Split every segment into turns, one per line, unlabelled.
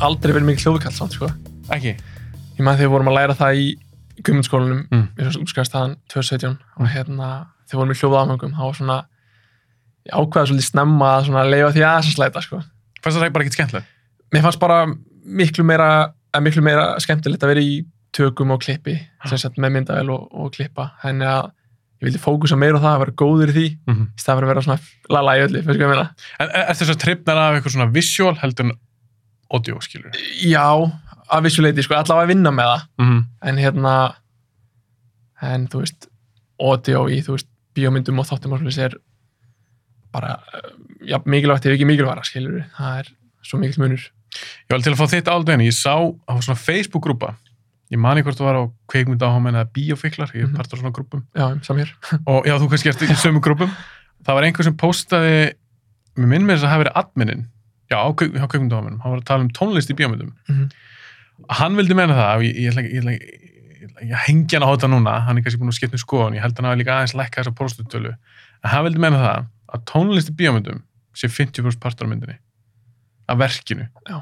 aldrei verið mikið hljóðkall samt, sko.
Ekki?
Ég maður þegar við vorum að læra það í gummundskólanum,
Mm.
við erum útskæðast þaðan 2017 og hérna, þegar við vorum í hljóðafangum, þá var svona, ég ákvaði svolítið snemma að svona leifa því aðeins að slæta, sko.
Fannst það bara ekkert skemmtileg?
Mér fannst bara miklu meira, að miklu meira skemmtilegt að vera í tökum og klippi, sem sagt með myndavel og, og klippa, þannig að ég vildi fókusa meira á það að vera góður í því,
Mm -hmm.
í stað fyrir að vera svona lala í öllu, fyrir hvað ég meina.
En e- er þess að trippnar af eitthvað svona visual heldur en audio, skilur?
Já, að vissu leiti, sko, allavega að vinna með það,
Mm -hmm.
en hérna, en þú veist, audio í, þú veist, bíómyndum og þáttum og svona er bara, eh, já, mikilvægt ef ekki mikilværa, skilur við, það er svo mikill munur.
Ég var alveg til að fá þitt áldvegin, ég sá á svona Facebook-grúpa, ég mani hvort þú var á kveikmyndahámen eða bíófiklar, ég er
Mhm.
partur á svona grúpum,
Já, saman hér.
og já, þú kannski ert í sömu grúpum, það var einhver sem postaði, mér minn með þess að það hafi verið adminin, já, á, kveik, á kveikmyndahámenum, hann var að tala um tónlist í bíómyndum.
Mhm.
Hann vildi meina það, og ég, ég ætla ekki, ég ætla ekki, ég ætla ekki að hengja hann á þetta núna, hann er kannski búin að skipta um skoðun, ég held að hann hafi líka aðeins lækka þessa próstutölu, en hann vildi meina það að tónlist í bíómyndum sé 50% partur á myndinni, af verkinu.
Já.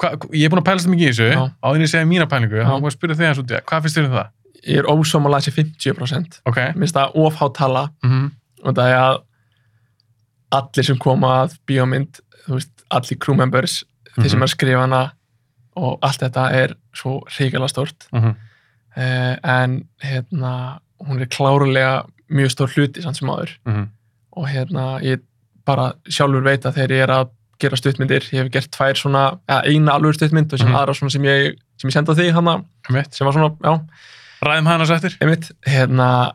Hva, ég er búin að pælast mikið í þessu,
Já.
áður en ég segja mína pælingu,
Já.
þá var að spyrja þig aðeins út í það, hvað finnst þér um það?
Ég er ósámála þessi 50%,
Ok,
minnst það ofhátt tala
mm
og það er að allir sem koma að bíómynd, þú veist, allir crew members, þeir sem
Mhm.
er að skrifa hana og allt þetta er svo hrikalega stort
Mhm.
eh, en hérna, hún er klárulega mjög stór hluti samt sem áður
Mhm.
og hérna, ég bara sjálfur veit að þegar ég er að gera stuttmyndir ég hef gert tvær svona, eða eina alveg stuttmynd og sem
Mhm.
aðra svona sem ég, sem ég senda því hana,
Mitt.
sem var svona, já,
ræðum hann þessu eftir?
einmitt, hérna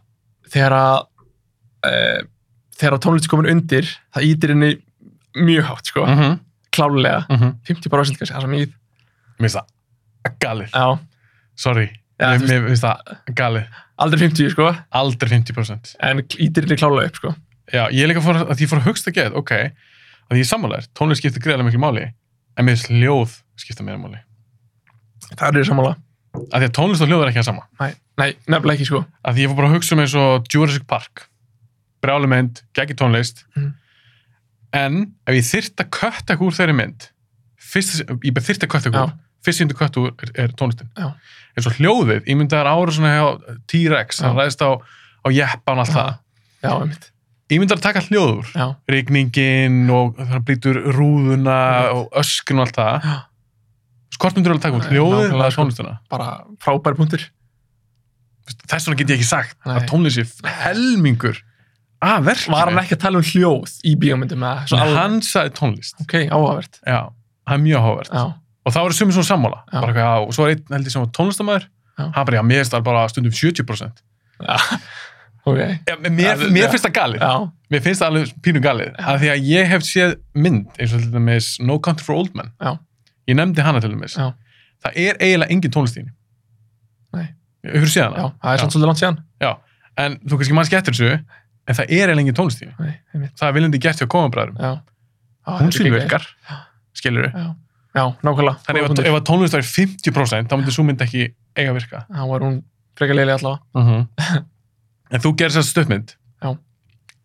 þegar að e, þegar að tónlist er komin undir það ítir henni mjög hátt sko,
Mm -hmm.
klárulega
Mm -hmm.
50% kannski, það er svo mjög,
Mér finnst það galið,
já,
sorry,
já
mér
þú veist,
mér finnst það galið,
aldrei 50 sko,
aldrei 50%.
en ítir henni klárulega upp sko,
Já, ég er líka fór, að ég fór að hugsta gett, ok, að ég er sammálaður, tónlist skiptir greiðlega miklu máli, en mér finnst hljóð skipta meira máli.
það er ég sammála
Af því að tónlist og hljóð er ekki það sama.
Nei, nei, nefnilega ekki sko
Af því ég fór bara að hugsa um eins og Jurassic Park, brjálumynd, geggi tónlist,
Mhm.
en ef ég þyrt að kötta ekki úr þeirri mynd, fyrst, ég bara þyrt að kötta ekki
Já.
úr, fyrst sem þú kötta úr er, er tónlistin.
Já.
Eins og hljóðið, ég myndi að það er ára svona hjá T-Rex,
Já.
hann ræðist á, á jeppan og allt
Já.
það.
Já, einmitt,
Ég myndi að taka hljóð úr.
já,
rigningin og það brýtur rúðuna og öskun og allt það
já,
skort myndur alveg taka út
Nei,
hljóðið
nákvæmlega,
eða
sko.
tónlistuna
bara frábær punktur
þess vegna get ég ekki sagt
Nei.
að tónlist er helmingur að verkinu
Var hann ekki að tala um hljóð í bíómyndum eða
Ah, Nei,
svona alveg?
hann sagði tónlist
Ok, áhugavert
já, það er mjög áhugavert
Já,
og þá eru sumir svona sammála
Já.
bara, eitthvað, já, og svo er einn held ég sem var tónlistamæður
Já.
hann bara, já, mér finnst það bara stundum 70%
ok
já, mér,
Já, já.
mér finnst það galið
Já,
mér finnst það alveg pínu galið af því að ég hef séð mynd eins og til dæmis No Country for Old Men
Já.
ég nefndi hana til dæmis
Já.
það er eiginlega engin tónlist í henni
Nei.
hefur séð hana
já, það er
Já.
svona svolítið langt síðan
en þú kannski mannski eftir þessu en það er eiginlega engin tónlist í henni
Nei, einmitt,
það er viljandi gert hjá komabræðurum
já Á,
hún
þetta er
sín
geggjað.
virkar skilur
Já, já, nákvæmlega Góður
þannig ef, að-
punktur.
ef að tónlist var 50% þá myndi svo mynd ekki eiga að virka
Þá var hún frekar leilig allavega
Mhm. en þú gerir þess að stöpmynd
Já.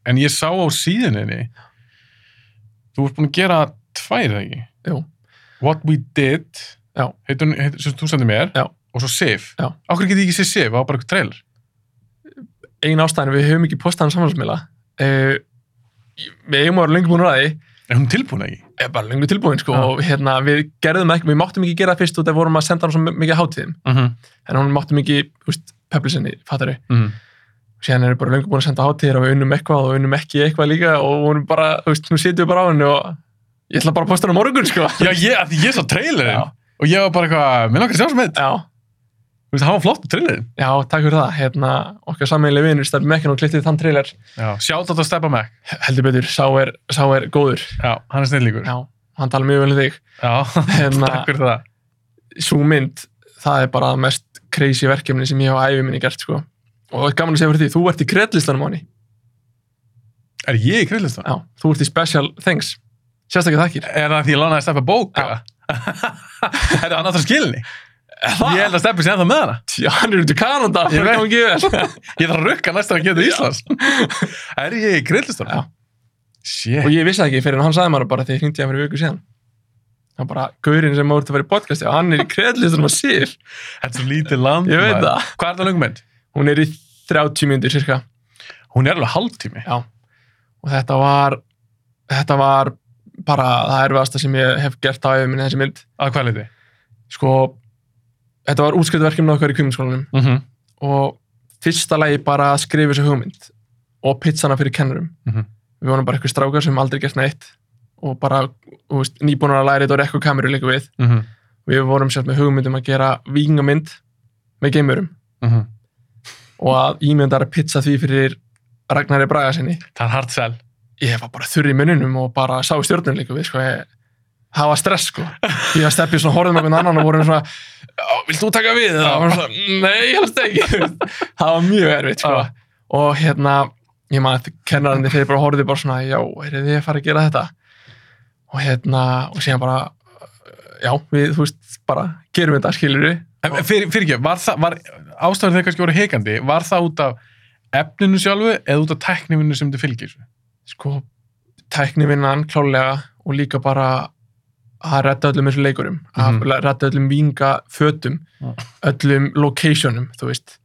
en ég sá á síðuninni þú ert búin að gera tvær eða ekki
Jú.
What We Did
Já.
heitur, heitur, sem þú sendið mér
Já.
og svo Sif
Já.
okkur getið ekki séð Sif, það var bara eitthvað trailer
Egin ástæðan, við höfum ekki postað hann samfélagsmiðla uh, Við eigum að vera lengi búin að ræði
er hún tilbúin ekki?
er bara lengur tilbúin sko
Já.
og hérna við gerðum ekki, við máttum ekki gera það fyrst út af vorum að senda hann svo mikið á hátíðum
Mm -hmm.
en hún máttum ekki, úst, pöblisinni, fattar
Mm -hmm.
síðan erum við bara löngu búin að senda hátíðir og við unnum eitthvað og við unnum ekki eitthvað líka og vorum bara, þú veist, nú sitjum við bara á henni og ég ætla bara að posta henni á morgun, sko.
já, ég, af því ég sá trailerin
Já.
og ég var bara eitthvað, minn okkar sjá sem mitt
Já,
þú veist, það var flott trailerin
já, takk fyrir það. Hérna, okkar sammeinlega vinur, Steppi Mekkin og klittið þann trailer,
sjátt átt að steppa með
heldur betur, sá er, sá er góður.
já, hann er snillíkur
Já, hann tala mjög vel um þig. Hérna,
takk fyrir það
svo mynd, það er bara mest crazy verkefni sem ég hef á æfi minni gert, sko. Og gaman að segja fyrir því, þú ert í kreddlistanum á henni.
er ég í kreillistan?
Já, þú ert í special things. Sérstaklega þakkir.
er það því ég lánaði að steppa bók?
Já.
eða? er það annars að skilni? Ég held að steppi sem það með hana
Já, hann er út í Kanada,
Ég
fyrir
veit.
gangi vel.
Ég þarf að rukka næst að geta til Íslands. er ég í grillistunum?
Já.
Shit.
og ég vissi það ekki fyrir en hann sagði maður bara þegar ég hringdi hann fyrir viku síðan þá það er bara gaurinn sem maður ert að vera í podcasti og hann er í kreðlistunum að sif
Þetta er svo lítið land.
Ég veit
maður.
það.
Hvað er það lögmynd?
hún er í 30 myndir cirka
Hún er alveg hálftími.
já og þetta var þetta var bara það erfiðasta sem ég hef gert á yfir minni þessi mynd
Að hvað leiti?
sko þetta var útskjöldverkjum okkar í kvímyndskólanum
Mm -hmm.
og fyrsta lagi bara að skrifa þessu hugmynd og pitcha hana fyrir kennurum
Mhm.
við vonum bara eitthvað strákar sem aldrei gert neitt og bara þú veist, nýbúnar að læra þetta og rekku kameru líka við
Mm -hmm.
við vorum sjálf með hugmyndum að gera vikingamynd með geimurum
Mm -hmm.
og að ímyndar að pitcha því fyrir Ragnari Braga sinni
Það er hard sell.
ég var bara þurr í mununum og bara sá í stjórnum líka við sko ég, það var stress sko ég var steppið svona horfðum einhvern annan og vorum svona "Já, vilt þú taka við það var svona, nei, ég helst ekki það var mjög erfitt sko
Já.
og hérna, ég maður að kennarandi þeir bara horfðu bara svona, já, er þið að fara að gera þetta og hérna og síðan bara já, við, þú veist, bara gerum þetta skilur við
En Fyrir, fyrir ekki, var það, var, ástæður þeir kannski voru heikandi, var það út af efninu sjálfu eða út af tekniminu sem þið fylgir?
sko, tæknivinnan klálega og líka bara að redda öllum þessu leikurum að
Mhm.
redda öllum vinga fötum
Já.
öllum locationum, þú veist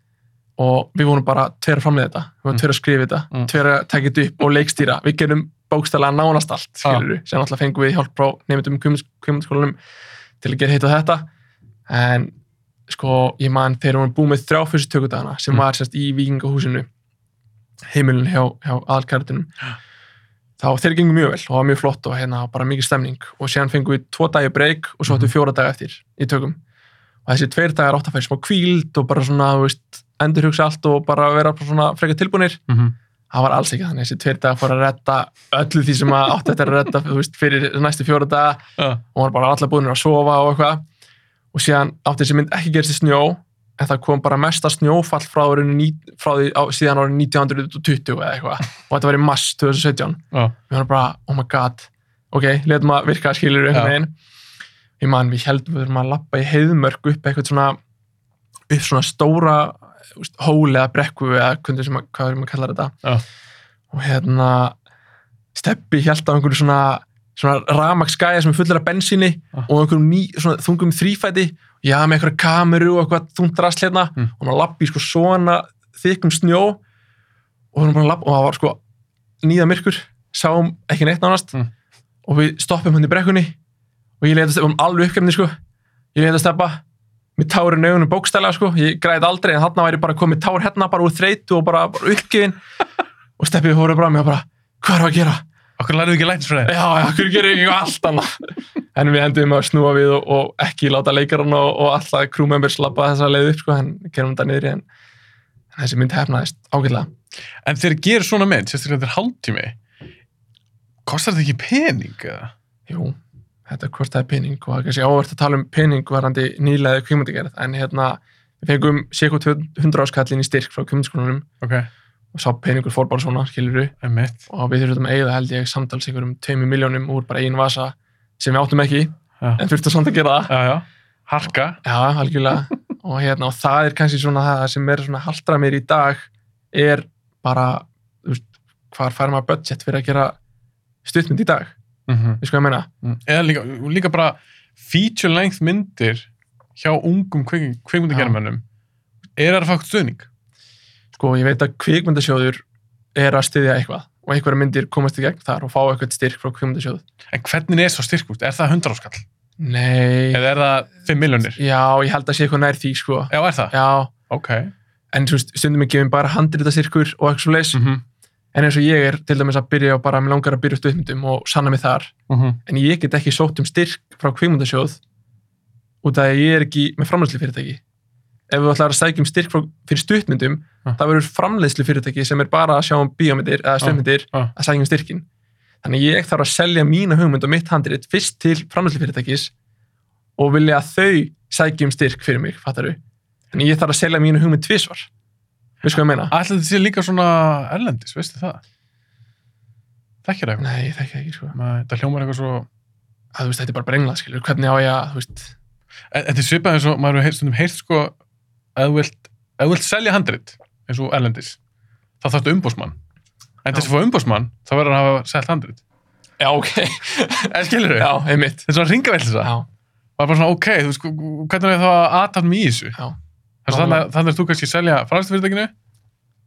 og við vorum bara tveir að framlega þetta við vorum
Mm.
tveir að skrifa þetta,
Mm.
tveir að taka þetta upp og leikstýra, við gerum bókstælega nánast allt, skilur við, sem alltaf fengum við hjálp frá nefndum kvimundskólanum til að gera hitt og þetta en sko, ég man þegar við vorum búið með þrjá fyrstu tökudagana sem
Mm.
var sérst í vikingahúsinu heimilin hjá, hjá aðalkærtunum þá þeir gengum mjög vel og það var mjög flott og hérna bara mikið stemning og síðan fengum við tvo dagi breyk og svo áttum við fjóra daga eftir í tökum og þessi tveir dagar átt að færi smá kvíld og bara svona, þú veist, endurhugsa allt og bara vera bara svona frekar tilbúinir
Mm -hmm.
það var alls ekki þannig, þessi tveir dagar fór að redda öllu því sem að átt eftir að redda þú veist, fyrir næstu fjóra daga
uh,
og var bara allar búinir að sofa og eitthvað og síðan átti þessi mynd ekki gerst í snjó en það kom bara mesta snjófall frá, árinu ní- frá því á, síðan árið 1920 eða eitthvað og þetta var í mars 2017
uh,
við varum bara, oh my god ok, letum að virka skilur einhvern
Já.
veginn ég man, við heldum við þurfum að lappa í heiðmörk upp eitthvað svona upp svona stóra þú veist, hól eða brekku eða hvernig sem að, hvað er maður kallar þetta
Já.
og hérna steppi held á einhverju svona svona ramaksgæja sem er fullur af bensíni
Já.
og einhverjum ný, svona þungum þrýfæti og já, með einhverja kameru og eitthvað þungt rast hérna
Mm.
og maður lappi í sko svona þykkum snjó og, við vorum bara að labba- og það var sko nýða myrkur sáum ekki neitt nánast
Mm.
og við stoppum hann í brekkunni og ég leita steppa, um alveg uppgefni sko ég leita steppa með tárin augunum bókstælega sko, ég græði aldrei en þarna væri bara komið tár hérna bara úr þreytu og bara, bara uppgefin og steppið hóruð bara mig og bara, hvað er að gera?
okkur lærið ekki lænsfræði.
já, já, hverju gerir ég eitthvað allt annað en við endum að snúa við og, og ekki láta leikarinn og, og alltaf crewmembers labba þessa leið upp sko, en gerum þetta niður í en, en þessi mynd hefnaðist ágætlega
En þeir gerir svona mynd, sérstaklega þetta er hálftími, kostar þetta ekki pening? eða?
Jú, þetta kostiði pening og það er kannski ávert að tala um pening varandi nýlega kvíkmyndagerð en hérna, við fengum séku 200 áskallin í styrk frá kvíkmyndskonunum
Ok,
og sá peningur fór bara svona, skilur við
einmitt.
og við þurfum að eigða held ég samtals einhverjum 2 miljónum úr bara einn vasa sem við áttum ekki,
Já,
en þurftum samt að gera það
já, já. Harka.
Já, algjörlega og hérna, og það er kannski svona það sem er svona haldra mér í dag er bara, þú veist hvar fær maður budget fyrir að gera stuttmynd í dag,
Mm
við sko ég meina
Eða líka, líka bara feature length myndir hjá ungum kveikmyndagerumönnum. Er það að fá stuðning?
sko, ég veit að kvikmyndasjóður er að styðja eitthvað og einhverja myndir komast í gegn þar og fá eitthvað styrk frá kvikmyndasjóð.
En hvernig er svo styrkust? Er það 100 áskall?
Nei,
Eða er það 5 miljonir?
já, ég held að sé eitthvað nær því, sko.
Já, er það?
Já,
Ok.
en þú veist, stundum er gefin bara handrita styrkur og eitthvað svo leis,
Mm -hmm.
en eins og ég er til dæmis að byrja og bara, mér langar að byrja stuðmyndum og sanna mig þar,
Mm -hmm.
en ég get ekki sótt um styrk frá kvikmyndasjóð út af að ég er ekki með framleiðslu fyrirtæki. Ef þú ætlar að sækja um styrk frá, fyrir stuttmyndum,
Ah.
það verður framleiðslu sem er bara að sjá um bíómyndir eða stuttmyndir
ah.
að sækja um styrkin. Þannig að ég þarf að selja mína hugmynd og mitt handrit fyrst til framleiðslu fyrirtækis og vilja að þau sækja um styrk fyrir mig, fattar du? Þannig að ég þarf að selja mína hugmynd tvisvar. Veistu hvað ég meina?
Ætla þetta sé líka svona erlendis, veistu það? Þekkir það eitthvað?
Nei, það ekki ekki, sko.
Nei, Það hljómar eitthvað svo...
Að, þú veist, þetta er bara brenglað, skilur. Hvernig á ég að, þú veist,
En- Þetta er svipað eins og maður hefur stundum heyrt sko að þú vilt, að þú vilt selja handrit eins og erlendis, þá þarftu umbósmann.
Já.
En þess að fá umbósmann, þá verður að hafa selt handrit.
já, ok,
en skilur þau,
já, einmitt
þetta er svona ringavill þess að
já,
var bara svona ok, þú veist, hvernig er það að aðtapna mig í þessu
já,
þannig að þannig- þannig að þú kannski selja fræðslufyrirtækinu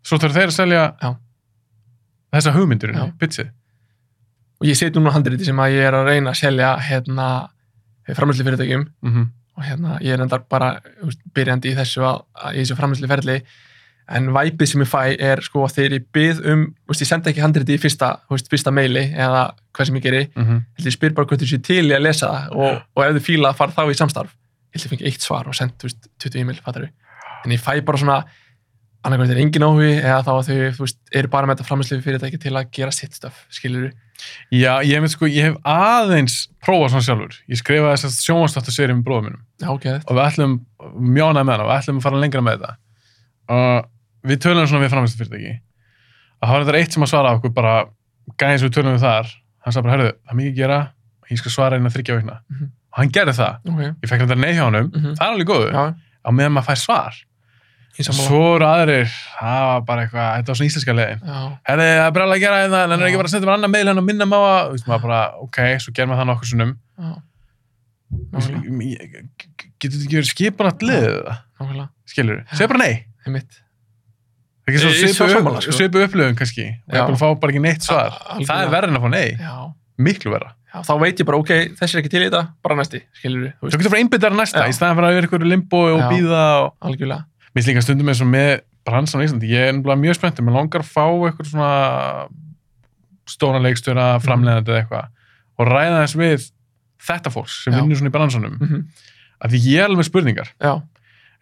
svo þarf þeir að selja
Já.
þessa hugmyndur
Já.
pitsið,
og ég seti núna handriti sem að ég er að reyna að selja hérna framherslu fyrirtækjum
mm -hmm.
og hérna ég er endar bara þú veist, byrjandi í þessu að, að í þessu framherslu ferli en væpið sem ég fæ er sko að þegar ég byrð um, þú veist, ég senda ekki handriti í fyrsta, þú veist, fyrsta meili eða hvað sem ég geri,
Mm -hmm.
heldur ég spyr bara hvernig þú sé til í að lesa það og, og ef þú fíla að fara þá í samstarf heldur ég fengi eitt svar og send, þú veist, 20 e-mail fattar en ég fæ bara svona annarkvæmst er engin áhugi eða þá að þau, þú veist, eru bara með þetta framherslu fyrirtæki til að gera sitt stöf, skilur
já, ég hef, sko, ég hef aðeins prófað svona sjálfur, ég skrifaði þess að sjónvastáttu serið með bróðum mínum
já, ok,
og við ætlum mjónað með hana og við ætlum að fara lengra með þetta og við tölum svona við framhengstu fyrirtæki að það var þetta eitt sem að svara okkur bara gæðin sem við tölum við þar hann sagði bara, herðu, það er mikið að gera ég skal svara innan þryggja vikna
Mhm.
og hann gerði það,
ok,
ég fekk þetta nei hjá honum
Mhm.
það er alveg góður,
já,
á meðan maður fær svar
ég sammála
svo eru aðrir, það var bara eitthvað þetta var svona íslenska leiðin
já,
herði, það er brjálægt að gera þetta, en hann er
Já.
ekki bara að senda mér annan meil hann og minna mig á að, þú veist, maður bara, ok, svo gerum við það nokkur sinnum
já, nákvæmlega,
getur þetta ekki verið skipanat liðið það
nákvæmlega
skilur, segja bara nei
einmitt,
Það er
Ég- ég
ekki
er
svo svipu,
sammála, sko.
svipu upplöfun kannski og
Já.
ég búin að fá bara ekki neitt svar
A- algjörlega.
það er verðin að fá nei,
já,
miklu verða
já, þá veit ég bara, ok, þessi er ekki til í þetta bara næsti, skilur þú
þú
veist,
getur bara einbyttar næsta
Já.
í staðan fyrir að vera ykkur limbo og
Já.
býða og...
algjörlega
mér finnst líka stundum eins og með bransan á Íslandi ég er nefnilega mjög spenntur, mér langar að fá ykkur svona stóna leikstöra
Mhm.
framleiðandi eða eitthvað og ræða þess við þetta fólk sem
Já.
vinnur svona í bransanum
mm
af því ég er alveg með spurningar
já,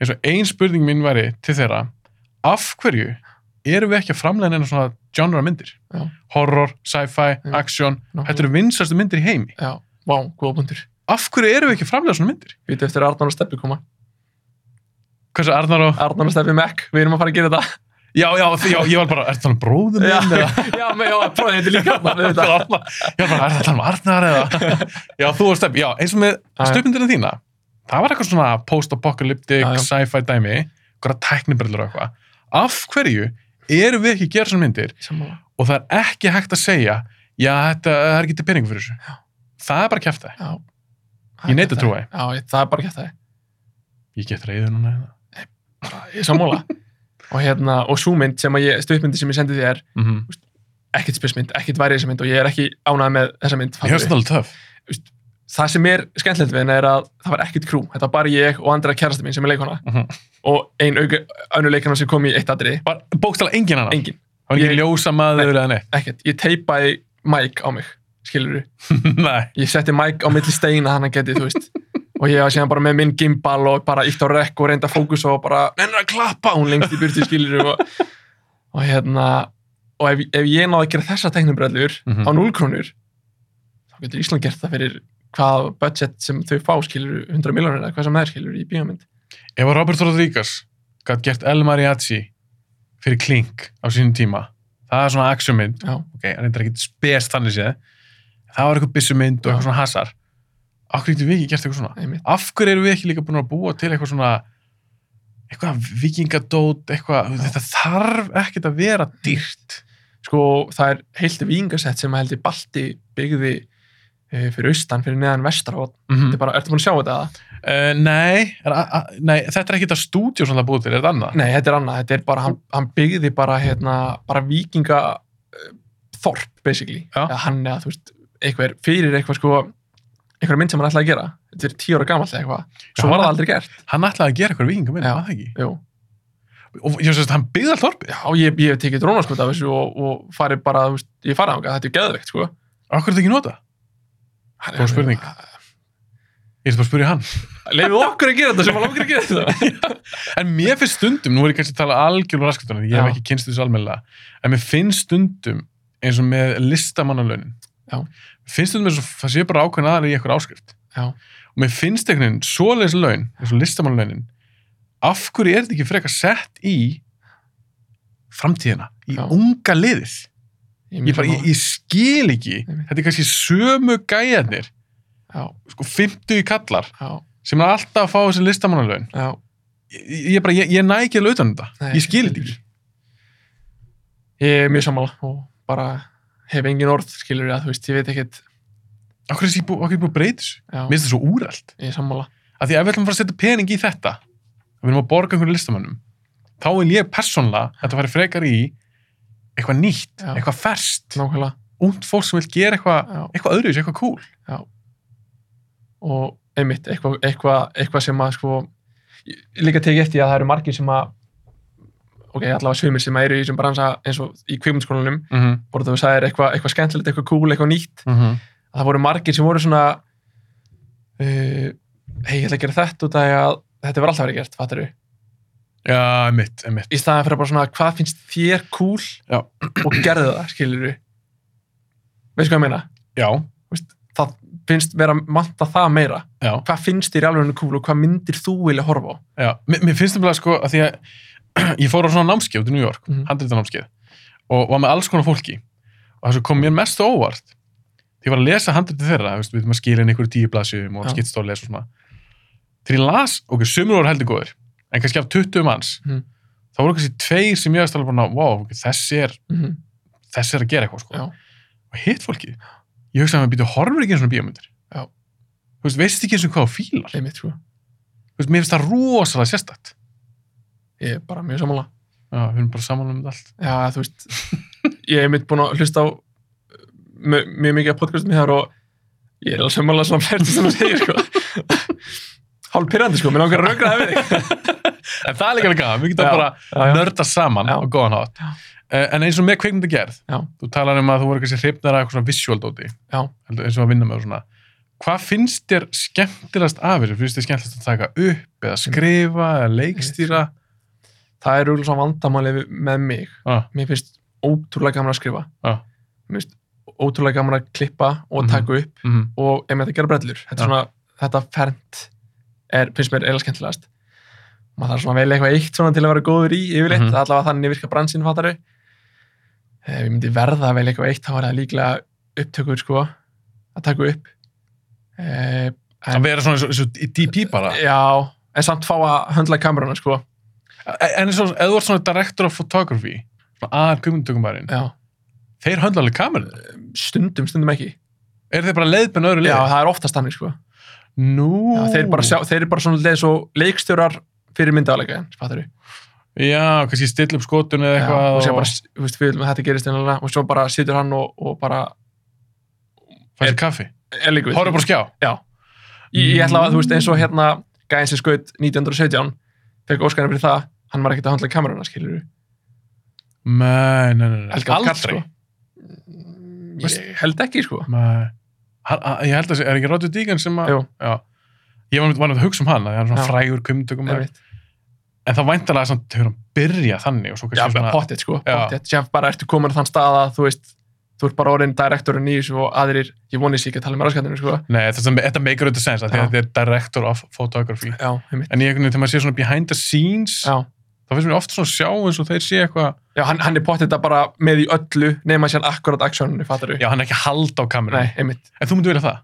eins og ein spurning mín væri til þeirra af hverju erum við ekki að framlega neina svona genre myndir
Já.
horror, sci-fi,
Já.
action
nákvæmlega.
þetta eru vinsastu myndir í heimi
já, vá, góða punktur
af hverju erum við ekki að framlega svona myndir
við eftir að Arnar og Steppi koma
hversu Arnar og,
Arnar og Steppi Mac, við erum að fara að gera þetta
já, já, því- já, ég var bara er það um bróðum
já,
minn eða
já, með, já, prófið þetta er líka Arnar
Ég
við þetta
var bara, er það um Arnar eða já, þú og Steppi, já, eins og með
Já, já.
stöpmyndirna þína það var eitthvað svona post-apocalyptic
Já, já.
sci-fi dæmi, eitthvað tæknibrillur og eitthvað af hverju erum við ekki að gera svona myndir
sammála,
og það er ekki hægt að segja já, þetta það er ekki til peningu fyrir þessu
Já.
það er bara kæftæ,
já
Ég neita að trúa því.
já, ég- það er bara kæft það
ég get reyður núna hérna.
ég er sammála og hérna, og svo mynd sem að ég, stuðmyndi sem ég sendi þér
mm -hmm.
ekkert spesmynd, ekkert væri þessi mynd og ég er ekki ánað með þessa mynd
ég hefst þetta alveg töf
það sem er skemmtilegt við henni er að það var ekkert krú, þetta var bara ég og andra kærasta mín sem er leikona
Mhm.
og ein önnu leikona sem kom í eitt atriði
bókstala engin annan,
engin,
það var
Ég-
ekki ljósa maður eða neitt
ekkert, ég teipaði mæk á mig, skilur
nei,
ég setti mæk á milli steina hann að geti, þú veist og ég var síðan bara með minn gimbal og bara ítt á rekk og reynda að fókusa og bara nennir að klappa hún lengst í burti, skilur og, og hérna og ef, ef ég náði að gera þessa teknibrellur
Mhm.
á 0 krónur þá getur Ísland gert það fyrir hvað budget sem þau fá skilur 100 miljonir eða hvað sem það er skilur í bíómynd
ef að Robert Rodriguez gætt gert El Mariachi fyrir klink á sínum tíma það er svona actionmynd,
Já,
ok, hann reyndar ekki spes þannig séð, það var eitthvað byssumynd og eitthvað svona hasar, okkur getum við ekki gert eitthvað svona
einmitt,
af hverju erum við ekki líka búin að búa til eitthvað svona eitthvað vikingadót eitthvað,
Já.
þetta þarf ekkert að vera dýrt
sko það er heilt vingasett sem að held ég Balti byggði eh, fyrir austan, fyrir neðan vestra og þetta er bara, ertu búin að sjá þetta? eða?
uh, nei, er, a, a, nei, þetta er ekki þetta stúdíu sem það búið til, er þetta annað?
Nei, þetta er annað, þetta er bara, hann, hann byggði bara hérna, bara vikinga eh, þorp, basically
Já.
eða hann eða, þú veist, eitthvað er fyrir eitthvað sko, eitthvað mynd sem hann ætlaði að gera þetta er tíu ára gamall eða eitthvað svo
Já.
var það aldrei gert,
Hann ætlaði að gera eitthvað vikingaminn,
Já.
var það ekki?
jú
Og ég veist að hann byggði alltaf orpið.
Já, ég, ég hef tekið drónaskot af þessu og, og farið bara, þú veist, ég farið ánga, þetta er geðveikt, sko.
Akkur er þetta ekki nota? Góð spurning. Ég ætla bara að spyrja hann.
Leifum okkur að gera þetta sem að langar að gera þetta.
En mér finnst stundum, nú er ég kannski að tala algjörlega raskastunum, ég hef
Já.
ekki kynst þessu almennilega, en mér finnst stundum eins og með listamannalaunin.
Já.
Mér finnst stundum eins og það sé bara ákveðin aðri í eitthvað áskrift.
Já.
Og mér finnst einhvern veginn svoleiðis laun, eins og listamannalaunin, af hverju er þetta ekki frekar sett í framtíðina, í
Já.
unga liðið? Ég, bara, ég, ég skil ekki,
Einmitt.
þetta er kannski sömu gæjarnir,
Já,
sko 50 kallar,
já,
sem er alltaf að fá þessi listamannalaun
já.
ég, ég, bara, ég, ég næ ekki alveg utan um þetta
Nei,
ég skil þetta ekki
Ég er mjög sammála og bara hef engin orð, skilur ég að þú veist, ég veit ekkert,
Okkur er þessi bú- okkur er búið að breyta þessu?
já,
Mér finnst það svo úrælt.
ég er sammála.
Af því ef við ætlum að fara að setja pening í þetta, að við erum að borga einhverjum listamönnum, þá vil ég persónlega að þetta fari frekar í eitthvað nýtt,
Já.
eitthvað ferskt,
Nákvæmlega,
ungt fólk sem vil gera eitthvað,
já.
eitthvað öðruvis, eitthvað cool.
og einmitt, eitthvað eitthva, eitthva sem að sko, ég ég líka tekið eftir því að það eru margir sem að ok, allavega sumir sem eru í þessum bransa eins og í kvikmyndskólanum
Mm -hmm.
bara þú sagðir eitthvað eitthva skemmtilegt, eitthvað cool, eitthvað nýtt
Mm -hmm.
að það voru margir sem voru svona uh, hei, ég ætla að gera þetta út af því að þetta var alltaf verið gert, fattar við
Já, emitt, emitt.
í staðan fyrir bara svona, hvað finnst þér cool
Já.
og gerðu það, skilur við veistu hvað ég meina?
Já,
það finnst vera manta það meira
já,
hvað finnst þér í alveg cool og hvað myndir þú vilja horfa á
já. Mér, mér finnst það bara sko að því að ég fór á svona námskeið út í New York, mm
Mhm.
og var með alls konar fólki. Og það sem kom mér mest á óvart, því ég var að lesa handritið þeirra, þú veist, við erum að skilja inn einhverju tíu blaðsjöfum og
Já.
skittstóð lesa og svona. Þegar ég las, ok, sömur voru heldur góðir, en kannski af 20 manns,
Mhm.
þá voru kannski tveir sem ég veist alveg bara, wow, ok, þessi er,
mm
þessi er að gera eitthvað, sko.
Já.
Og hitt fólki, ég hugsaði að maður býtu horfur ekki eins og bíómyndir.
Já.
Þú veist, veist ekki eins og hvað þú fílar.
einmitt sko,
Þú veist, mér finnst það rosalega sérstætt.
ég er bara mjög sammála
Já, við erum bara saman um þetta allt.
já, þú veist, ég hef mitt búin að hlusta á mjög, mjög mikið af podcastum hér og ég er alveg sammála svona fært sem þú segir sko hálf pyrrandi sko, mér langar að rögra það við þig
En það er líka vel gaman, við getum
Já,
bara
já, já.
nörda saman
Já.
á góðan hátt.
Já.
Eh, En eins og með kveikmynda gerð,
Já.
þú talar um að þú voru kannski hrifnara eitthvað svona visual dóti,
Já.
Heldur, eins og að vinna með og svona. Hvað finnst þér skemmtilegast af þessu? Finnst þér skemmtilegast að taka upp eða skrifa eða leikstýra?
það er úrlega svona vandamáli við- með mig
Já,
mér finnst ótrúlega gaman að skrifa
já.
mér finnst ótrúlega gaman að klippa og
Mhm.
taka upp
mhm,
og ef þetta gera brellur þetta,
Já.
er svona, þetta fernt er, finnst mér eila skemmtilegast maður þarf svona að velja eitthvað eitt svona til að vera góður í yfirleitt,
Mhm.
það er allavega þannig virka bransin fattari ef ég myndi verða að velja eitthvað eitt þá var það líklega upptökur sko að taka upp eh,
Að vera svona eins og- eins og í DP bara.
já, en samt fá að höndla kameruna sko
En eins og, eða þú ert svona director of photography, svona aðal kveikmyndatökumærin,
já,
þeir höndla alveg kamerun.
stundum, stundum ekki
Er þeir bara leiðbenn öðru
já,
liði?
það er oftast þannig sko
Nú.
já, þeir, bara sjá, þeir eru bara svona leið svo leikstjórar fyrir myndaðalega, fattari
Já, kannski stilla upp skotun eða
Já,
eitthvað
og sér
og
bara, þú veist, við viljum að þetta gerist innanlega og svo bara situr hann og, og bara
fæ sér kaffi.
er líka við
Horfðu bara á skjá.
Já, ég, ég ætla að, þú veist, eins og hérna gæðin sem skaut 1917 fekk Óskarinn fyrir það, hann var ekkert að handla kameruna, skilur við,
Nei, nei, nei, sko. nei. aldrei.
sko. Ég held ekki, sko
Nei. Hann- hann- Ég held að það er ekki Roger Deegan sem að...
Jú.
Já. Ég var náttúrulega að hugsa um hann, að það er svona
Já.
frægur kumtökum.
Einmitt.
En það væntalega samt hefur hann byrjað þannig og svo
Já,
kannski svona...
pottet, sko,
Já.
pottet sem bara ertu komin að þann stað að, þú veist þú ert bara orðin direktorinn í þessu og aðrir ég vonið sér ekki að tala með raskatinu, sko
Nei, þetta, sem- þetta meikar auðvitað sens, af því
Já.
að þetta er director of photography.
Já, einmitt
En ég einhvern veginn, þegar maður sé svona behind the scenes,
Já,
þá finnst mér oft svona sjá eins og þeir sé eitthvað...
Já hann, hann er pottet að bara með í öllu nema sér akkurat aksjóninu, fattar
Já, hann er ekki að halda á kamerun.
Nei, einmitt
En þú myndir vilja það?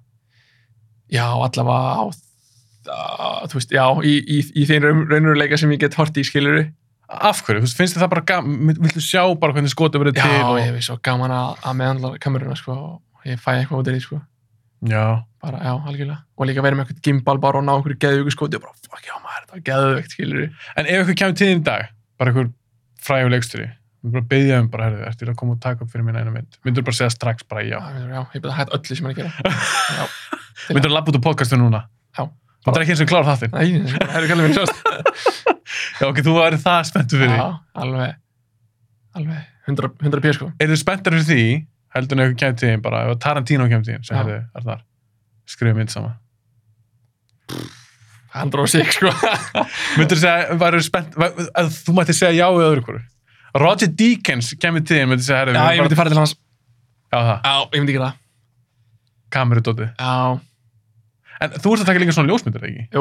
Já, allavega á á- þú veist, já, í, í, í þeim raun- raunveruleika sem ég get hort í skiluru
Af hverju? Þú veist, Finnst þér það bara gaman? Viltu sjá bara hvernig skotið verið
Já,
til? og-
ég veist, svo gaman að, að meðanla kameruna, sko, og ég fæ eitthvað út í því, sko
Já.
bara, já, algjörlega, og líka verið með eitthvað gimbal bara og ná einhverju geðvöku skoti og bara, fuck, já, maður, þetta var geðvökt, skiluru
En ef ykkur kemur til þín í dag, bara ykkur frægur leikstjóri, við bara byggja um bara, herðu, ertu að koma og taka upp fyrir minna eina mynd? Myndur bara segja strax bara já.
Já, ég byrja að hætta öllu sem hann er að gera Já,
Myndur að labba út á podcastu núna?
Já.
Þú er ekki eins og klára þáttinn?
nei, ég bara, hæru kallið mér sjást
Já, ok, þú væri það spenntur fyrir því.
Já, alveg, alveg, 100, 100 p, sko
Er þú spenntur fyrir því, heldur en ef ykkur kemur til þín bara, ef að Tarantino kemur til þín, sem
Já.
herðu, er þar, skrifa mynd saman.
106, sko
Myndur segja, væri spennt, væri, að þú mætti segja já eða öðru hverju. Roger Deakins kemur til þín, myndur segja, herðu,
Já, ég myndi fara til hans
Já, það,
Já, ég myndi gera það
kamerudótið.
Já,
En þú ert að taka líka svona ljósmyndir, eða ekki?
Jú.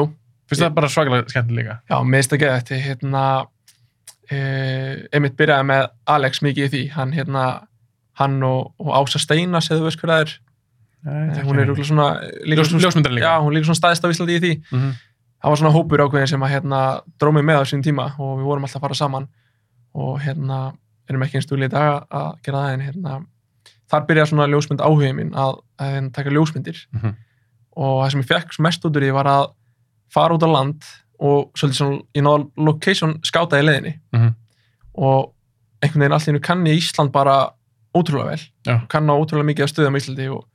Finnst þér það bara svakalega skemmtilega líka?
Já, minnst að geða þetta, hérna, uh, einmitt byrjaði með Alex mikið í því, hann, hérna, hann og, og Ása Steina, segðu veist hver það er,
Nei,
Eh,
þekki
hún
hana
er
ekki.
rúglega svona, eh, líka svona,
ljósmyndar líka
já, hún er líka svona staðist á Íslandi í því,
Mhm.
það var svona hópur ákveðin sem að, hérna, drómið með á sín tíma og við vorum alltaf að fara saman og, hérna, erum ekki einn stúli í dag að- að gera það en, hérna, þar byrjaði svona ljósmynd áhugin minn að, að hérna, taka ljósmyndir
Mhm.
og það sem ég fekk svo mest út úr því var að fara út á land og svolítið svona, ég náði að location skáta í leiðinni
Mhm.
og einhvern veginn allir kann ég Ísland bara ótrúlega vel,
Já.
kann á ótrúlega mikið að stöðum í Íslandi og,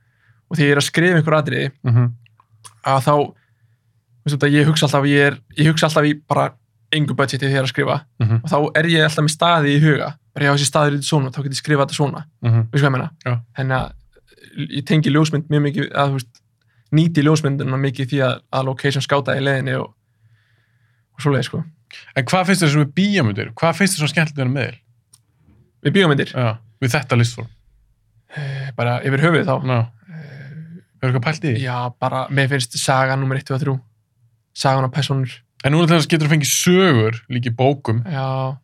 og því ég er að skrifa einhver atriði
Mhm.
að þá veistu þetta, ég hugsa alltaf ég, er, ég hugsa alltaf í bara engu budgeti þegar ég er að skrifa
Mhm.
og þá er ég alltaf með staði í huga bara ég á þessi staður í svona, þá get ég skrifað þetta svona
Mhm.
veistu hvað ég
Já.
meina þannig að ég tengi ljósmynd mjög mikið að þú veist, nýti ljósmyndina mikið því að, að location skáta í leiðinni og, og svoleiði sko
En hvað finnst þér sem er bíómyndir? Hvað finnst þér svona skemmtilegt að vera með þér?
við bíómyndir,
Já, við þetta listform.
eh, bara yfir höfuð þá
Já. Hefur eitthvað pælt í því?
Eh, já, bara, mér finnst saga nummer 1 og 3 sagan á personur
En núna til þess getur þú fengið sögur líka í bókum.
já,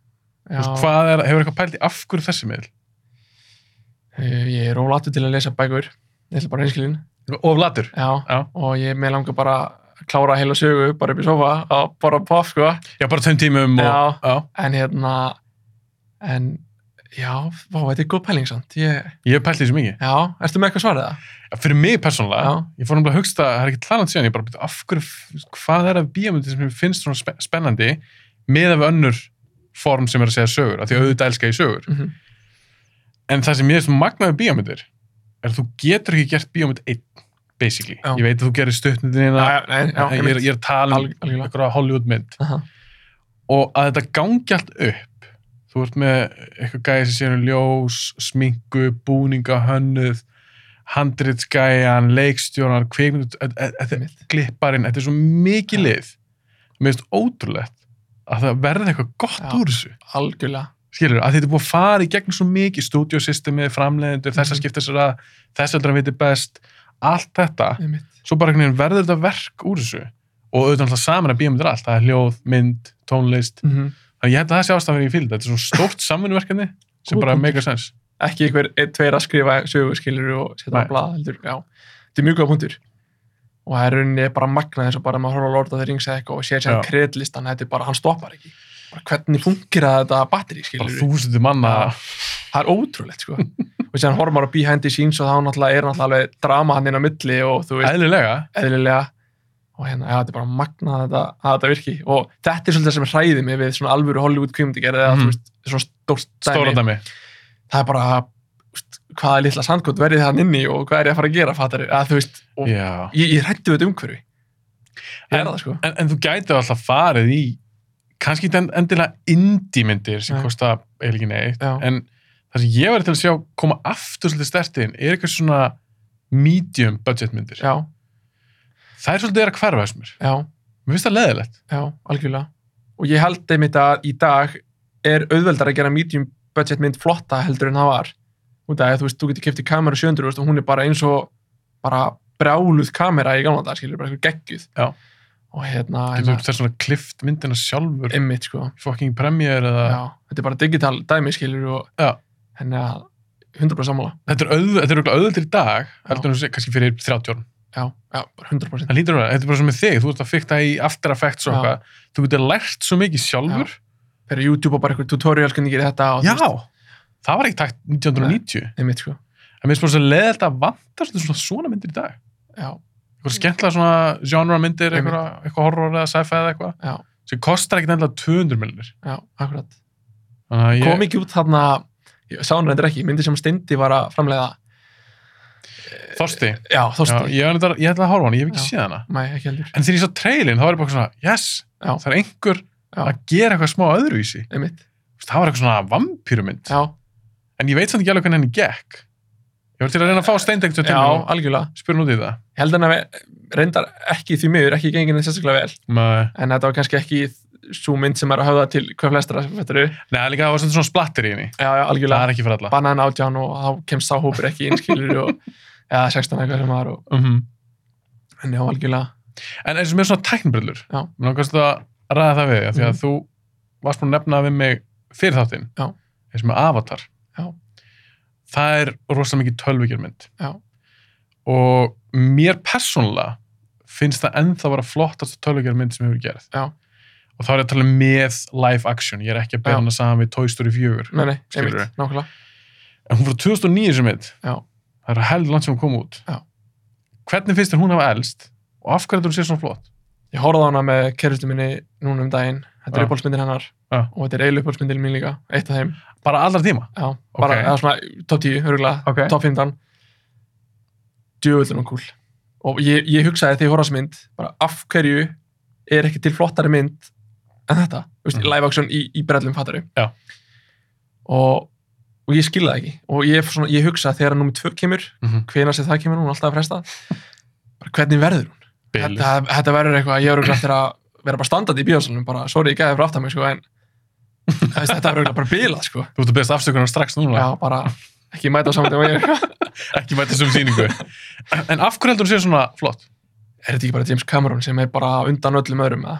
Þú
já
veist, Hvað er, hefur eitthvað pælt í af hverju þessi miðl?
Eh, Ég er ólatur til að lesa bækur, ég ætla bara hinskilin,
Of latur.
já,
Já.
og ég með langar bara að klára heila sögu, bara upp í sofa, að bara poff, sko,
Já, bara tveim tímum og...
Já.
Já.
en hérna, en, já, vá, þetta er góð pæling samt, ég,
Ég hef pælt í þessu mikið.
já, ertu með eitthvað svarið það?
Já, Fyrir mig persónulega,
Já.
ég fór náttúrulega að hugsta, það er ekki talant síðan, ég bara byrja af hverju, f- hvað er að bíómyndir sem mér finnst svona spe- spennandi með af önnur form sem er að segja sögur, af því auðvitað elska ég sögur.
Mm -hmm.
En það sem ég er svona magnaði bíómyndir er að þú getur ekki gert bíómynd einn, basically.
Já.
Ég veit að þú gerir stuttmyndin
Já,
eina,
já, nei, já,
ég, er- ég er að tala um
Alg- algjörlega.
einhverja Hollywoodmynd
Aha.
og að þetta gangi allt upp þú ert með eitthvað gæði sem séu ljós, sminku, búninga hönnuð, handritsgæjan leikstjónar, kvikmynd e- þetta- þetta er
Einmitt.
klipparinn, þetta er svo mikið lið mér finnst ótrúlegt að það verði eitthvað gott
Já.
úr þessu
algjörlega,
skilur, að þetta er búið að fara í gegnum svo mikið stúdiósystemi, framleiðendur, þess að
Mhm.
skipta sér að þess heldur að viti best allt þetta
einmitt,
svo bara einhvern veginn verður þetta verk úr þessu og auðvitað alltaf saman að bíómyndir allt það er hljóð, mynd, tónlist
mm
þannig ég held að það sé ástæðan fyrir ég fylgd þetta er svo stórt samvinnuverkefni sem
Góð
bara
punktur.
make a sense
ekki einhver, ein, tveir að skrifa sögu, skilur og setja
Nei.
á blað, heldur, já, þetta er mjög góð punktur. Og það er rauninni bara magnað eins og bara maður horfa á Lord of the Rings eða eitthvað og sér sér
Já.
kreðlistan, þetta er bara, hann stoppar ekki. Bara hvernig fungir þetta batteri, skilur
bara þúsundu manna
það er ótrúlegt sko og sér hann horfum á behind the scenes og þá náttúrulega er náttúrulega alveg drama hann inn á milli og þú veist,
eðlilega
eðlilega og hérna, já, þetta er bara magnað að þetta, að þetta virki og þetta er svolítið það sem hræði mig við svona alvöru Hollywood kvímyndigerð eða
Mhm.
þú veist, svona stórt
stóra
dæmi
dæmi
það er bara, þú veist, hvaða litla sandkot verði það inni og hvað er ég að fara að gera fattar, að þú veist, og
Já.
ég, ég hrættu þetta umhverfi ég er
En-
það sko
en, en þú gætið alltaf farið í kannski ekki en- endilega indie myndir sem
Nei.
kosta eiginlega ekki neitt
Já.
en það sem ég verið til að sjá koma aftur svolítið stertinn er eitthvað svona medium budget myndir
já,
það er svolítið er að hverfa þessum mér
já,
mér finnst það leðilegt
já, algjörlega og ég held einmitt að í dag er auðveldar að gera medium budget mynd flotta heldur en það var út af að þú veist, þú getur kiftið kameru 700 veist, og hún er bara eins og bara brjáluð kamera í gamla dag, skilur, bara eitthvað geggjuð
Já.
og hérna,
getur
hérna
það svona klift myndina sjálfur
einmitt sko,
fucking premiere eða
já, þetta er bara digital dæmi, skilur, og
Já.
henni að 100% sammála,
þetta er auðvitað, þetta er auðvitað auðvitað í dag heldur en þú sé- kannski fyrir 30 árum
já, já, bara 100%
það lítur að vera, þetta er bara sem með þig, þú ert að fikta í After Effects og
Já.
eitthvað, þú getur lært svo mikið sjálfur
fyrir YouTube og bara eitthvað tutorial hvernig gerir þetta og þú veist,
það var ekki takt 1990
einmitt sko,
en mér spyrir svo leðilt að vanta svona, svona myndir í dag
já,
eitthvað skemmtilega svona genre myndir
Mm. Einmitt.
eitthvað, eitthvað horror eða sci-fi eða eitthvað
Já.
sem kostar ekki nefnilega 200 miljonir
já, akkurat
þannig að ég,
kom ekki út þarna ég sá hann reyndir ekki, myndi sem Steindi var að framleiða
Þorsti,
já,
já,
Þorsti,
ég, ég, ég ætla að horfa á hann, ég hef ekki
Já.
séð hana
mæ, ekki heldur
en þegar ég sá trailin þá var ég bara svona yes,
Já.
það er einhver
Já.
að gera eitthvað smá öðruvísi
einmitt,
Þú veist, það var eitthvað svona vampýrumynd
já,
en ég veit samt ekki alveg hvernig henni gekk ég var til að reyna að fá steindegt
já,
og
algjörlega
spyrum út í það
ég held hann að við reyndar ekki því miður ekki gengin þess sérstaklega vel,
Nei,
en þetta var kannski ekki svo mynd sem er að höfða til hvað flestra þetta eru,
Nei, líka það var svolítið svona splattir í henni
já, já,
það
algjörlega
er ekki fyrir alla
bannaðan átján og þá kemst sá hópur ekki inn skilur og, eða 16 eitthvað sem var og,
mm
en já, algjörlega
en eins og mér svona tæknbrillur
Já.
mér langast að ræða það við þig, af því að
Mhm.
þú varst búin að nefna við mig fyrir þáttinn
Já.
eins og með Avatar
Já.
það er rosalega mikið tölvíkjörmynd
Já.
og mér persónulega finnst það ennþá vera flottast tölvíkjörmynd sem hefur gerð
Já.
og þá er ég að tala um með live action ég er ekki að bera
Já.
hana saman við Toy Story 4
nei, nei,
Skilurðu.
einmitt, nákvæmlega
en hún frá 2009 sem mitt
Já.
það er held langt sem hún kom út
Já.
hvernig finnst þér hún hafa elst og af hverju þetta hún sé svona flott
Ég horfði á hana með kerristu minni núna um daginn. Þetta
Já.
er uppáhaldsmyndin hennar
Já.
og þetta er eiginlega uppáhaldsmyndin mín líka. Eitt af þeim.
bara allra tíma
Já, bara,
Ok.
eða svona top 10, örgulega,
Ok.
top 15. Djöfullin og kúl. Og ég, ég hugsaði þegar ég horfði á þessa mynd, bara af hverju er ekki til flottari mynd en þetta? Þú veist,
Mhm.
live action í, í brellum fattari.
Já.
Og, og ég skilði það ekki. Og ég, svona, ég hugsaði þegar nummer 2 kemur,
mm -hmm.
hvenær sem það kemur hún er alltaf að fresta, bara hvernig verður hún? þetta, þetta verður eitthvað, ég verður eftir að vera bara standandi í bíósalunum, bara, sorry, ég gæði fyrir aftan mig, sko, en þú veist, þetta verður bara bilað, sko.
þú ert að beðast afsökunar strax núna
Já, bara ekki mæta á samvættum og ég, er
ekki mæta þessum sýningu en af hverju heldur hún sé svona flott
þetta ekki bara James Cameron sem er bara undan öllum öðrum, eða?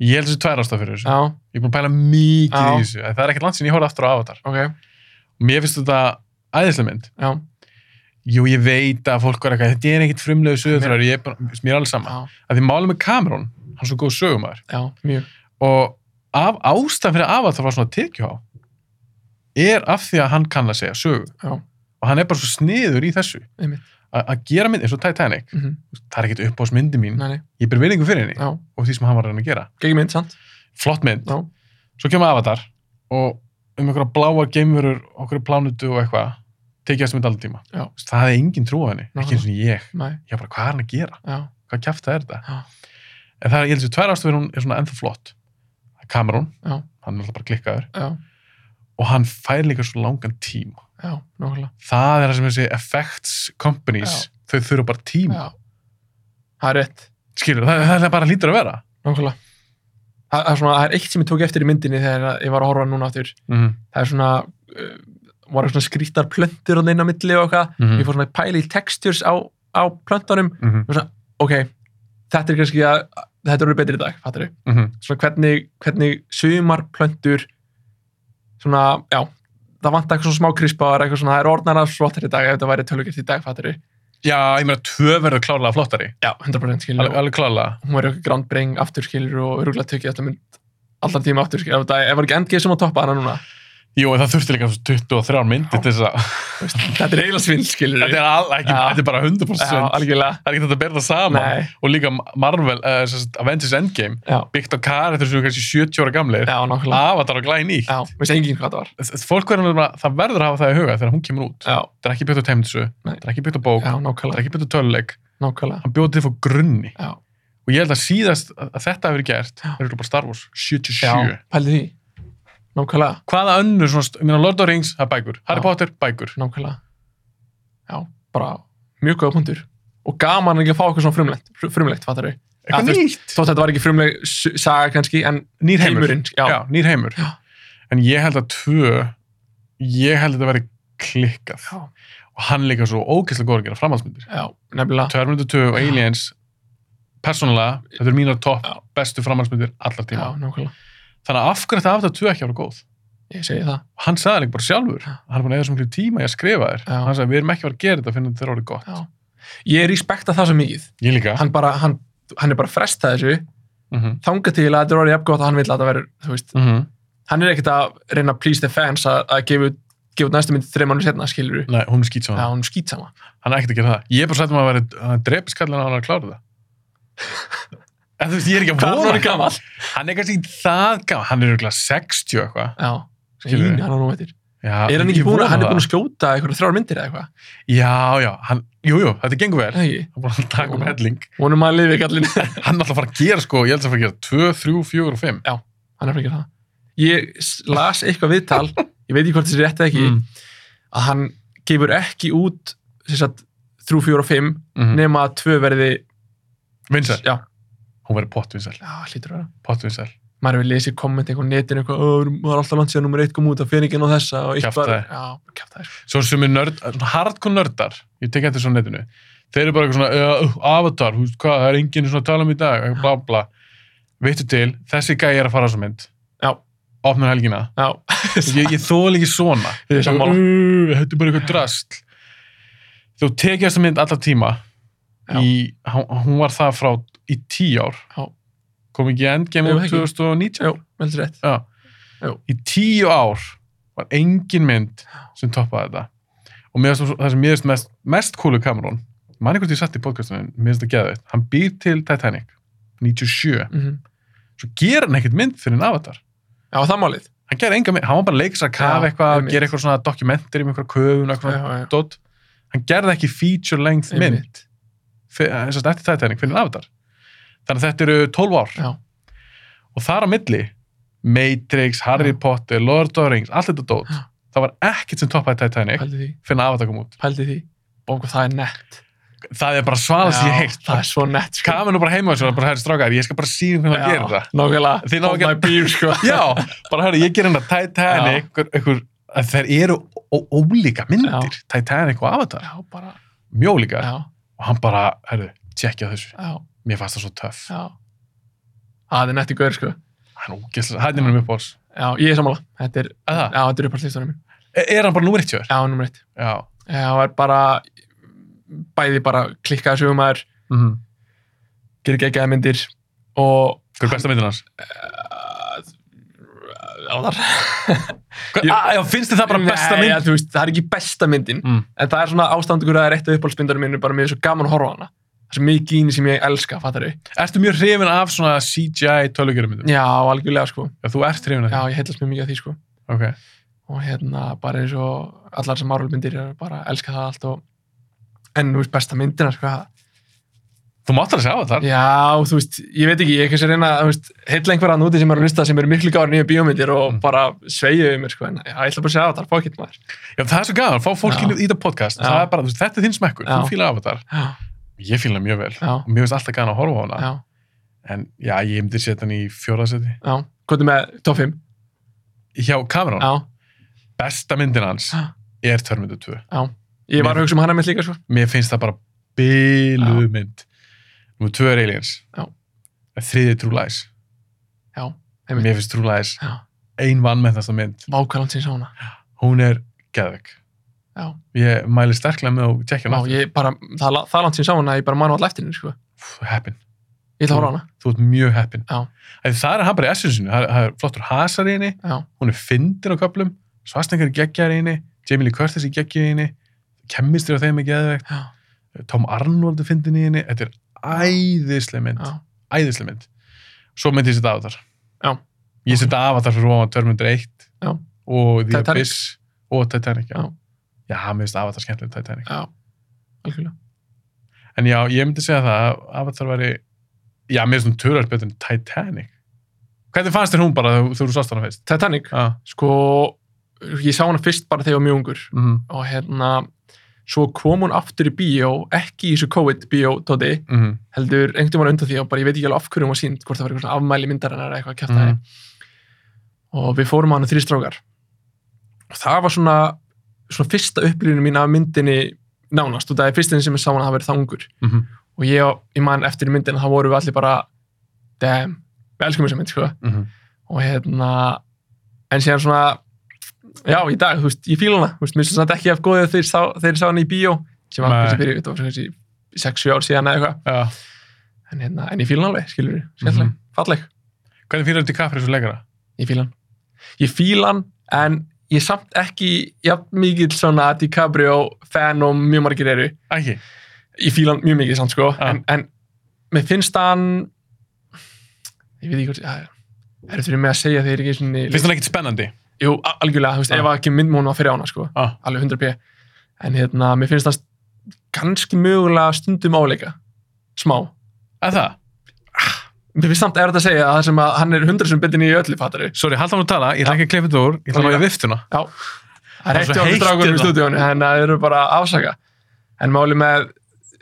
ég held þessi tvær ástaf fyrir þessu
Já,
ég er búin að pæla mikið
Já.
í þessu en það er ekkert langt sinni ég horfði aftur á Avatar
ok,
og mér finnst þetta æðislega mynd
já,
jú ég veit að fólk var eitthvað þetta er ekkert frumlegu sögutrar ég er bara, mér er alveg sama
já,
að því málið með Cameron, hann er svo góð sögumar
já, mjög,
og af ástæðan fyrir Avatar var svona tekjuhá er af því að hann kann að segja sögu
Já.
og hann er bara svo sniður í þessu
Einmitt.
A- að gera mynd eins og Titanic
mm
það er ekkert upp á myndi mín,
nei, nei,
ég ber vinningu fyrir henni
já,
og því sem hann var að reyna að gera,
gegn mynd, sant?
flott mynd
Já,
svo kemur Avatar og um einhverja bláa geimverur, okkur plánutu og eitthvað, tekið þessu mynd allir tíma
Já.
það hefði enginn trú á henni, ekki eins og ég
nei,
ég bara, hvað er hann að gera?
já,
hvað kæft það er þetta
Já.
en það er, ég held að tvær ástofir hún er svona ennþá flott Cameron,
Já.
hann er alltaf bara klikkaður
já,
og hann fær líka svo langan tíma
já, nákvæmlega,
það er það sem þessi effects companies þau þurfa bara tíma
já, það er rétt,
skilur, það, það er bara lítur að vera
nákvæmlega. Það það er svona, það er eitt sem ég tók eftir í myndinni þegar ég var að horfa núna aftur.
mm
Það er svona, uh, var svona skrítar plöntur og neina milli og eitthvað.
Mm.
ég fór svona að pæla í textures á, á plöntunum
-hmm.
ok, þetta er kannski að þetta eru betri í dag, fattur við
Mm -hmm.
svona hvernig, hvernig sumar plöntur svona, já það vantar eitthvað svona smá krispaðar eitthvað svona, það er orðnara flottar í dag ef þetta væri tölugert í dag, fattur við
já, ég meina tvö verður klárlega flottari
já, 100% skilur
alveg,
og
alveg klárlega
hún verður eitthvað grand bring aftur skilur og öruglega tökja þetta mynd allan tíma aftur skilur, ef þetta ef var ekki endgeð sem að toppa hana núna
jú, en það þurfti líka svo 23 myndir til þess að
Þú veist, þetta er eiginlega svindl skilur
þetta er, all, ekki,
Já.
þetta er bara 100%
já, algjörlega,
það er ekki þetta að bera það saman
nei,
og líka Marvel, uh, Avengers Endgame
já,
byggt á karættur sem eru kannski 70 ára gamlir
já, nákvæmlega
Avatar og glæði nýtt
já, veist enginn hvað það var
Þ- fólk verður nefnilega, það verður að hafa það í huga þegar hún kemur út
já,
það er ekki byggt á teimtsu,
Nei.
það er ekki byggt á bók
já,
það er
nákvæmlega,
ekki byggt á töluleik,
nákvæmlega
hann bjóði til fór grunni
já
og ég held að síðast að að þetta hefur verið gert
Já.
er örugglega bara Star Wars, 77
Já, pældi því. Nákvæmlega,
hvaða önnur, svona, st- ég meina Lord of the Rings, það er bækur Harry
Já.
Potter, bækur
nákvæmlega. Já, bara mjög góða punktur. Og gaman ekki að fá eitthvað svona frumlegt, fr- frumlegt fattar þau.
eitthvað
þú veist,
nýtt,
Þótt þetta var ekki frumleg s- saga kannski, en
nýr heimur
heimurinn, já,
já, nýr heimur
Já.
en ég held að tvö ég held að þetta verði klikkað
Já.
og hann líka svo ógeðslega góður að gera framhaldsmyndir
já, nefnilega.
Terminator 2 og Aliens persónulega, þetta er mínar topp
Já.
bestu framhaldsmyndir allar tíma
Já, nákvæmlega.
þannig að af hverju þetta Avatar 2 ekki að vera góð
Ég segi það.
og hann sagði líka bara sjálfur
Já.
hann er búin að eða svo miklu tíma í að skrifa þér
Já.
hann sagði við erum ekki að fara að gera þetta fyrir þetta er orðið gott
Já. Ég respekta það svo mikið.
ég líka
Hann bara, hann, hann er bara að fresta þessu,
mm -hmm.
þanga til að þetta er orðið jafngótt að hann vil að þetta verður, þú veist,
Mm
hann er ekkert að reyna að please the fans að, að gefa, út- gefa út næstu myndi þreim mánu setna, skilur
Nei, hún er skýt
Já,
saman
hún skýt sama.
hann er ekkert að gera það ég er bara sættum að vera að drepa skallan að hann er að klára það en þú veist ég er ekki að
Hvað er
vona
hann gammal?
hann er kannski ekki það gaman hann er örgulega 60 og eitthvað
Já,
Skilur
skilur
við?
hann á nú veitir. Er
Já,
hann
ég
ekki búin
vona
að, hann er
það.
búin að skjóta eitthvað þrjár myndir eða eitthvað?
já, já, hann, jú, jú, þetta gengur vel
Eða ekki?
hann er búin að taka um helling
Vonum að lifi kallin. hann
hann er alltaf að fara að gera sko, ég held að fara að gera 2, 3, 4 og 5
er fyrir ekki það. Ég s- las eitthvað viðtal, ég veit ekki hvort þessi er rétt eða ekki,
mm.
að hann gefur ekki út sem sagt, þrjú, fjúr og fimm
mm.
nema að tvö verði...
vinsæl,
Já,
hún verður pottvinsæl
já hlýtur að vera.
pottvinsæl,
Maður hefur lesið komment eitthvað á netinu eitthvað, "Ó, það er alltaf langt síðan nummer eitt kom út af feningin og þessa og eitt
Kjaftæði.
Já, kjaftaði. sko.
svo sem er nörd svona hardcore nördar, ég tek eftir svo á netinu þeir eru bara eitthvað svona, uh, avatar hú veist hvað, það er enginn svona að tala um í dag eitthvað bla bla, veitu til þessi gæi er að fara á svo mynd
Já.
opnar helgina,
Já,
ég, ég þóla ekki svona
Ég er sammála.
Uh, þetta er bara eitthvað drast þú tekið þessa mynd alla tíma
Já.
í, hún hún var það frá í tíu ár
Já.
kom ekki endgame
Jú,
út
ekki.
2019
Jú, veldur rétt.
Já.
Jú.
í tíu ár og var engin mynd sem toppaði þetta og mér, finnst- það sem mér finnst mest, mest kúlu Cameron manni hvort ég satt í podcastunum, mér finnst það geðveitt hann býr til Titanic 97,
Mhm.
svo ger hann ekkert mynd fyrir en avatar,
Já, það er málið.
hann ger enga mynd hann var bara að leika sér að kafa
Já,
eitthvað,
einmitt.
gera eitthvað svona dokumentir um eitthvað köfun, eitthvað
Já, já.
dot, hann gerði ekki feature length mynd
Einmitt.
fyr- eh, sem sagt, eftir Titanic fyrir en avatar þannig að þetta eru 12 ár
Já.
og þar á milli Matrix, Harry
Já.
Potter, Lord of the Rings allt þetta dót,
Já.
það var ekkert sem toppaði Titanic
Pældi því.
fyrir en avatar kom út
Pældi því. Bóku, það er nett.
það er bara svalast ég heilt
Það er svo nett, sko.
kamen nú bara heima þessu og bara herri strákar ég skal bara sína hvernig það
Já,
gerir það
Nákvæmlega.
Þið náðu
Hold
ekki-
my beer, sko.
já, bara herri ég gerir hérna Titanic einhver, einhver, að þeir eru ó- ólíka myndir Titanic og Avatar,
Já, bara,
mjög ólíka
já,
og hann bara, herri, tjekkja þessu
já,
mér fannst það svo töff,
já. Það er netti gaur, sko.
hann er ógeðslega hann er mér upp á oss
Já, ég er sammála. Þetta er, já,
er
þetta er uppáhaldslýstunum minn.
hann bara númer 1
Já, nummer eitt.
já,
Já, það er bara, bæði bara klikkaði sögumæður,
mhm
gerir geggjaði myndir og
Hver er besta myndin hans?
Áðar.
Hver,
Ég-
ég, já, finnst þið það bara besta
Nei,
mynd?
ja, þú veist, það er ekki besta myndin
Mm.
en það er svona ástandugur að það er eitt af uppáhaldsmyndarum mínu bara mér er svo gaman að horfa á hana það er svo mikið í henni sem ég elska, fattar þau
Ertu mjög hrifin af svona CGI tölugjörum?
Já, algjörlega sko
Já, þú ert hrifin af
Já,
því?
ég heillast mjög mikið af því sko
Ok.
og hérna, bara eins og allar sem árulmyndir er bara að elska það allt og en þú veist, besta myndina sko það-
Þú mátt alveg sjá það.
Já, þú veist, ég veit ekki, ég er kannski að reyna að þú veist, heilla einhverja að núti sem eru að lusta sem eru miklu gáður nýja bíómyndir og
Mm.
bara sveigja yfir mér sko, en já, ég ætla bara að segja það, það er fókitt maður
Já, það er svo gaman. Fá fólk
Já.
inn í þetta podcast.
Já.
Það er bara, þú veist, þetta er þinn smekkur.
Já.
Þú fílar af það.
Já,
Ég fílar mjög vel.
já,
Og mér finnst alltaf gaman að horfa á hana.
já,
En já, ég myndi setja hann í fjóraðseti.
já, hvað er með top 5?
Hjá Cameron,
Já,
besta myndin hans
Já.
er Terminator 2.
Ég var
Mér-
að hugsa um hana mitt líka sko.
Mér finnst það bara byluð mynd. Númer 2 er Aliens.
Já.
Þriðið True Lies.
Já, einmitt.
Mér finnst True Lies
Já.
ein vannmennasta mynd.
Vákvælant sín sá hana.
hún er geðvik
Já.
ég mæli sterklega með að tjekka
Já,
hana
ég bara, það, la- það langt sín sá hana, að ég bara manu all eftir henni, sko.
Pff, heppin,
Ég ætla að horfa á hana.
þú ert mjög heppin
Já.
Æ, það er hann bara í essensinu, það er- það er flottur hasar í henni
Já,
hún er fyndin á köplum Svarsningar er geggjar í henni, Jamie Lee Curtis er geggjar í henni kemmistir á þeim er geðvik
já,
Tom Arnold er fyndin í henni þetta er æðisleg mynd,
já.
æðisleg mynd svo myndi ég setja Avatar
Já.
ég setja Avatar fyrir ofan 201
Já.
og The
Titanic.
Abyss og Titanic já,
Já.
já mér finnst Avatar skemmtileg Titanic
Já, algjörlega.
En já, ég myndi segja það að Avatar væri, já, mér er svona törðar betur en Titanic. Hvernig fannst þér hún bara þegar þú- þegar þú sást hana fyrst?
Titanic,
Já.
sko, ég sá hana fyrst bara þegar ég var mjög ungur
Mm -hmm.
og hérna, svo kom hún aftur í bíó, ekki í þessu COVID-bíó, Tóti,
Mhm.
heldur einhvern veginn undan því og bara ég veit ekki alveg af hverju hún var sínd, hvort það var eitthvað svona afmæli myndarinnar eða eitthvað að kæfta
Mhm.
og við fórum á hana þrý strákar og það var svona, svona fyrsta upplýðinu mín af myndinni nánast og það er fyrstin sem ég sá hana að hafa verið þangur
Mhm.
og ég, ég man eftir myndina þá vorum við allir bara damn, við elskum þessa mynd sko.
Mhm.
og hérna en síðan svona já, í dag, þú veist, ég fíla hana þú veist, mér finnst þetta ekki af góðið þegar ég sá- þegar ég sá hana í bíó sem var
Nei.
kannski fyrir, þetta var kannski 6-7 ár síðan eða eitthvað
Já.
en, hérna, en ég fíla hann alveg, skilur við, skemmtileg,
Mhm.
falleg
Hvernig fyrir þetta kaffir þessu leikara?
ég fíla hann ég fíla hann, en ég er samt ekki jafn mikið svona DiCaprio fan og mjög margir eru
Ægji.
ég fíla hann mjög mikið samt sko
Ja.
en, en mér finnst hann ég veit ekki hvort það er fyrir mig að segja þegar ég er ekki
Finnst
svona
hann ekkit spennandi?
jú, a- algjörlega, þú veist,
Ja.
ef að ekki myndmónu var fyrir ána sko,
Já.
alveg 100p en hérna, mér finnst hann kannski mögulega stundum áleika smá,
Að það?
mér finnst samt erfitt að segja að það sem að hann er 100 sem betur í öllu fattari
Sorry, halda hann að tala, ég ætla ekki að klippa þetta úr, ég ætla að ná í viftuna.
Já, það er
Það er
heitt
svo
hjá okkur
heitt
dragunum í
hérna.
stúdíónu, þannig að það eru bara að afsaka. En máli með,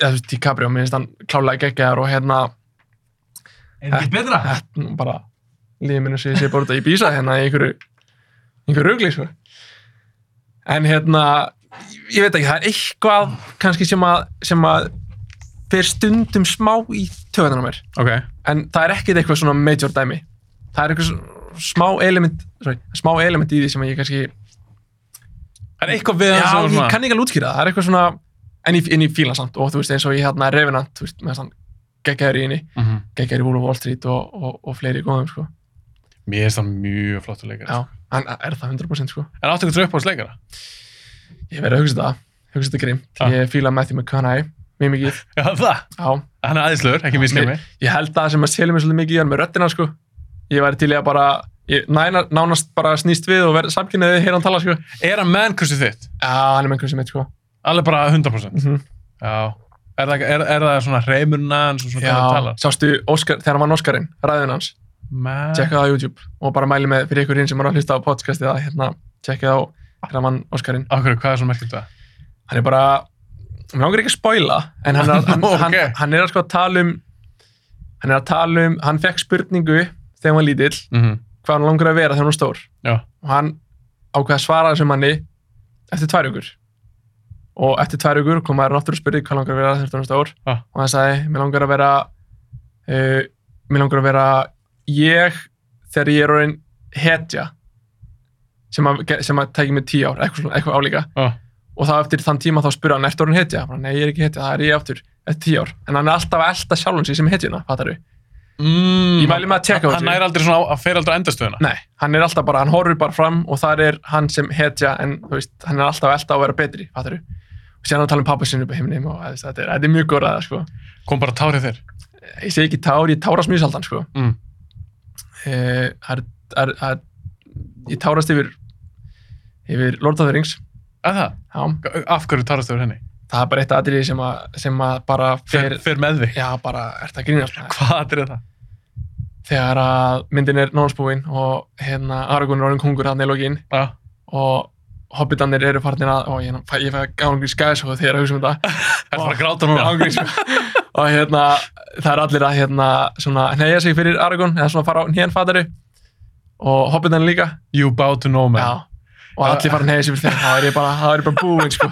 eða þú veist, DiCaprio, mér finnst hann klálega geggjaðar og hérna,
Er þetta betra?
þetta nú bara lífið minn sem ég sé bara út að ég býsa hérna í einhverju, einhverju rugli, sko. En hérna, ég veit ekki, það er eitthvað kannski sem að, sem að fyrir stundum smá í töðunum mér.
Ok.
En það er ekkit eitthvað svona major dæmi. Það er eitthvað svona smá element, sorry, smá element í því sem ég kannski
Er eitthvað við
Já,
hann
ég
sem
kann ekki alveg útskýra það, það er eitthvað svona en ég, en ég fíla hann samt og þú veist eins og ég hérna Revenant, þú veist, með þessan geggjæður í henni,
Mhm.
geggjæður í Wolf of Wall Street og, og, og fleiri góðum, sko.
Mér finnst hann mjög flottur leikari.
Já, hann er það 100% sko.
En áttu ykkur uppáðs leikara?
Ég verði að hugsa þetta, hugsa þetta grimt.
Já.
Ég fíla Matthew McConaughey, mjög mikið.
Já, það.
Já,
Hann er aðeinslur, ekki miskja mig.
ég held að það sem að selja mér svolítið mikið í hann með röddina sko. Ég væri til í að bara, ég næna, nánast bara snýst við og verði samkynniðið hér hann tala sko.
Er hann menn kursið þitt?
Já, hann er með einhvern sem mitt sko.
Alveg bara 100%.
Mhm.
Já. Er það, er, er það svona reymurna hans og svona hvernig hann
Já,
talar?
sástu Óskar, þegar hann vann Óskarinn, ræðun hans,
Man.
tjekka það á YouTube og bara mæli með fyrir ykkur hinn sem er að hlusta á podcastið að hérna, tjekka það á þegar hann vann Óskarinn.
Akkur, hvað er svona merkilt við það?
hann er bara mér langar ekki að spoila en hann er, hann,
Ok.
hann, hann er að sko að tala um hann er að tala um hann fekk spurningu þegar hann var lítill
Mm
hvað hann langar að vera þegar hann var stór
Já.
og hann ákveða að svara þessum manni eftir tvær ykkur og eftir tvær ykkur kom maður náttúrulega og spurði hvað langar að vera þegar hann var stór
Ah.
og hann sagði mér langar að vera uh, mér langar að vera ég þegar ég er orðin hetja sem að, sem að tækja mig tíu ár eitthvað, svona- eitthvað álíka
Já.
og þá eftir þann tíma þá spurði hann, ertu orðin hetja? Bara, Nei, ég er ekki hetja, það er ég aftur eftir tíu ár, en hann er alltaf að elta sjálfum sig sem hetjuna, fattar við
Mm.
Ég mæli með að tjekka á
Hann
þessu.
nær aldrei svona, hann fer aldrei á endastöðuna.
Nei, hann er alltaf bara, hann horfir bara fram og þar er hann sem hetja en þú veist, hann er alltaf að elta að vera betri, fattar við og sér hann að tala um pappa sinni upp á heiminum og þú veist, þetta er, þetta er mjög góð ræða, sko
Kom bara tárið þér.
ég segi ekki tár, ég tárast mjög saldan, sko
Mm.
Eh, það er, það er, það er, ég tárast yfir yfir Lord of the Rings
Er það?
já,
Af hverju tárast þér henni?
það er bara eitt atriði sem að, sem að bara
Fer,
fer,
fer með þig.
já, bara, ert að grínast maður?
Hvað atrið er það?
þegar að myndin er nónsbúin og hérna Aragorn er orðin kungur hann í lokin
Já.
og hobbitanir eru farnir að og ég, fæ- ég fæ gángrís gæðsóðu þegar að hugsa um þetta
Það er bara að gráta núna.
Ángríns, sko. og hérna það er allir að hérna svona hneigja sig fyrir Aragorn eða svona fara á hnén fatari og hobbitanir líka
You bow to no man.
já og allir fara að hneigja sig fyrir þeim það er ég bara, þá er ég bara búinn sko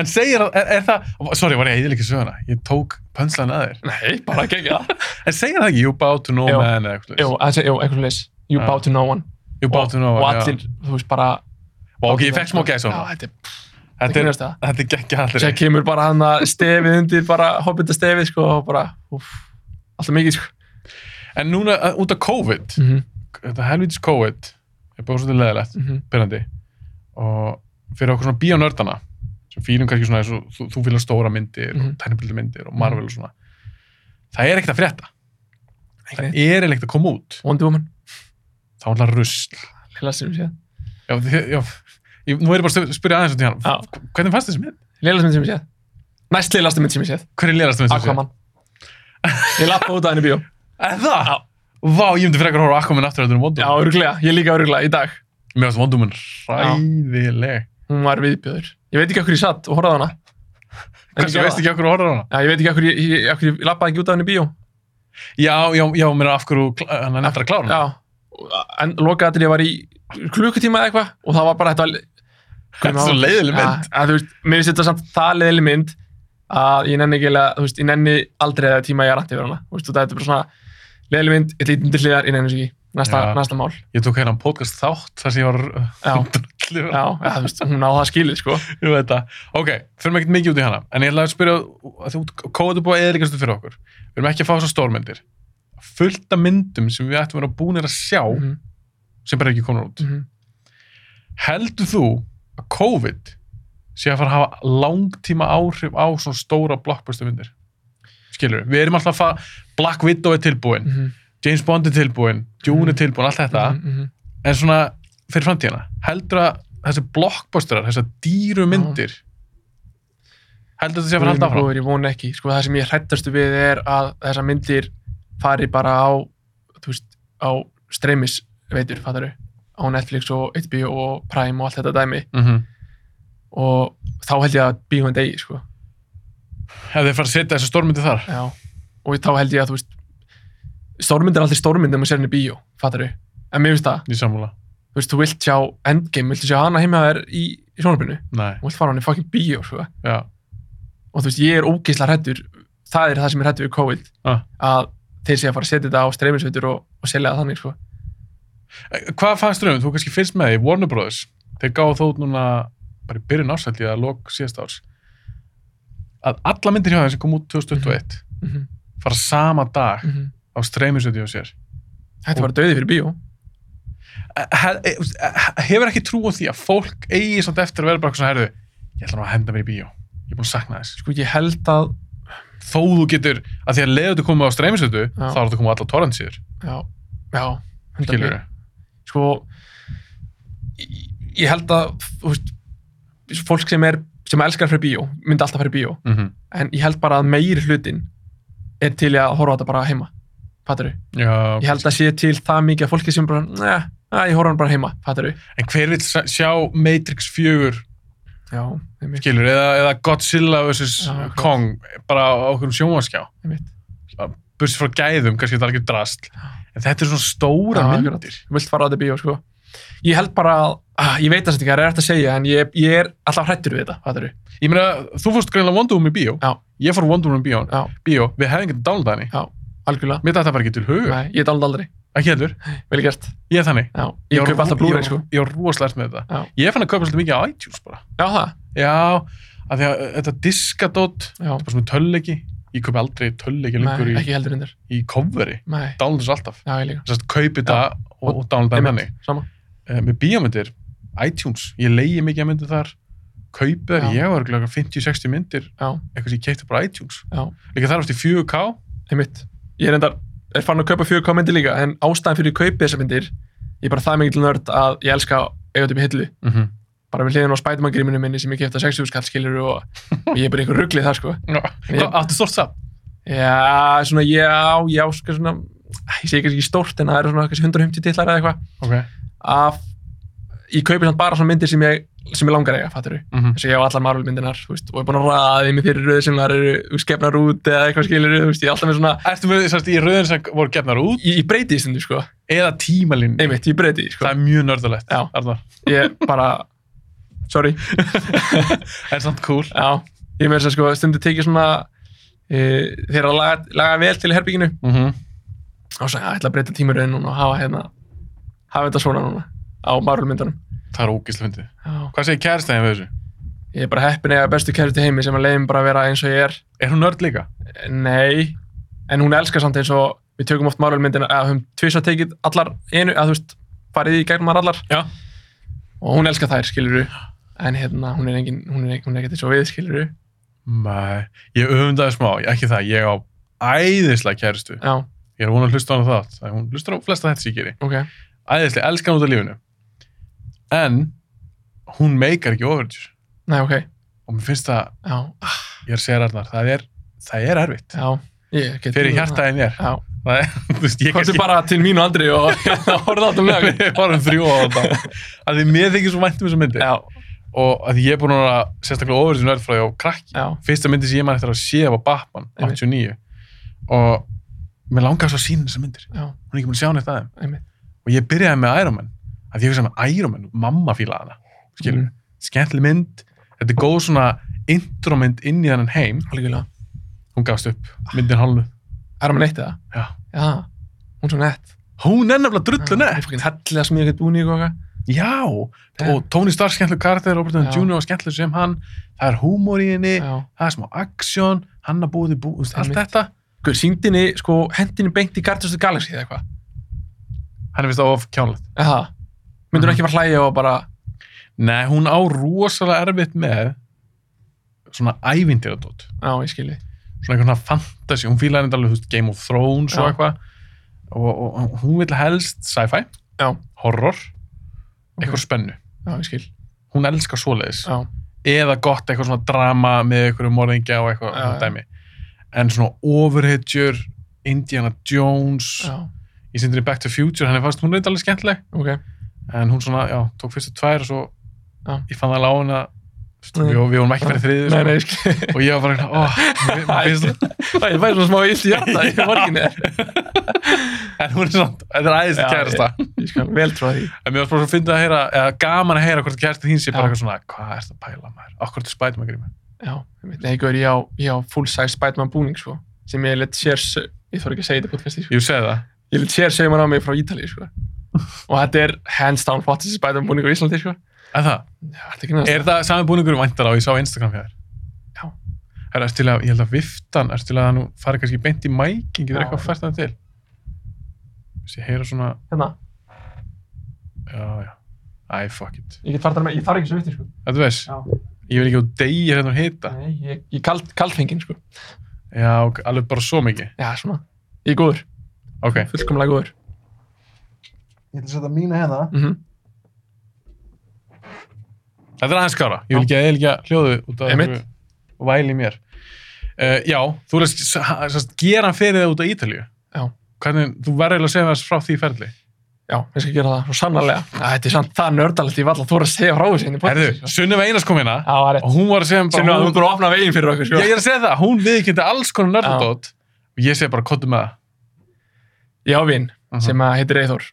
En segir að, er, er það, sorry, var ég eðilegki söguna, ég tók pönslan að þér.
nei, bara ekki ekki það
En segir það ekki, you bow to no
Jú.
man eða eitthvað.
jú,
svoleiðis?
það sé, jú, eitthvað leys you
Já.
bow to no one
You bow to no
og
man,
allir, þú veist bara
já. Og ok, ég fekk smá gæs á
já,
hana.
þetta er
Þetta er,
grínast það.
þetta er geggja allir.
Sér kemur bara hann að stefið undir bara hobbita stefið sko og bara úff, alltaf mikið sko
En núna, uh, út af COVID,
mm -hmm.
þetta helvitis COVID, er búið svolítið leðilegt,
Mm -hmm.
pyrrandi. Og fyrir okkur svona bíónördana, sem fýlum kannski svona eins og þú, þú fýlar stóra myndir og
Mhm.
tæniböldu myndir og Marvel og svona. Það er ekkert að frétta. Það er ekkert að koma út.
Wonder Woman,
Það er alltaf rusl.
Lilla sem séð
Já, þið- já, ég, nú er ég bara að spyrja aðeins út í hann.
Já.
Hvernig fannst þessi mynd?
Lilla sem séð Næst lillast mynd sem ég séð
Hver er lérast mynd sem þú séð?
Aquaman Ég lappa út af henni í bíó
Er það? Vá, ég myndi frekar horfa á Aquaman aftur heldur
Já,
en Wonder Woman.
örgulega, ég líka örgulega í dag
Mér finnst Wonder Woman ræðileg.
Hún var viðbjöður Ég veit ekki okkur ég satt og horfði á hana En ég
Hversu
gerði
veist
það.
ekki okkur að horfa á hana?
Já, ég veit ekki okkur ég, ég, af hverju ég lappaði ekki út af henni í bíó
Já, já, já, mér er af hverju kl- hann er nefndar að klára hana.
Já, en lokaðatrið var í klukkutíma eða eitthvað og það var bara þetta var
Þetta er svo leiðileg mynd.
Ja, að, þú veist, mér finnst þetta samt það leiðileg mynd að ég nenni ekki eiginlega, þú veist, ég nenni aldrei eða tíma ég er rætt yfir hana, þú veist, og þetta er bara svona leiðileg mynd, ég lítum til hliðar, ég nenni þessu ekki, næsta,
Já.
næsta mál.
Ég tók hérna podcast þátt þar sem ég var eh,
Já.
hundrallir
Já, ja, þú veist, hún á það skilið, sko.
um þetta. Ok, förum ekkert mikið út í hana. En ég ætla að spyrja, að þú kóðu búið að eðlikastu fyrir okkur. Við erum ekki að fá svo stórmyndir. Fullt af myndum sem við ættum að vera búinir að sjá
Mhm,
sem bara ekki konar út.
mhm.
Heldur þú að COVID sé að fara að hafa langtíma áhrif á svona stóra blockbuster myndir? Skilur við, við erum alltaf að fara, Black Widow er tilbúin,
mhm,
James Bond er tilbúin, Dune er tilbúin, allt þetta,
mhm, mhm.
en svona fyrir framtíðina, heldur að þessi blockbusterar, þessar dýru myndir, heldur þetta sé að fara að halda
Guð minn
áfram?
góður, Ég vona ekki, sko, það sem ég hrættastu við er að þessar myndir fari bara á, þú veist, á streymisveitur, fattaru, á Netflix og HBO og Prime og allt þetta dæmi
Mm
og þá held ég að bíðum degi, sko,
Ef þeir fara að setja þessi stórmyndir þar?
já, og þá held ég að, þú veist, stórmynd er aldrei stórmynd þegar maður sér henni í bíó, fattaru, en mér finnst það,
Í samfóla?
þú veist, þú vilt sjá Endgame, viltu sjá hana heima þær í, í sjónarbyrnu,
Nei,
þú vilt fara hann í fucking bíó, sko,
já.
og þú veist, ég er ógeðslega hrættur það er það sem ég er hrættur við COVID
Ah.
að þeir sé að fara að setja þetta á streymisveitur og, og selja það þannig, sko
Eh, Hvað fannst þér um, þú kannski fyrst með því, Warner Brothers, þeir gáðu þó út núna bara í byrjun ásætti að lok síðast árs, að alla myndir hjá þeim sem kom út 2021
mm -hmm.
fara sama dag
Mm -hmm.
á streymisöti hjá sér.
Þetta var döði fyrir bíó.
He- he- hefur ekki trú á því að fólk eigi samt eftir að vera bara eitthvað svona herðu ég ætla nú að henda mér í bíó, ég er búin að sakna þess
Sko ég held að,
þó þú getur, að því að leiðu þú komið á streymisötu þá
Já.
er þetta komið á alla torrentsýður
já, já. hundrað
skilur
prósent. Sko, ég- ég held að, þú veist, fólk sem er, sem elskar fyrir bíó, myndi alltaf fyrir bíó.
-hmm.
En ég held bara að meiri hlutin er til í að horfa á þetta bara heima. Fattur
já,
Ég held að sé til það mikið að fólki sem bara, neða, ég horfa á hann bara heima. Fattur
en hver vil sjá Matrix 4
Já, einmitt,
skilur, eða, eða Godzilla vs.
Já, akkurat.
Kong bara á okkur um sjónvarskjá
einmitt.
bursið frá gæðum, kannski þetta er ekki drast en þetta er svona stóra
Já, akkurat.
myndir
Þú vilt fara á þetta bíó, sko. Ég held bara að, ah, ég veit þess að ekki hvað er eftir að segja, en ég, ég er alltaf hrættur við þetta. Fattur
ég meina, þú fórst greinlega Wonder Woman í bíó
Já.
ég fór Wonder Woman í bíó,
Já,
bíó. við hefðum getað dálnað henni
algjörlega.
mér þetta bara ekki til hugur,
Nei, ég dálda aldrei.
ekki heldur
Vel gert.
ég er þannig,
Já, ég
var
kaup alltaf
ro-
blúrið,
ég
sko.
var- ég var rosalegt með þetta
Já.
ég fann að kaupa svolítið mikið á iTunes bara
Já, það.
já, af því að uh, þetta diskadót
Já,
bara svona tölleiki, ég kaupi aldrei tölleiki lengur
nei,
í,
ekki heldur undir.
í coveri,
Nei,
dálnað þessu allaf
já, ég líka.
þess að kaupi þetta og, og dálnað þetta
Einmitt,
þannig
Sama.
Eh, með bíómyndir, iTunes, ég leiði mikið að myndir þar kaupi
Já.
þar, ég var örugglega 50-60 myndir
Já,
eitthvað sem ég keipti bara á iTunes
já,
líka þar átti 4K
einmitt. Ég er endar, er farin að kaupa 4K myndir líka, en ástæðan fyrir að kaupa þessar myndir, ég er bara það mikil nörd að ég elska eigat upp í hillu.
mm -hmm.
Bara við hliðin á Spiderman gríminu minni sem ég kefti að 60 skall skilur og, og ég er bara einhver ruglið þar, sko. Ég-
áttu stort samt
Já, svona, já, já, sko, svona, ég segi kannski ekki stórt, en það eru svona kannski 150 titlar eða eitthvað.
okay.
Af, ég kaupi samt bara svona myndir sem ég, sem ég langar að eiga, fattur
mm -hmm.
þess að ég á allar Marvel myndinar þú veist, og ég er búin að ræða þeim í fyrir röðu sem þar eru þú veist, skefnar út eða eitthvað skilur þú veist, ég er alltaf með svona,
Ertu með þess að í rauðin sem voru gefnar út
ég, ég breyti í stundu sko
eða tímalinn
einmitt, ég breyti í sko
það er mjög nördulegt
Já.
Arnar.
ég bara, sorry
er samt cool
já, ég með þess að segja, sko stundu tekið svona e, þegar að laga, laga vel til í herbygginu
mm -hmm.
og svo, já, ég ætla að breyta tímurinn núna og hafa hérna hafa þetta svona núna á Marvel myndunum
það er ógislega fyndið
já,
hvað segir kæristæðin við þessu?
ég er bara heppin að eiga bestu kærustu heimi sem að leiðum bara að vera eins og ég er
er hún nörd líka?
Nei, en hún elskar samt eins og við tökum oft Marvel-myndina að hún tvisa tekið allar í einu, að þú veist, farið í gegnum þær allar
Já.
og hún elskar þær, skilur en hérna, hún er engin, hún er, engin- hún er ekkert eins og við, skilur
Nei, ég öfundaði smá, ekki það, ég á æðislega kæristu.
Já,
Ég er vona að hlusta á hana þátt, það. Hún hlustar á flesta þetta sem ég geri.
ok,
Æðislega, elskar hún út af lífinu. En hún meikar ekki overtjur.
nei, ok,
Og mér finnst það,
já, ah,
ég er að segja Arnar, það er, það er erfitt.
já, ég get
Fyrir hjartaðin ég er.
Já,
Það er, þú veist, ég
komstu bara til mín og Andri og horfðu átt um lög
Ég var um þrjú á þetta. Að því mér þykir svo vænt um þessa myndi.
Já,
Og að því ég er búin að vera sérstaklega overtjur nörðfræði á krakki.
já,
Fyrsta myndi sem ég maður eftir að sé var Batman,
Einmitt.
89. Og mér langar svo að sína þessa myndir.
já,
Hún er ekki búin að sjá neitt aðeim.
einmitt
og ég byrjaði með Iron Man að ég hugsa með Iron Man, mamma fíla hana skilur,
Mm.
skemmtileg mynd þetta er góð svona intromynd inn í þannig heim,
Algjörlega,
hún gafst upp myndin hálnu,
er maður neitt eða?
já
Já, hún er svo nett
hún er nefnilega drullu
Ég
nett,
fokkin hellilega sem ég get búin í og eitthvað
já og Tony Stark skemmtileg karakter, Robert Downey
Já.
Jr. var skemmtileg sem hann, það er húmor í henni
Já
það er smá aksjón, hann að búið til bú, þú veist, allt
Einmitt.
þetta,
Hver, síndinni, sko, hendinni beint í Guardians of the Galaxy eða eitthvað.
hann er vist of kjánlegt
Eða það? Myndur hún ekki bara hlæja og bara,
nei, hún á rosalega erfitt með svona ævindiradót
já, ég skilji.
svona eitthvað svona fantasy, hún fílar þetta alveg, þú veist, Game of Thrones og
Já.
eitthvað og, og, og hún vil helst sci-fi,
Já.
horror eitthvað spennu,
Já, ég skil.
hún elskar svoleiðis
Já,
eða gott eitthvað svona drama með eitthvað morðingja og eitthvað
Já,
svona
já.
dæmi en svona overhitjur Indiana Jones
já,
í sindri Back to Future, henni fannst hún reyndi alveg skemmtileg
ok.
en hún svona, já, tók fyrstu tvær og svo
Já.
ég fann það alveg á henni að þú veist,
Nei.
við við vorum ekki fyrir þriðið
Nei,
sko.
nei, ég skil.
og ég var bara, eitthvað, ó, mér- mér finnst það
Það er bara svona smá illt í hjarta í morginni.
en hún er svona, þetta er æðist
Já,
kærasta
Ég skal vel trúa því.
En mér varst bara svo fyndið að heyra, eða gaman að heyra hvort kærtið þín sé bara
Já.
eitthvað svona, hvað ert að pæla maður? Akkur til spætum að gríma?
Já, ég veit, nei, gaur, ég á, ég á full-size Spiderman búning, sko, sem ég let sér, sau- ég þarf ekki að segja þetta í podcasti, sko.
Ég segi það.
Ég let sér segja maður á mig frá Ítalíu, sko. Og þetta er hands down hottest Spiderman búning á Íslandi, sko.
En það,
Já, þetta er ekki næst.
er það sami búningur væntar á, ég sá á Instagram fyrir þér.
Já.
Er það til að, ég held að viftan, er til að það nú farið kannski beint í mækin, getur
Já.
eitthvað fært það til? Þessi heyra svona,
hérna,
já, já. Æ, fuck it.
ég get farið þar með, ég þarf ekki svo vittir, sko.
Þetta veist,
Já.
ég vil ekki að deyja hérna og hita.
Nei, ég, ég kald, kaldfengin, sko.
Já, ok, alveg bara svo mikið.
Já, svona, ég er góður,
Ok,
fullkomlega góður.
Ég ætla að setja mína hérna.
Mm
þetta er aðeins skára. Ég vil ekki að eðlika hljóðu út af
Einmitt.
einhverju væli í mér. Uh, já, þú vil að s- gera hann fyrir það út af Ítalíu.
Já.
Hvernig, þú verður eiginlega að segja þess frá því ferli.
Já, ég skal gera það, svo sannarlega. Já, þetta er samt það nördalegt, ég var alltaf að þóra að segja frá þessu hérna henni.
Herðu, Sunnum Einars kom hérna
sko. Já, það er rétt.
og hún var að segja um
Sem
bara...
að þú
Hún,
bara opna veginn fyrir okkur,
já,
sko.
ég er að segja það, hún viðkynnti alls konar nördadót og ég segja bara, kottu með það.
Ég á vinn
Mhm.
sem að heitir Eithor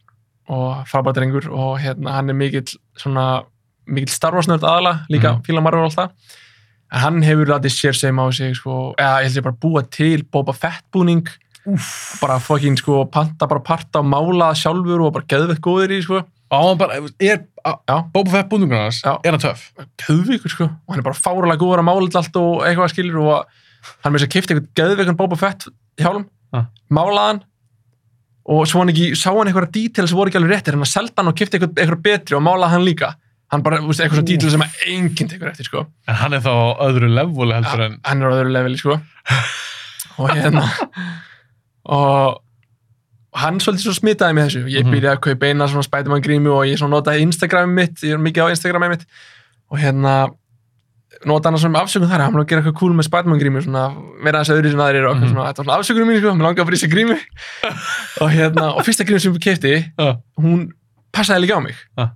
og frábær drengur og hérna hann er mikill svona, mikill starfarsnörd aðala líka mm
Mhm.
-hmm. fíla margur alltaf en hann hefur rættið sér sem á sig sko, eða ég held ég bara búa til Boba Fett búning Úf. bara fokkin sko panta bara parta og mála það sjálfur og bara geðveikt góðir í sko
Og hann var bara, er,
Já.
Boba Fett búningur hans,
Já.
er hann töff?
geðveikur sko og hann er bara fárulega góður að mála þetta allt og eitthvað skilur og hann með þess að kipta eitthvað geðveikan Boba Fett hjálm
Ha.
málaði hann og svo hann ekki, sá hann eitthvað dítil sem voru ekki alveg réttir, hann var seldan hann og kipta eitthvað, eitthvað betri og málaði hann líka hann bara, þú veist, eitthvað svona dítil sem að enginn tekur eftir sko,
En hann er þá á öðru levúli heldur en
hann er á öðru leveli sko og hérna og og hann svolítið svo smitaði mig þessu ég
Mhm.
byrjaði að kaupa eina svona Spiderman grímu og ég svona notaði Instagramið mitt ég er mikið á Instagramið mitt og hérna nota hana svona um afsökun þar hann vil gera eitthvað cool með Spiderman grímu svona vera þessi öðru sem aðrir eru og mm
Mhm.
svona þetta var svona afsökunum mín sko, mér langaði að fyrir þessi grímu og hérna, og fyrsta grímu sem ég kefti
Já.
hún passaði líka á mig
Já.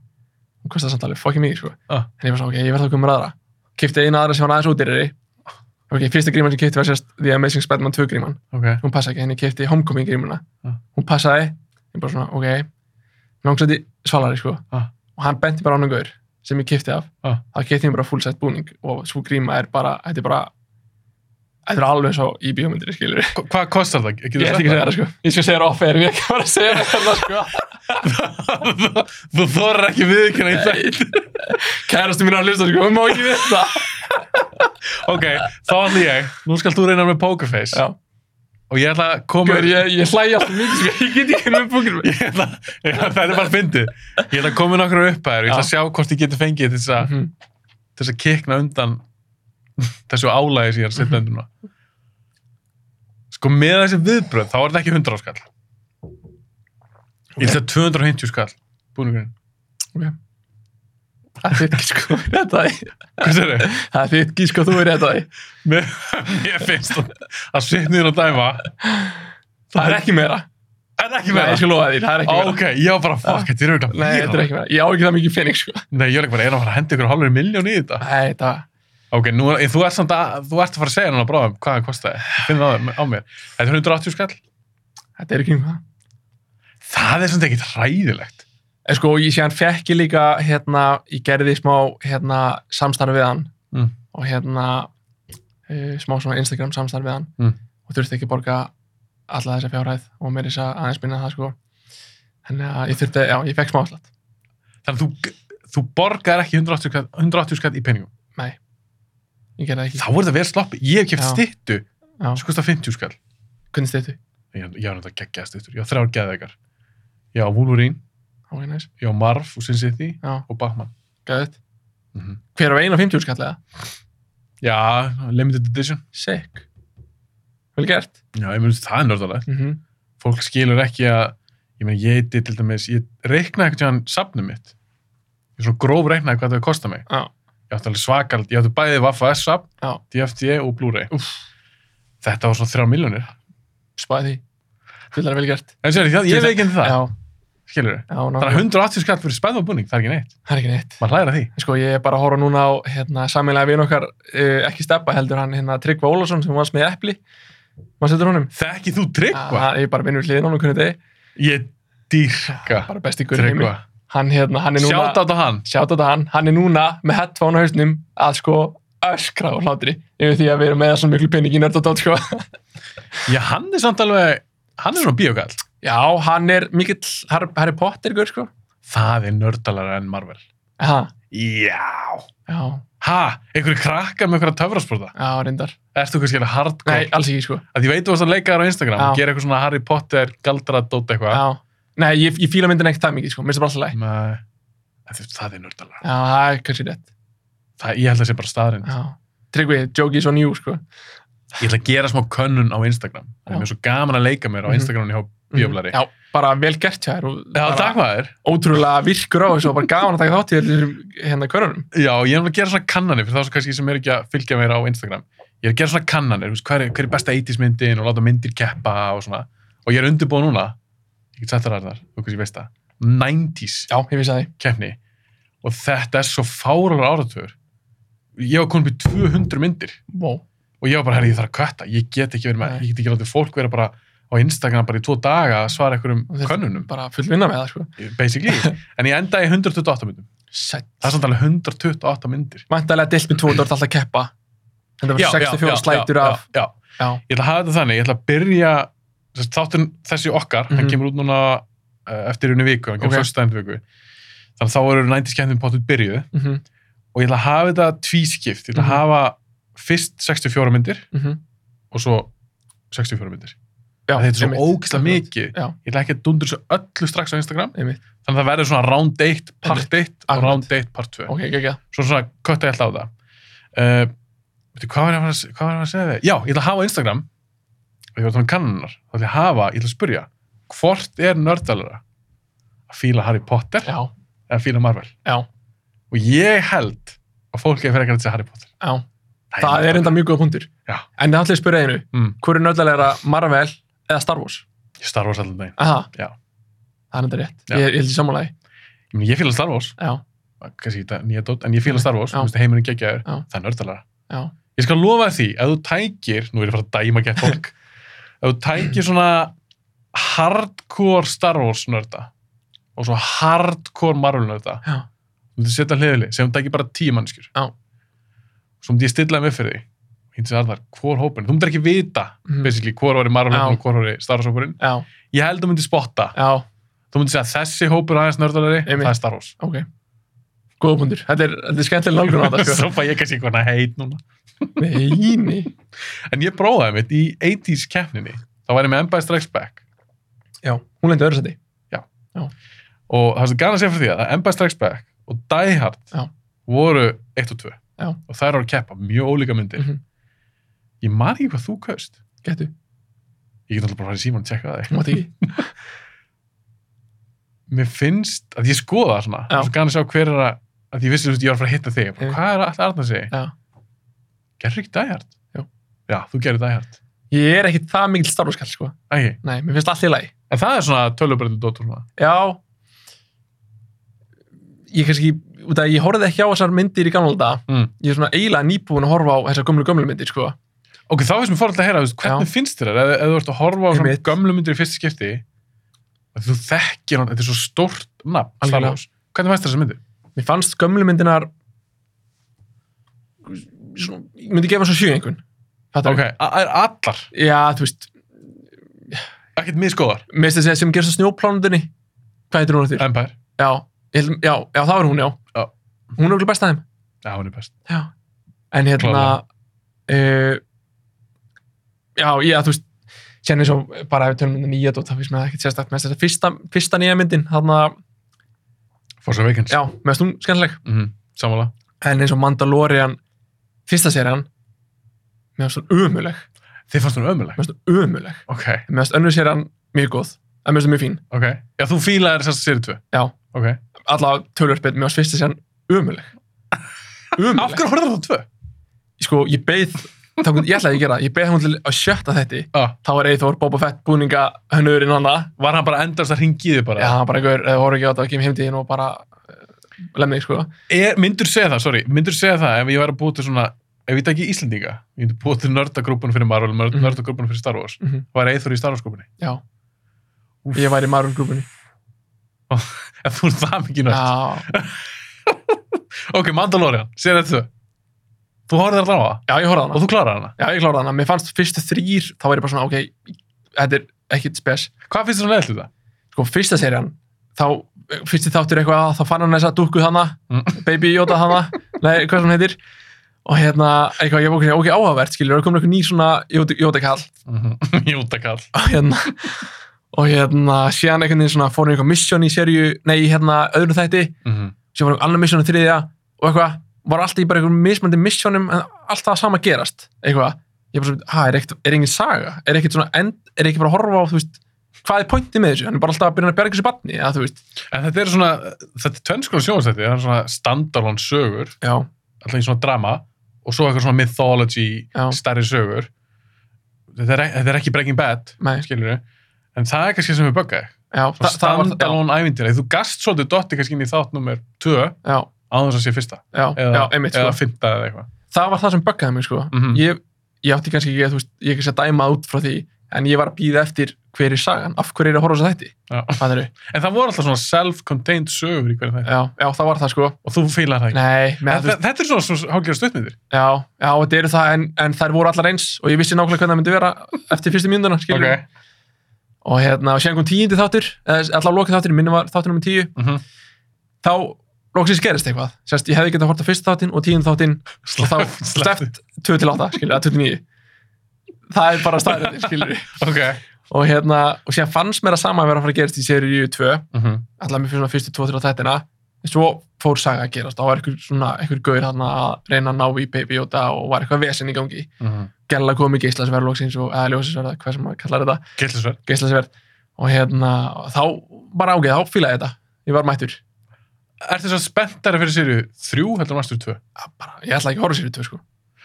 hún kostaði samtalið, fokkin mikið sko
Já.
en ég var svona, ok, ég verð þá komur aðra kefti eina aðra sem var aðeins útýrari ok, fyrsta gríman sem ég kefti var sérst The Amazing Spiderman 2 gríman
Ok,
hún passaði ekki, henni kefti Homecoming grímuna
Ah.
hún passaði, ég bara svona, ok langsætti svalari sko
Ah.
og hann benti bara á hann gaur sem ég kefti af
Ah.
þá kefti ég bara fullsett búning og svo gríma er bara, þetta er bara þetta er alveg svo í bíómyndir skilur
Hva- hvað kostar það?
ég ætti ekki að segja það sko, ég skal segja það off air, ég er ekki bara að segja það hérna, sko.
það Þú þorir ekki viðkynna í það
kærastu mín er að hlusta sko, hún má ekki vita
Ok, þá ætlum ég Nú skal þú reyna með Pokerface
já,
Og ég ætla að koma
Gör, Sko, ég, ég hlæja alltaf mikið sko, ég get ekki með búkir
ég ætla, ég, Það er bara fyndið Ég ætla að koma með nokkru upphæður Ég ætla að sjá hvort ég geti fengið til þess að,
Mhm.
til þess að kikna undan Þessu álægi sem ég er að setja undan núna. Sko með þessi viðbröð Þá er þetta ekki 100 skall Ég ætla 250 skall Búningurinn
það er þitt gísk sko, og þú er rétt að því
Hvað sér þau?
það er þitt gísk og þú er rétt að því
Mér, mér finnst að, að svitniður að dæma
það er ekki meira
en ekki
Nei,
meira.
ég skal lofa því, það er ekki meira.
Ok, ég var bara, fuck, þetta er auðvitað
Nei, þetta er ekki meira. Ég á ekki það mikið pening, sko.
Nei, ég er ekki bara, ég er að fara að henda ykkur hálfur miljón í þetta.
Nei, þetta...
Ok, nú, er- þú ert samt að, þú ert að fara að segja núna bráðum hvað það kostaði. Ég Finn það á- á mér. Þetta er 180 skall.
Þetta er ekki um það.
Það er samt ekki ræðilegt.
En sko, ég sé hann fekk ég líka, hérna, ég gerði smá, hérna, samstarf við hann.
Mm.
Og hérna, uh, smá svona Instagram samstarf við hann.
Mm.
Og þurfti ekki borga alla þessa fjárhæð og mér þess að aðeins minna það, sko. Þannig að ég þurfti, já, ég fekk smá alltaf.
Þannig að þú, þú borgar ekki 180 skall, 180 skall í peningum.
Ég gerði það
Þá
ekki.
er þetta vel sloppi. Ég hef kæft
Já.
stittu
Já.
sem kostar 50 skall.
Hvernig stýttu?
Ég, ég var náttúrulega geggjað stittur. Ég á þrjár geðveikar. Ég á Wolverine,
Ok, næs.
ég á Marv og Sin City
Já.
og Batman.
Gæðið.
Mm
Hver á 1.50 skallega?
Já, limited edition.
Sick. Vel gert.
Já, ég myndi það er nördalegt.
Mm
Fólk skilur ekki að, ég meina, ég heiti til dæmis, ég reiknaði eitthvað hann safnum mitt. Ég svona gróf reiknaði hvað það hefði kostað mig.
Já.
Ég átti alveg svakald, ég átti bæði Vaffa S-safn,
Já.
DFT E og Blu-ray. Þetta var svona þrjá miljónir.
Spæði. Fylgðar vel gert.
En sér, ég, ég
Þetta-
veit ekki um það,
Já,
skilur þau.
já,
Þannig
nákvæmlega.
að 180 skall fyrir spæð og búning, það er ekki neitt.
Það er ekki neitt.
Man hlæðir að því.
Sko, ég er bara að horfa núna á hérna, sammelega vinn okkar, uh, ekki steppa heldur hann, hérna Tryggva Ólafsson sem vannst með Eppli. Maður setur honum.
Þekki þú tryggva?
Ah, Ég er bara vinnur hliðin á honum hvernig degi.
Ég dýrka
Bara besti guður heimi.
tryggva.
Hann, hérna, hann er núna...
Sjátt á hann.
Sjáta þetta hann. Hann er núna með headphone á hausnum að sko öskra og hlátri yfir því að við erum með svona miklu pening í nördadótt sko.
Já, hann er samt alveg, hann er svona bíogall.
Já, hann er mikill Harry, Harry Potter guður sko.
Það er nördalara en Marvel.
Ha,
Já.
já,
Ha, einhverju krakkar með einhverja töfrasporta?
já, reyndar.
Ertu kannski alveg hardcore?
Nei, alls ekki sko.
Að ég veit þú varst að leika þar á Instagram
Já.
og gera eitthvað svona Harry Potter galdra dót eitthvað.
Já, Nei, ég, ég fíla myndin ekkert það mikið, sko, mér finnst það bara alltaf læg.
Nei. En þú- Það er nördalega.
Já, það er kannski rétt.
Það, ég held að það sé bara staðrind.
Já. Tryggvi, joke is on you,
Mhm.
sko.
Ég ætla að gera smá könnun á Instagram. Það
Já.
er mjög svo gaman að leika mér á
Mhm.
Instagramni hjá Bjöflari.
Já, bara vel gert hjá þér. og
Já,
bara
takk maður.
Ótrúlega virkur á þessu og bara gaman að taka þátt í þessum hérna körunum.
Já, ég er að gera svona kannanir fyrir þá sem kannski sem er ekki að fylgja mér á Instagram. Ég er að gera svona kannanir, þú veist, hver, er- hver er besta 80s myndin og láta myndir keppa og svona. Og ég er undirbúið núna, ég get sett það þar, þú veist, ég veist það, 90s
Já, ég vissi það því.
keppni. Og þetta er svo fáralur áratöfur. Ég var komin upp í 200 myndir
Wow.
og ég var bara, herri, ég þarf að kvætta. Ég get ekki verið með,
Nei.
ég get ekki látið fólk vera bara á Instagram bara í tvo daga að svara einhverjum
Og þetta-
könnunum,
Bara full vinna með það, sko.
basically. En ég endaði í 128 myndum.
Sætt.
Það er samt alveg 128 myndir.
Mæntalega deilt með 2 og þú ert alltaf að keppa. Þetta
Já,
verður
já,
64
já,
slætur
já,
af.
já, já.
Já.
ég ætla að hafa þetta þannig, ég ætla að byrja sem sagt, þáttun þessi okkar, hann
Mhm.
kemur út núna uh, eftir unni viku, hann kemur
Ok.
okay. föstudaginn viku þannig að þá eru 90 skemmtum pottum byrjuð
Mhm,
og ég ætla að hafa þetta tvískipt ég ætla
Mhm.
að hafa fyrst 64 myndir
mhm.
og svo 64 myndir
Já,
þetta er
einmitt.
svo ógislega
Akkurat.
mikið
Já.
ég ætla ekki að dundur þessu öllu strax á Instagram
Einmitt.
þannig að það verður svona round 1 part 1 og
Akkurat.
round 1 part 2
Ok, ekki, ekki.
svo svona kötta ég alltaf á það uh, veitu, hvað var ég að fara að, se- hvað var ég að, fara að segja þig? já, ég ætla að hafa Instagram og ég var að tala um kannunar þá ætla ég að hafa, ég ætla að spurja hvort er nördalera að fíla Harry Potter
Já,
eða fíla Marvel
já,
og ég held að fólk er fyrir ekkert að segja Harry Potter
já. Það er enda mjög góða punktur.
Já.
En það ætla ég að spyrja einu.
Mm.
Hvor er nördalegra Marvel eða Star Wars?
ég starfa allan daginn
Aha.
Já.
Það er enda rétt.
Já.
Ég, ég held í sammálaði.
ég, meni, ég fíla Star Wars,
Já,
kannski þetta er nýja dót en ég fíla Star Wars,
Já.
þú veist heimurinn geggjaður
Já.
það er nördalera
já.
ég skal lofa því, ef þú tækir nú er ég að fara að dæma gett fólk ef þú tækir svona hardcore Star Wars nörda og svo hardcore Marvel nörda
Já.
þú myndir setja hliðili, segjum þú tækir bara tíu mannskjur
Já.
svo myndi ég stilla þeim upp fyrir því hins vegar þar, hvor hópin, þú myndir ekki vita
Mhm.
basically, hvor var í Marvel
Já.
nörda og hvor var í Star Wars hópurinn
Já,
ég held þú myndir spotta,
já,
þú myndir segja þessi hópur er aðeins nördalari,
Einmitt.
það er Star Wars
ok. Góða punktur. Þetta er, þetta er skemmtilega nálgun á þetta, sko.
svo fæ ég kannski eitthvað heit núna
Nei, nei.
en ég prófaði mitt í 80s keppninni þá var ég með Empire Strikes Back
Já, hún lendi öðru seti.
og það er svo gana að segja fyrir því að Empire Strikes Back og Die Hard
Já.
voru 1 og 2
Já.
og þær eru að keppa mjög ólíka myndir
Mhm.
ég man ekki hvað þú kaust
Getu.
ég get alltaf bara að fara í síman og tjekka það
Hún mátti ekki.
mér finnst að ég skoða það svona
Já.
og svo gana að sjá hver er að að ég vissi þú veist ég var að fara að hitta þig bara,
Mhm.
hvað er alltaf Arna að segja
Já.
gerður ekki Die Hard
Jú.
já þú gerður Die Hard
Ég er ekkit það mikill Star Wars kall, sko.
Æi.
Nei, mér finnst allt í lagi.
en það er svona tölubrendu dóttur svona
Já Ég kannski, út af að ég horfði ekki á þessar myndir í gamla daga
Mm.
Ég er svona eiginlega nýbúin að horfa á þessar gömlu gömlu myndir sko.
ok þá finnst mér fórhald að heyra þú veist, hvernig finnst þér það ef, ef þú ert að horfa á svona
Einmitt.
gömlu myndir í fyrsta skipti að þú þekkir hann, þetta er svo stórt nafn Star
Algjörlega.
Wars. hvernig fannst þér þessa myndir?
Mér fannst gömlu myndinar svona, Ég myndi gefa svo sjö einhvern Fattar
ok, a- a- allar,
Já, þú veist,
ekkert miskoðar
mér finnst þessi sem gerst á snjóplánundinni Hvað heitir hún eftir?
Empire,
Já, ég held- já, já, það var hún, já,
Já.
Hún er okkur best af þeim
já hún er best
Já, en hérna
Klárlega.
uh, Já, ég að þú veist sérna eins og bara ef við tölum um nýja dót þá finnst mér það ekkert sérstakt með þess að fyrsta, fyrsta nýja myndin þarna,
Force Awakens
já, með stúm skemmtileg
Mhm, sammála,
en eins og Mandalorian fyrsta serían mér finnst hún umuleg
þið fannst hún ömuleg
mér finnst hún umuleg
ok,
mér finnst önnur serían mjög góð en mér finnst hún mjög fín
ok, já þú fílaðir þess að séri tvö
Já.
ok,
allavega tölvörspil mér finnst fyrsta serían umuleg
af
umuleg
hverju horfður þú tvö?
sko ég beið þá, ég ætlaði að gera það, ég beið hún til að sjötta þetta
Ah,
þá var Eithor Boba Fett búninga hönnurinn hann
var hann bara endast að ringiði bara
Já, hann bara einhver, eða horfðu ekki á þetta, ekki um heimtíðin og bara uh, lemni þig, sko.
er, myndur E, segja það, sorry, myndur segja það ef ég væri að búa til svona, ef ég tæki Íslendinga ég myndi búa til nördagrúpun fyrir Marvel nörd,
Mhm.
nördagrúpun fyrir Star Wars,
Mhm.
var Eithor í Star Wars grúpunni
Já. Ég væri í Marvel grúpunni.
en þú er það mikið nörd
Já.
ok, Mandalorian, segir þetta þau þú horfður alltaf á það
Já, ég horfði á
og
hana.
þú klarar hana
Já, ég kláraði hana. Mér fannst fyrstu þrýr, þá var ég bara svona, ok, þetta er ekkit spes.
hvað finnst þér um svona leðilega það?
Sko, fyrsta serían, þá, eh, fyrsti þáttur eitthvað, þá fann hann þessa dúkku hana,
Mm.
Baby Yoda hana, nei, hvað sem hún heitir. Og hérna, eitthvað, ég var okkur, ok, áhugavert, skilur, það Mhm. er komin eitthvað ný svona Yoda- Yoda-kall.
Mm -hmm. Jútakall
og hérna og hérna, síðan einhvern veginn svona fórum við eitthvað mission í serju, nei, í hérna, öðru þætti
Mhm.
sem var annar misjónum þriðja og eitthvað, var alltaf í bara einhverjum mismandi misjónum en allt það sama gerast eitthvað, ég bara svona, hæ, er, ekkert- er engin saga er ekkert svona, end, er ekkert bara að horfa á þú veist, hvað er pointið með þessu, hann er bara alltaf að byrja að berga þessu barni, eða þú veist,
En þetta er svona, þetta er tvennskona sjónastætti, það er svona standalone sögur,
já,
alltaf í svona drama, og svo eitthvað svona mythology,
Já.
stærri sögur. Þetta er, ek- þetta er ekki Breaking Bad,
nei,
skilur en það er kannski sem við böggaði.
já,
Svona
þa- það var, já,
standalone ævindýra. Þú gast svolítið dotti kannski inn í þátt nummer 2
já,
á þess að sé fyrsta.
já, já,
Eða,
einmitt,
eða
sko,
fymta eða eitthvað.
það var það sem böggaði mig, sko
Mhm.
ég, ég átti kannski ekki, að, þú veist, ég kannski að dæma út frá því, en ég var að býða eftir hver er sagan, af hverju er ég að horfa á þessa þætti,
Já.
hvað eru,
En það voru alltaf svona self-contained sögur í hverju þetta.
já, já, það var það, sko
Og þú fílar það ekki.
nei, með,
En, þetta, þetta er svona svona hálfgerð stuttmyndir.
Já, já, þetta eru það en, en þær voru allar eins og ég vissi nákvæmlega hvernig það myndi vera eftir fyrstu mínúnduna, skilur
Ok.
og hérna, og síðan kom tíundi þáttur eða allar lokið þáttur, minni var þáttur nummer tíu
Mm -hmm.
þá loksins gerist eitthvað sérst, ég hefði getað horta fyrstu þáttin og tíundi þáttin og þá sleppt 2 til 8, skilur, að 29 það er bara staðrættir, skilur
Ok.
og hérna, og síðan fannst mér að sama vera að fara að gerast í seríu 2
Mm -hmm.
allar mér fyrir svona fyrstu 2-3 þættina en svo fór saga að gerast, þá var einhver svona einhver gaur hann að reyna að ná í Baby Yoda og var eitthvað vesen í gangi
mhm.
gæla komið geislasverðlóksins og eða ljósisverða, hvað sem maður kallar þetta,
Gillisverð.
geislasverð og hérna, þá bara ágeð, þá fílaði ég þetta, ég var mættur
Er þetta spenntari fyrir sériu 3 heldur en varstu 2?
Að bara, ég ætla ekki að horfa sér í tvö sko,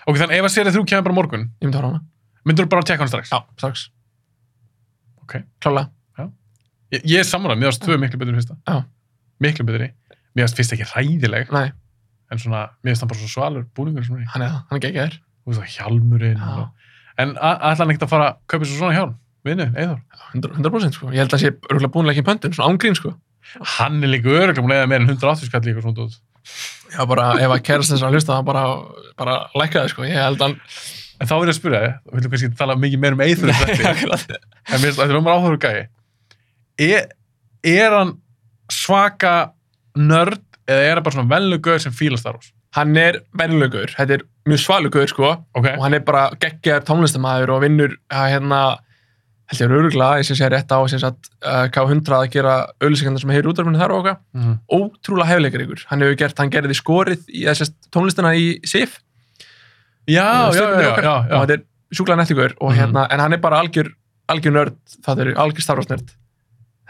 Ok, þannig ef að sériu 3 kemur bara á morgun,
ég myndi horfa á hana
myndur þú bara að tjekka hann strax?
já, strax
Ok.
klálega,
Ég, ég er sammála, mér varst 2 miklu betur en fyrsta.
Já.
Miklu betri. Mér varst fyrst ekki ræðileg,
nei,
en svona, mér varst hann bara svo svalur búningur sem hann er.
hann er það, hann er geggjær
Þú veist það, hjálmurinn.
Já.
Og... En a- ætlar hann ekkert að fara að kaupa svo svona hjálm? Vinnu, Eithor.
100%, 100% sko, ég held að sé örgulega búinlega ekki í pöntun, svona ángrín sko
Hann er líka öruglega búin að eða meira en 180 skall líka svona út.
já, bara, ef að kærast þess að hlusta það bara, bara lækka það sko, ég held að hann
En þá er ég að spyrja þig, og við viljum kannski tala mikið meira um Eithor en þetta. en mér finnst að þetta er umar áhugur gæi er, er hann svaka nörd eða er hann bara svona velugöður sem fíla Star Wars
hann er verðlugur, þetta er mjög svalugur sko,
ok,
og hann er bara geggjar tónlistamæður og vinnur að hérna held ég öruglega, ég sé sér rétt á sem sagt, uh, K100 að gera auðlýsingarna sem hefur útdarfinu þar og okkar
Mhm.
ótrúlega hefleikar ykkur, hann hefur gert, hann gerði skorið í þessast tónlistina í SIF
já, já, já, já, já,
og þetta er sjúklega nettingur og
Mhm.
hérna, en hann er bara algjör algjör nörd, það er algjör starfarsnörd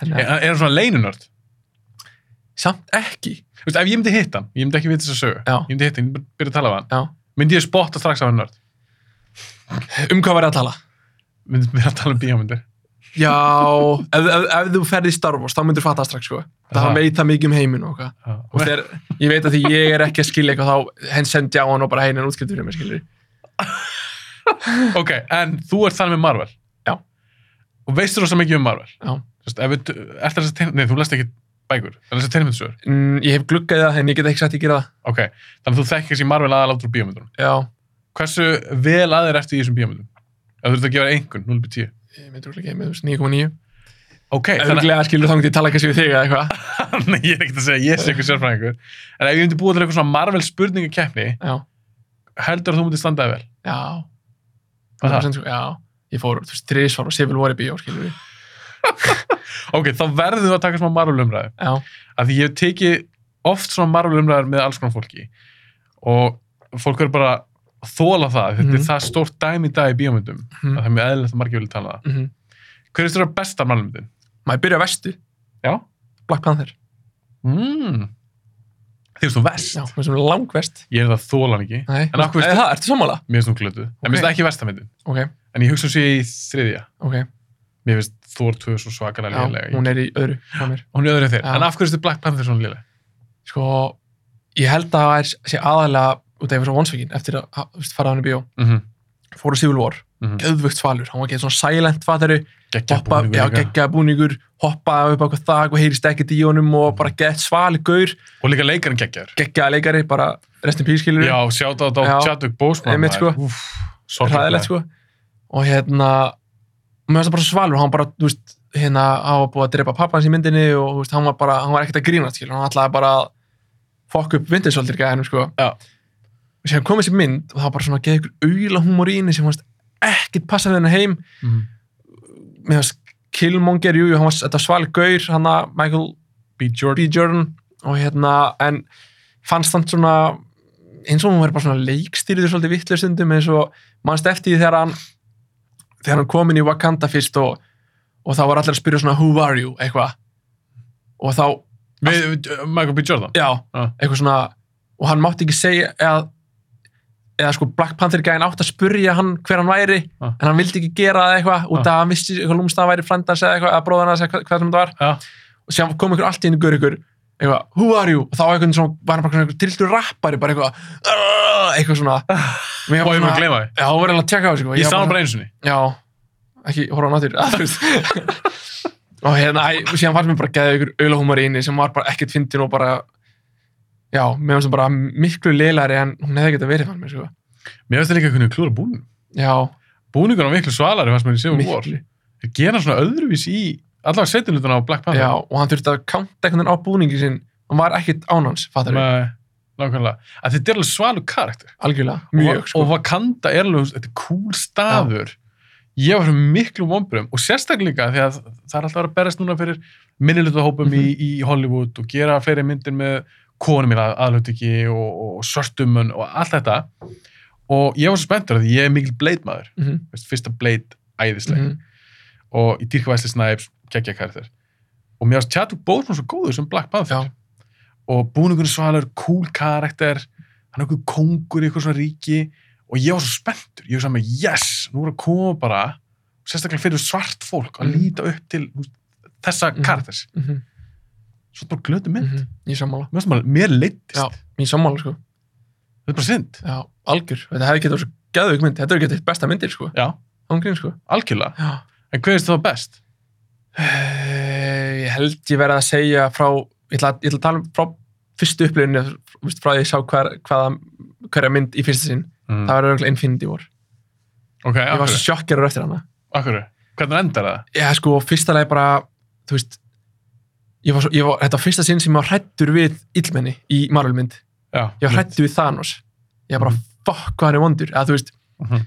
hérna,
Er, er hann svona leinunörd
samt ekki
Þú veist, ef ég myndi hitta hann, ég myndi ekki vita þess að sögu
Já.
ég myndi hitta hann, ég myndi byrja að tala við hann
Já.
myndi ég spotta strax á hann nörd
um hvað verið að tala?
myndi byrja að tala um bíómyndir
Já, ef, ef, ef þú ferði í Star Wars þá myndir fatta það strax sko,
Aha.
það veit það mikið um heiminn og hvað
Já.
og þegar ég veit að því ég er ekki að skilja eitthvað þá henn sendi á hann og bara heinin útskiptur fyrir mig skilur
ok, en þú ert þannig með Marvel
Já.
og veistur þú svo mikið um Marvel
Já.
Þú veist, ef við, er það tein... nei, þú lest ekki bækur, það lest að tegnmyndsögur
mm, ég hef gluggað í það en ég get ekki sagt ég gera það
Ok, þannig að þú þekkir þessi Marvel aðal áttur úr bíómyndunum.
já,
Hversu vel aðeir ertu í þessum bíómyndunum? Ef þú ert að gefa þér einhvern, 0-10.
ég myndi úrlega ekki með þú veist, 9,9
Ok, þannig
auðvitað skilur þá ekki tala kannski við þig eða eitthvað
að Nei, ég er ekkert að segja að ég sé eitthvað sérfræðingur. En ef ég myndi búa til eitthvað svona Marvel spurningakeppni,
já,
heldur að þú myndi standaði vel.
já,
Var
100% sko, já ég fór, þú veist, þrísvar og Civil War í bíó skilur við,
Ok, þá verðum við að taka smá Marvel umræðu.
já,
Af því ég hef tekið oft svona Marvel umræður með alls konar fólki. Og fólk er bara að þóla það. Þetta
Mhm.
er það stórt dæmi í dag í bíómyndum. að
mhm,
Það er mjög eðlilegt að margir vilja tala um það.
mhm
Hver er þér besta Marvel-myndin?
maður byrja á vestu,
Já.
Black Panther
Mm. Þið veist þú vest.
já, maður sem langvest
Ég er það þólan ekki.
nei,
En af hverju-
eða það, ertu sammála?
Mér finnst hún glötuð. En mér finnst
Ok.
það ekki versta myndin.
ok,
En ég hugsa hún sé í þriðja.
ok,
Mér finnst Thor 2 svo svakalega
já,
lélega. Hún,
hún er í öðru hjá mér
hún er öðru en þér.
Já.
En af hverju stu Black Panther svona lélega?
sko, ég held að það er sé aðalega út af þessu vonsvíkin eftir að ha- þú veist, fara hann í bíó
Mm -hmm.
fóru Civil War,
Mhm.
geðvögt svalur hann var ekki svona silent fattari
Gekkja
hoppa, já, geggjaða búningur hoppa upp á eitthvað þak og heyrist ekkert í honum og bara gett svali gaur,
Og líka leikarinn geggjar.
geggjaða leikari bara restin pískilur,
Já, sjátt á
Já.
þetta á Chadwick Boseman.
Einmitt, sko.
Ræðilegt
hræðilegt sko og hérna mér finnst það bara svo svalur, hann bara, þú veist hérna, hann var búið að drepa pappans í myndinni og þú veist, hann var bara, hann var ekkert að grína skilur, hann ætlaði bara að fokk upp vindin svolítið gæðinum sko
Já.
og séðan kom þessi mynd og það var bara svona að geða ykkur auðla húmor í henni sem fannst ekkert passa við henni heim
Mhm.
mér fannst Killmonger, jú, jú, hann var, þetta var svali gaur, hann að Michael
B. Jordan.
B. Jordan og hérna, en fannst hann svona eins og hún var bara svona leikstýriður svolítið vittlega stundum eins og mannst eftir því þegar hann þegar hann kom inn í Wakanda fyrst og, og þá var allir að spyrja svona who are you, eitthvað og þá,
Við, við, Michael B. Jordan.
já,
Já.
eitthvað svona og hann mátti ekki segja eða, eða sko Black Panther gæðin átt að spurja hann hver hann væri
Ah.
en hann vildi ekki gera það eitthvað út af að hann vissi eitthvað lúmst að hann væri frendans eða eitthvað, eða bróðan eða hvað sem þetta var
Já.
og síðan kom ykkur allt í einu gaur ykkur eitthvað, who are you? og þá eitthvað svona, var hann bara svona triltur rappari bara eitthvað, "Arr!" eitthvað svona Mér
Og
var
ég mér að
svona-
gleyma því.
já, hún var eiginlega að tjekka á þessu sko.
Ég
var
sá hann bara einu sinni.
já, ekki horfa á náttúr að þú veist og hérna, æ, síðan fannst mér bara að geða ykkur auðlahúmar í inni sem var bara ekkert fyndin og bara já, mér finnst hún bara miklu leilari en hún hefði getað verið fann mér sko.
Mér finnst það líka hvernig klúra búningum.
já,
Búningur á miklu svalari fannst mér í Civil War.
miklu
Þeir gera hann svona öðruvís í allavega setjulutuna á Black
já,
Panther.
og hann þurfti að kanta einhvern veginn á búningi sinn hann var ekkert ánans, fattar við,
Með, nákvæmlega. Að þetta er alveg svalur karakter.
algjörlega mjög,
og,
sko,
og Wakanda er alveg, þetta er cool staður ég var fyrir miklu vonbrum og sérstaklega því að það er alltaf að vera að berast núna fyrir minnilutahópum
Mhm.
í, í Hollywood og gera fleiri myndir með konum í aðlutingi og, og sörtumun og allt þetta og ég var svo spenntur að ég er mikil Blade maður
Mhm,
Veist, fyrsta Blade æðisleg
mhm.
og í Dirk Wesley Snipes geggja karakter og mér varst Chadwick Boseman svo góður sem Black Panther
Já.
og búningun svalur, cool karakter hann er einhver kongur í eitthvað svona ríki og ég var svo spenntur, ég var saman yes, nú er að koma bara og sérstaklega fyrir svart fólk að
Mhm.
líta upp til þú veist, þessa
Mhm.
karakters
Mhm,
svo bara glötu mynd,
mhm. í sammála,
mér, saman, mér leittist
já, í sammála sko
þetta er bara synd
já, algjör, þetta hefði getað svo geðvig mynd þetta hefði getað eitt besta myndir sko,
já,
ángrín sko
algjörlega,
já
en hvað er það best?
Eh, Ég held ég verið að segja frá, ég ætla, ég ætla að tala um frá fyrstu upplifinu, frá því ég sá hver, hvaða, hverja mynd í fyrsta sinn.
Mm.
Það var auðvitað Infinity War.
ok,
Ég var
akkur,
svo sjokkerur eftir hana.
akkur hvernig endar það?
Já, sko, fyrsta leið bara, þú veist, ég var svo, ég var, þetta var fyrsta sinn sem ég var hrættur við illmenni í Marvel mynd.
já,
Ég var hrættur við Thanos. Ég
Mm.
var bara, fuck, hvað hann er vondur. Eða, þú veist,
Mhm.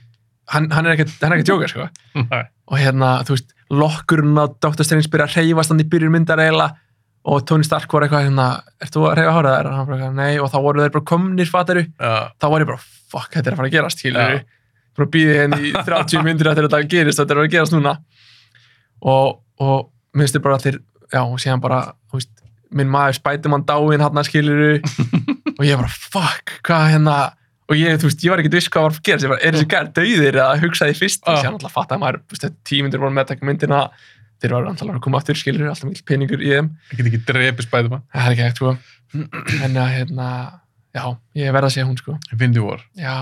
hann, hann er ekkert, hann er ekkert jóka, sko.
Nei.
og hérna, þú veist, lokkurinn á Dr. Strange byrja að reyfast hann í byrjun myndar eiginlega og Tony Stark var eitthvað hérna, ert þú að reyfa hárið þær? Og hann bara, eitthvað, nei, og þá voru þeir bara komnir fataru,
Já.
þá var ég bara, fuck, þetta er að fara að gerast, skilur
Já.
við, bara býðið henni í 30 myndir eftir að þetta gerist, þetta er að fara að gerast núna og, og minnst þér bara allir, já, og síðan bara, þú veist, minn maður Spiderman dáinn hann að skilur við og ég bara, fuck, hvað hérna og ég, þú veist, ég var ekkert viss hvað var að gerast, ég bara, er þessi gær döðir eða hugsaði fyrst,
Já.
og síðan alltaf fattaði maður, þú veist, þetta tímyndir voru með að taka myndina, þeir var alltaf að koma aftur, skilur alltaf mikil peningur í þeim,
ég get ekki drepið spæðumann
það er ekki hægt, sko en að, hérna, já, ég verð að segja hún, sko,
Infinity War,
já,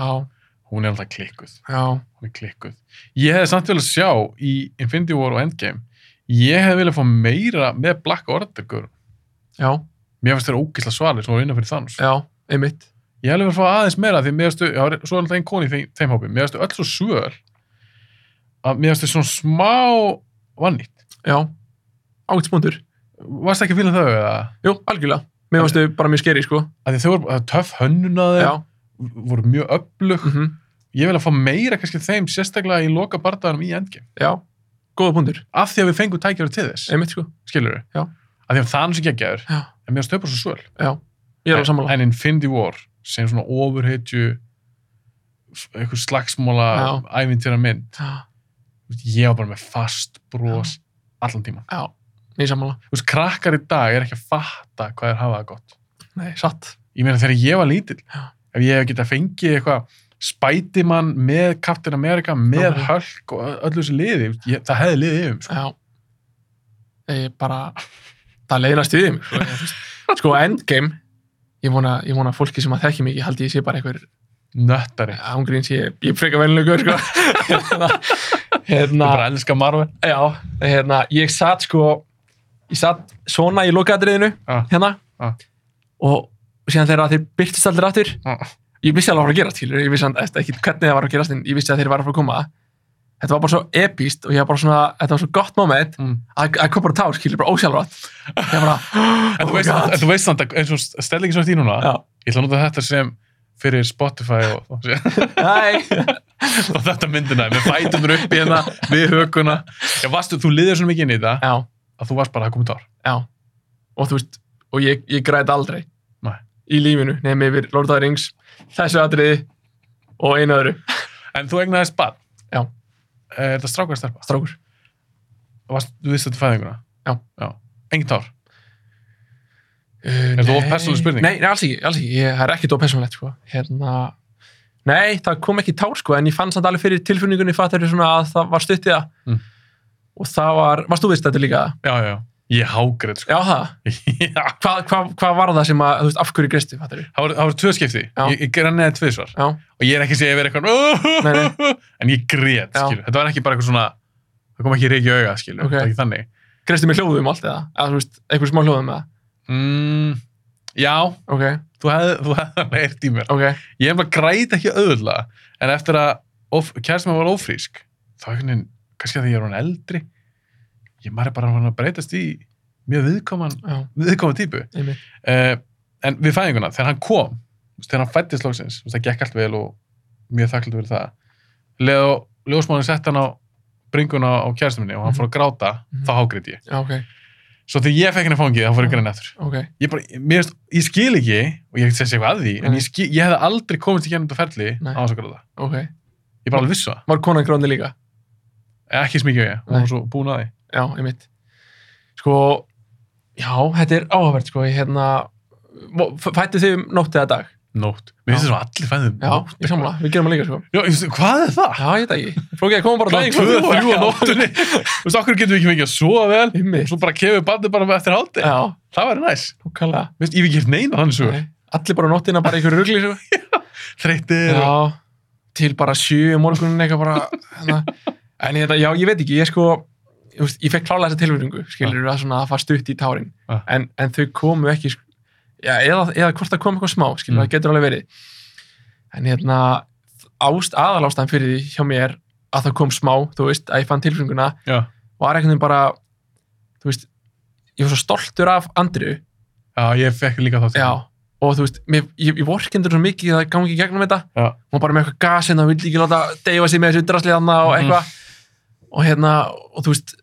hún er alltaf klikkuð
Já,
hún er klikkuð. Ég hefði samt vel að sjá í Infinity War og Endgame ég hefði vel að fá meira með Black Order guður.
já,
mér finnst þeirra ógisla svalir sem voru innan fyrir Thanos
já, einmitt.
ég hefði vel að fá aðeins meira því mér finnst þau- það er svo er alltaf einn koni í þeim, þeim hópi mér finnst þau öll svo svöl að mér finnst þau svona smá vannýtt
Já, ágætspunktur.
varst ekki að fíla þau eða?
Jú, algjörlega. Mér fannst þau bara mjög skeri, sko.
Af því þau voru það var töff hönnun að þeim
Já,
voru mjög öflug
mhm,
ég vil að fá meira kannski þeim sérstaklega í loka bardaganum í Endgame
já, góða punktur.
af því að við fengum tækjara til þess
Einmitt, sko.
skilur
Já.
að því að Thanos er geggjaður
Já,
en mér finnst þau bara svo svöl
já, ég er alveg sammála.
en Infinity War sem svona ofurheitju f- einhver slagsmóla ævintýra mynd
Já,
ég var bara með fast bros allan tíman
já, ég er sammála.
Þú veist, krakkar í dag er ekki að fatta hvað er hafa það gott
Nei, satt.
ég meina þegar ég var lítill
Já.
ef ég hef getað fengið eitthvað Spiderman með Captain America með
Já.
Hulk og ö- öllu þessu liði ég, það hefði liðið yfir mig, sko.
Já, ég bara, það leiðast við mig, sko. Ég, þú veist. sko, endgame, ég vona, ég vona að fólki sem að þekki mig, ég haldi ég sé bara einhver
nöttari
ángríns, ég, ég er frekar vennilegur, sko. hérna,
þú
hérna.
bara elskar Marvel
Já, hérna, ég satt sko ég satt svona í lokaðatriðinu
Já.
hérna
Já.
og síðan þegar að þeir byrtist allir aftur
Já.
ég vissi alveg að fara að gerast, skilur ég vissi samt ekki hvernig það var að gerast en ég vissi að þeir var að fara að koma þetta var bara svo epíst og ég var bara svona þetta var svo gott moment
Mm.
að að kom bara tár, skilur, bara ósjálfrátt ég var bara, oh
en þú
my
veist,
god.
en þú veist samt að eins og stellingin sem þetta í núna
já,
ég ætla að nota þetta sem fyrir Spotify og
næ
og þetta myndina með fætunur upp í hérna við hökuna já, varstu, þú liðir svona mikið inn í þetta
já,
að þú varst bara að koma tár
já og þú veist, og ég, ég græt aldrei
Nei.
í lífinu, nefnum yfir Lord of the Rings þessu atriði og einu öðru
en þú egnaðist bad
Já.
er þetta strákar stelpa?
strákur,
Varst, þú vist þetta fæðinguna?
Já.
engin tár?
uh,
Er það of persónuleg spurning?
Nei, nei, alls ekki, alls ekki, ég, það er ekki of persónulegt sko. hérna Nei, það kom ekki tár sko, en ég fann samt alveg fyrir tilfunningunni fattur svona að það var stutt í það
Mm.
og það var, varst þú vist þetta líka?
já, já, já ég hágrið sko
Já, það,
já.
hvað hva, hva var það sem að, þú veist, af hverju greistu, fattur
það voru- það voru tvö skipti
Já.
ég, ég granniði tvisvar
Já,
og ég er ekki að segja að vera eitthvað
Nei,
en ég grét,
Já.
skilju, þetta var ekki bara eitthvað svona það kom ekki reiki auga, skilju,
Ok.
þetta var ekki þannig
greistu með hljóðum allt eða, eða þú veist, einhver smá hljóðum eða,
mm, já,
ok,
þú hefði þú hefði hann eirt í mér
ok,
ég hef bara græt ekki auðvitað en eftir að of, kærstum var ófrísk þá einhvern veginn, kannski að því ég er hann eldri ég maður er bara hann að breytast í mjög viðkoman
já,
viðkoman típu
einmitt,
uh, en við fæðinguna, þegar hann kom þú veist, þegar hann fættist loksins, þú veist, það gekk allt vel og mjög þakklægt fyrir það leðu ljósmáðin sett hann á bringuna á kærstum minni og hann
Mhm.
fór að gráta
Mhm.
þá hágrið ég,
já, ok,
svo þegar ég fekk hann í fangið þá fór ég græn eftir
ok,
ég, bara, mér, finnst- ég skil ekki og ég hef ekki segja eitthvað að því en
Nei.
ég, skil, ég hefði aldrei komist í gennum þetta ferli
Nei.
á þess að gráta
ok,
ég bara alveg vissu það,
var konan gráðni líka,
Eh, ekki smikið ég hún
Nei.
var svo búin að því
já, einmitt, sko, já, þetta er áhugavert, sko, ég hérna, vo- f- fættu þið um nótt eða dag,
nótt, mér
Já.
finnst þess að allir fæðum
já, ég samla, við gerum það líka, sko,
já, ég veist, hvað er það?
já, ég dægi, flókið, komum bara á
Klokkan
daginn,
tvö,
sko,
þrjú á
já,
nóttunni Þú veist, okkur getum við ekki mikið að sofa vel
einmitt,
Svo bara kefið bandið bara eftir haldi
já,
Það væri næs
nokkalega,
Vist, Ég hef ekki gert neina þannig sögur
allir bara á nóttina, bara í einhverju rugli, sko,
Þreyttir og...
Já, til bara sjö um morgunin eitthvað bara hana. en þetta, já, ég veit ekki, ég sko ég, veist, ég fekk klála þessa tilfinningu, skilur það svona að það fara stutt í tárin,
Ja.
en, en þau komu ekki, sk- já, eða, eða hvort það kom eitthvað smá, skilur
Mm.
það getur alveg verið en hérna ást, aðalástæðan fyrir því hjá mér að það kom smá, þú veist, að ég fann tilfinninguna
Já,
var einhvern veginn bara þú veist, ég var svo stoltur af Andriu,
já, ég fekk líka þátt
já, og þú veist mér, ég, ég vorkendur svo mikið að það gangi í gegnum þetta
Já.
hún var bara með eitthvað gas hérna og vildi ekki láta deyfa sig með þessu drasliðanna og
Mhm.
eitthvað og hérna, og þú veist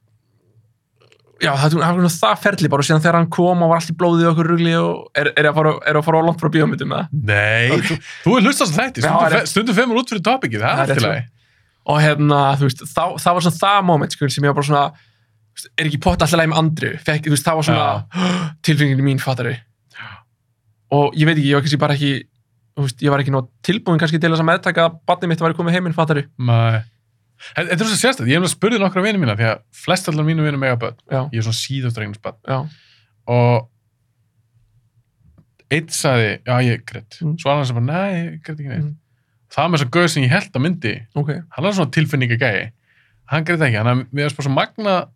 já, það það var svona það ferli bara og síðan þegar hann kom og var allt í blóðið og okkur rugli og er, er, að, fara, er að fara á langt frá bíómyndum með það
Nei,
Ok.
þú, þú er hlustast þætti
Já,
Stundum,
rétt.
fe- stundum femur út fyrir topikið, það
Já,
er eftir
rétt,
lagi
og hérna, þú veist, þá, það var svona það moment skil, sem ég var bara svona þú veist, er ekki pott alltaf læg með andru Fekk, þú veist, það var svona tilfenginu mín fattari og ég veit ekki, ég var kannski bara ekki þú veist, ég var ekki nóg tilbúin kannski til þess að meðtaka að badni mitt var komið heiminn fattari
Nei. Þetta þetta er svo sérstætt, ég hef náttúrulega spurðið nokkra vinið mína því að flest allar mínu vinið mega börn
já,
Ég er svona síðastregnisbörn
já,
og eitt sagði, já ég greitt
Mm.
svo annar sem bara, nei, ég greitt ekki neitt
Mm.
það með þess að gauð sem ég held að myndi
ok
hann var svona tilfinningagæi hann greitt ekki, hann að mér er bara svo magna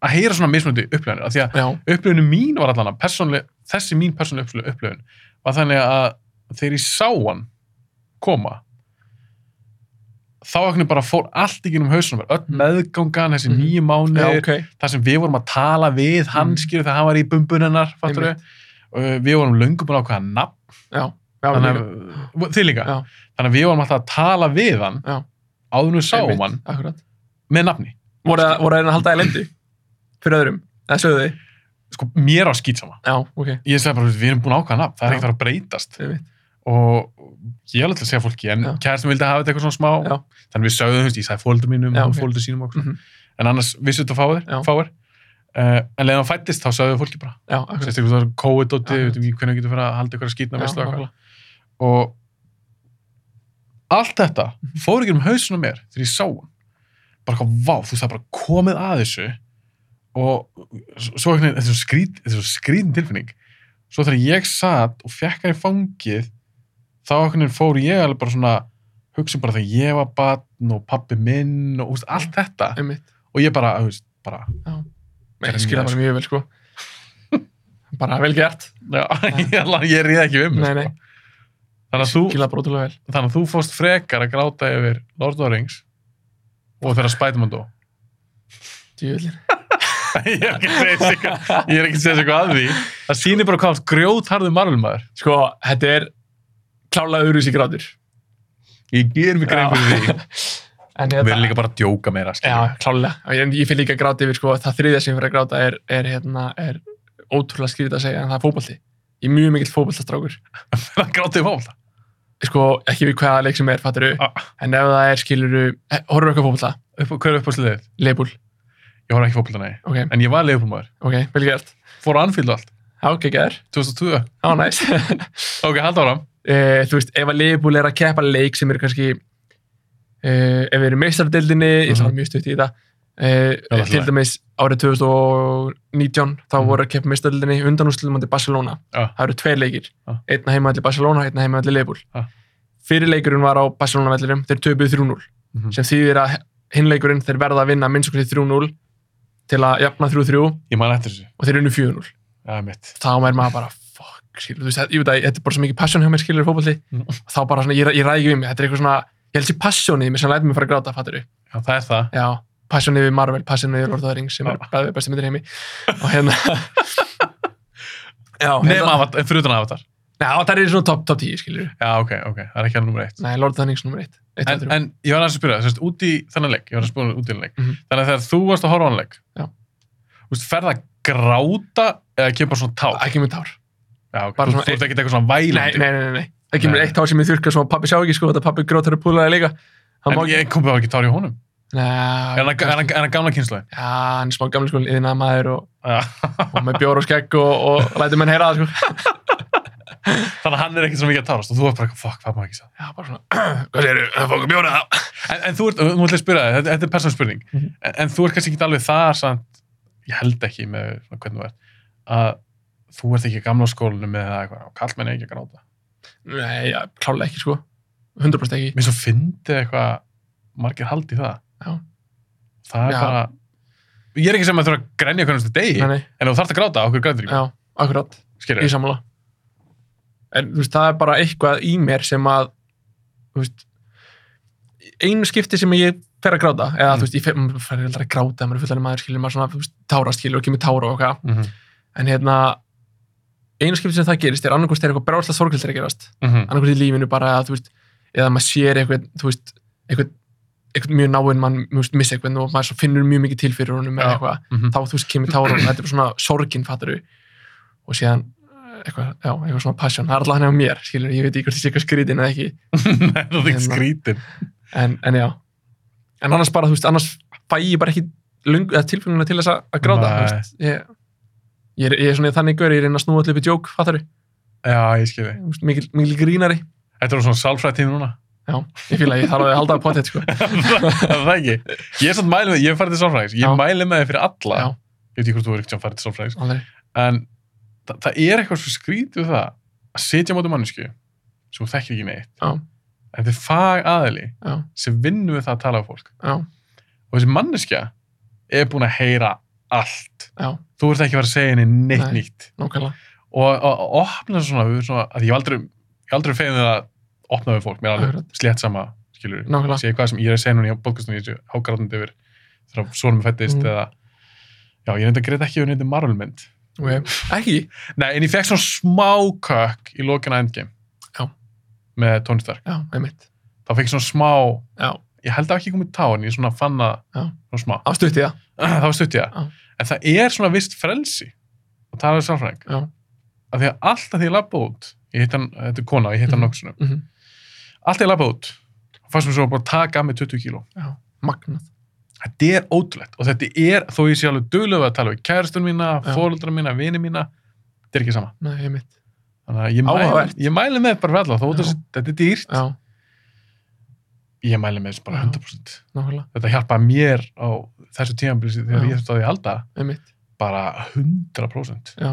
að heyra svona mismunandi upplöðunir af því að
já,
upplöðunum mín var allan að persónleg þessi mín persónleg upplöðun var þannig að þegar ég sá hann koma þá ekki bara fór allt í um hausunum öll
Mm.
meðgangan, þessi
Mhm.
nýju
já,
mánuðir
ok
það sem við vorum að tala við hann
Mm.
mm. skilur þegar hann var í bumbunennar fattur
Einmitt.
við við vorum löngum búin að ákveða nafn
já, já,
þannig
líka.
að þið líka
Já.
þannig að við vorum alltaf að tala við hann
Já.
áður nú sáum
Einmitt,
hann
akkurat
með nafni
voru það voru það að halda í lendi fyrir öðrum, það sögðu þið
sko mér á skýt sama
já, ok,
ég sagði bara við erum búin að ákveða nafn það
Já.
er ekkert að fara að breytast
Einmitt.
og ég er alltaf að segja fólki en
Já.
kærastum vildi hafa þetta eitthvað svona smá
Já.
þannig við sögðum, þú veist, ég sagði fóldur mínum
Já,
og
ok.
fóldur sínum og okkur
Mhm.
en annars vissu þetta fáir,
Já.
fáir. Uh, en leðan hann fættist þá sögðu fólki bara
já, akkurat
sérstaklega það er COVID-dóti,
Já,
við veitum ekki hvernig við getum fyrir að halda ykkur að skýtna
Ah, Já,
veistlu og
nákvæmlega.
eitthvað. Og allt þetta
Mhm.
fór ekki um hausunum mér þegar ég sá hann. Bara eitthvað, vá, þú veist það er bara komið að þessu og s- svo einhvern veginn, þetta er svo skrít- þetta er svo skrítin tilfinning. Svo þegar ég satt og fekk hann í fangið, þá einhvern veginn fór ég alveg bara svona, hugsa bara þegar ég var batn og pappi minn og þú veist, allt þetta.
einmitt,
Og ég bara, þú veist, bara,
Nei, ég skilja bara mjög vel sko bara vel gert
já, ég, ég ríð ekki um.
nei,
sko.
nei,
Þannig að þú,
skilja bara ótrúlega vel
Þannig að þú fórst frekar að gráta yfir Lord of the Rings og þegar Spiderman dó.
djúvillir
ég er ekki að segja þessu eitthvað- ég er ekki að segja þessu eitthvað að því. Það sýnir bara hvað grjótharðu marlumæður.
Sko, þetta er klálega öðruvísi grátur.
Ég ger mig grein fyrir því.
en
Við
hérna,
erum líka bara að djóka meira,
já,
skilja.
klálega ég, ég fyrir líka að gráta yfir sko, það þriðja sem ég fyrir að gráta er, er, hérna, er ótrúlega skrítið að segja en það er fótbolti ég er mjög mikill fótboltastrákur
Það grátið fólk.
sko, ekki við hvaða leik sem er, fatturu
Ah.
en ef það er, skiluru, horfur eitthvað fótbolta
Hver er upp á sliðið?
leifbúl,
Ég horf ekki fólk, nei.
ok,
En ég var leifbúmaður.
ok, vel gert
Fór á Anfield og allt.
já, ok, gerður,
2002.
á, næs
Ok, halda áram.
Eh, þú veist, ef að Liverpool er að keppa leik sem eru kannski uh, ef við erum meistardildinni, ég ætla að
Mhm.
vera mjög stutt í það uh,
það er
til
læg.
dæmis árið 2019 þá
Mhm. Ah.
voru að keppa meistardildinni undan úrslutumandi Barcelona
Já.
það eru tveir leikir,
Já.
ah. einna heimaðalli Barcelona einna heimaðalli Liverpool
Já.
fyrir leikurinn var á Barcelona vellirum, þeir töpuð 3-0
Mhm.
sem þýðir að hinleikurinn þeir verða að vinna minnst okkur 3-0 til að jafna 3-3 og
Ég man eftir þessu.
þeir eru 4-0
Já, mitt.
þá er maður bara fuck, skilur, þú veist, ég veit að þetta er bara svo mikið passion hjá mér skilur í fótbolti
Mm.
og þá bara svona, ég, ég ræði ekki við mig, þetta er eitthvað svona ég held sér passjónið mér sem læti mig fara að gráta, fattur við
Já, það er það.
já, passjónið við Marvel, passjónið við Lord of the Rings sem er
Já.
bæðið besti myndir heimi og hérna já,
Nefn avatar, fyrir utan avatar.
neða, það er svona top, top 10 skilur,
Já, ok, ok. Það er ekki hann nummer eitt.
nei, Lord of the Rings nummer 1 1
En, en ég var aðeins að spyrja það, sérst, út í þannig leik, ég var aðeins að spyrja um út í þannig leik,
Mhm.
þannig að þegar þú varst að horfa á hann leik,
Já.
þú veist, ferð að gráta eða kemur svona tá?
ekki með tár
Já, ok,
bara
þú,
svona e-
þú ert ekkert eitthvað svona
nei,
vælandi.
nei, nei, nei, nei, það kemur
Nei.
eitt tár sem ég þurrka sem að pappi sjá ekki, sko, þetta pappi grótar að púla það líka hann má
en
ekki
ég kom bara ekki tár í honum. Er hann- er
Nei,
hann er hann gamla kynsluðin?
já, hann er smá gamli sko, yðina og
þannig
og með bjór og skegg og, og lætið menn heyra það sko.
að hann er ekkert svona mikið að tárast og þú ert bara, eitthvað, fuck, hvað maður ekki sá?
Já, bara svona, hvað segir þau, það fókum bjóra þá.
En, en þú ert, nú ætla ég að spyrja það, þetta, þetta er persónum spurning,
Mhm.
en, en þú ert kannski ekki alveg það, samt, ég held ekki með svona, hvernig þú ert, að þú ert ekki í gamla skólanum með það eitthvað, kallmenn er ekki að gráta.
Nei, já, klálega ekki sko, 100% ekki.
mér svo fyndi eitthvað margir haldi það
Já.
það er
Já.
bara ég er ekki sem að þurfa að grenja hvernig þetta degi
Nei, nei,
en ef þú þarf að gráta, okkur grætur
já, akkurat,
ekki skilur
í sammála. En þú veist, það er bara eitthvað í mér sem að, þú veist, einu skipti sem ég fer að gráta, eða
Mm.
þú veist, ég fer, maður fer aldrei að gráta, maður er fullan maður skilur, maður svona, þú veist, tára skilur og kemur tára og eitthvað.
mm -hmm.
En hérna, einu skipti sem það gerist er annarkvist er eitthvað brálslega sorgildir að gerast.
Mm -hmm.
annarkvæmt í lífinu bara að þú veist eða maður sér eitthvað þú veist eitthvað, eitthvað mjög náinn mann þú veist, missa eitthvað og maður svo finnur mjög mikið til fyrir honum eða
Já.
eitthvað
Mm -hmm.
þá þú veist kemur tára og þetta er bara svona sorgin fattar og síðan eh, eitthvað, já, eitthvað svona passion það er alltaf hann á mér skilur ég veit ekki hvort það sé eitthvað skrítin eða ekki
það er ekki
Hérna.
skrítin
en, en já en annars bara þú veist annars fæ ég bara ekki lung, eða tilfenguna til þess að- að gráta þú
Nei.
veist, ég, ég, er, ég er svona þannig gaur ég reyna að snúa allir upp í djók fattar
já, ég skilji
mikil, mikil grínari
þetta er svona sálfræð tími núna
já ég fíla að ég þarf að halda að potið sko
það er það ekki ég er svona mælið með, ég hef farið til sálfræðis ég
Já.
mælið með þið fyrir alla
Já.
ég veit ekki hvort þú er ekkert farið til sálfræðis
aldrei
en þa það er eitthvað svo skrítið við það að sitja á móti mannesku sem þú þekkir ekki neitt
Já.
en þið fag aðili
Já.
sem vinnum við það að tala á fólk
Já,
og þessi manneskja er búin að heyra allt
já,
þú ert ekki að vera að segja henni neitt
Nei.
nýtt
nákvæmlega.
og að að opna svona, við, svona að ég hef aldrei, ég hef aldrei fegin það að opna við fólk, mér er
Akkurat.
alveg slétt sama skilur,
Nákvæmlega.
sé hvað sem ég er að segja núna í bókastunni, ég er hágrátandi yfir þegar svonum er fættist
Mhm.
eða já, ég reynda að greita ekki yfir neitt marvulmynd
Okay. Ekki?
nei, en ég fekk svona smá kökk í lokina endgame
Já.
með tónistar,
Já, einmitt.
þá fekk ég svona smá
Já,
ég held að ekki komið tá, en ég svona fann að
Já.
svona smá
á stutti það.
það var stutt í
Já.
það en það er svona vist frelsi að tala við sálfræðing
Já.
af því að alltaf því ég labba út ég hitt hann, þetta er kona, ég hitt hann
Mhm.
nokkuð sinnum
Mm -hmm.
alltaf ég labba út fannst mér svo bara að taka af mig 20 kíló
Magnað.
þetta er ótrúlegt og þetta er, þó ég sé alveg duglega að tala við kæristun mína,
Já.
fóruldra mína, vini mína þetta er ekki sama
Nei, einmitt.
þannig að ég, mæli,
Áhugavert.
ég mæli með bara verðla þó
Já.
þessi, þetta er dýrt
Já,
ég mæli með þessu bara
Já.
100%
nákvæmlega.
þetta hjálpaði mér á þessu tímanbilsi þegar
Já.
ég þurfti á því að halda
Einmitt,
bara 100%
já.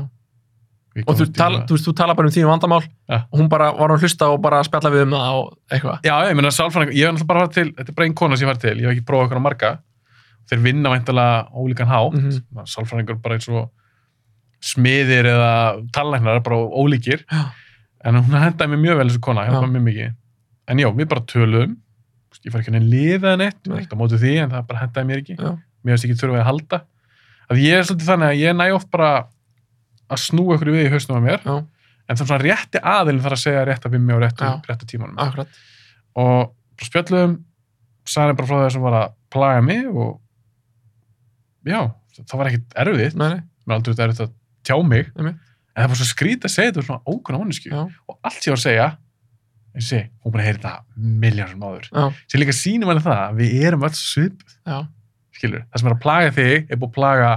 Ég
Og
kom
þú,
út í
tala,
það.
þú, veist, þú tala bara um þínu vandamál
Já.
og hún bara var að hlusta og bara að spjalla við um það og eitthvað.
Já, ég meina sálfræðing, ég hef náttúrulega bara farið til, þetta er bara einn kona sem ég farið til, ég hef ekki prófað okkur á marga, þeir vinna væntalega á ólíkan hátt, mm
Mhm.
sálfræðingur bara eins og smiðir eða talæknar bara ólíkir,
Já.
en hún hendaði mér mjög vel þessu kona, hjálpaði mér mikið, en já, við bara töluðum, ég fari ekki henni liða en eitt, ég var
Nei.
ekkert á mótu því, en það bara hendaði mér ekki,
Já.
mér veist ekki þurfa að halda, að ég er svolítið þannig að ég næ oft bara að snúa ykkur við í hausnum að mér,
Já.
en það er svona rétti aðilin þarf að segja rétt að við mig og réttu,
Já.
réttu tímanum
Akkurat.
og bara spjöllum sagði bara frá því sem var að plaga mig og já, það var ekkit erfitt
Nei, nei,
mér er aldrei þetta erfitt að tjá mig
Einmitt.
en það var svo skrítið að segja þetta við svona ókunna mannesku
já,
og allt sem ég var að segja eins og sé, hún bara heyri þetta miljónsum áður
já,
sem líka sýnum henni það að við erum öll svip
já,
skilur, það sem er að plaga þig er búið að plaga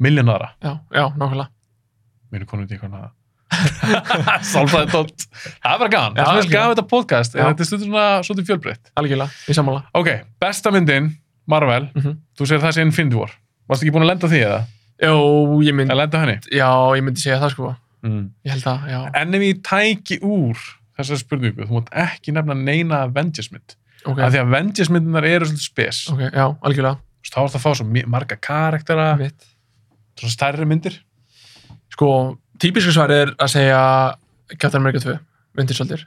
miljón aðra
já, já, nákvæmlega.
minu konum til eitthvað annað. sálfræði tótt það er bara gaman,
Já,
það er
algjörlega.
gaman þetta podcast
Já.
en þetta er stundur svona svolítið fjölbreytt
Algjörlega, í sammála.
ok, besta myndin, Marvel
Mhm.
þú segir það sé Infinity War, varstu ekki búin að lenda því eða?
Jó, ég myndi,
að lenda henni?
já, ég myndi segja það sko.
Mm.
Ég held að, já.
en ef ég tæki úr þessar spurningu, þú mátt ekki nefna neina Avengers mynd,
Ok,
af því að Avengers myndunar eru svolítið spes,
ok, já, algjörlega.
Þú veist, þá er það að fá svo mi- marga karaktera,
Mitt.
svona stærri myndir
Sko, típisku svar er að segja Captain America 2, Winter Soldier.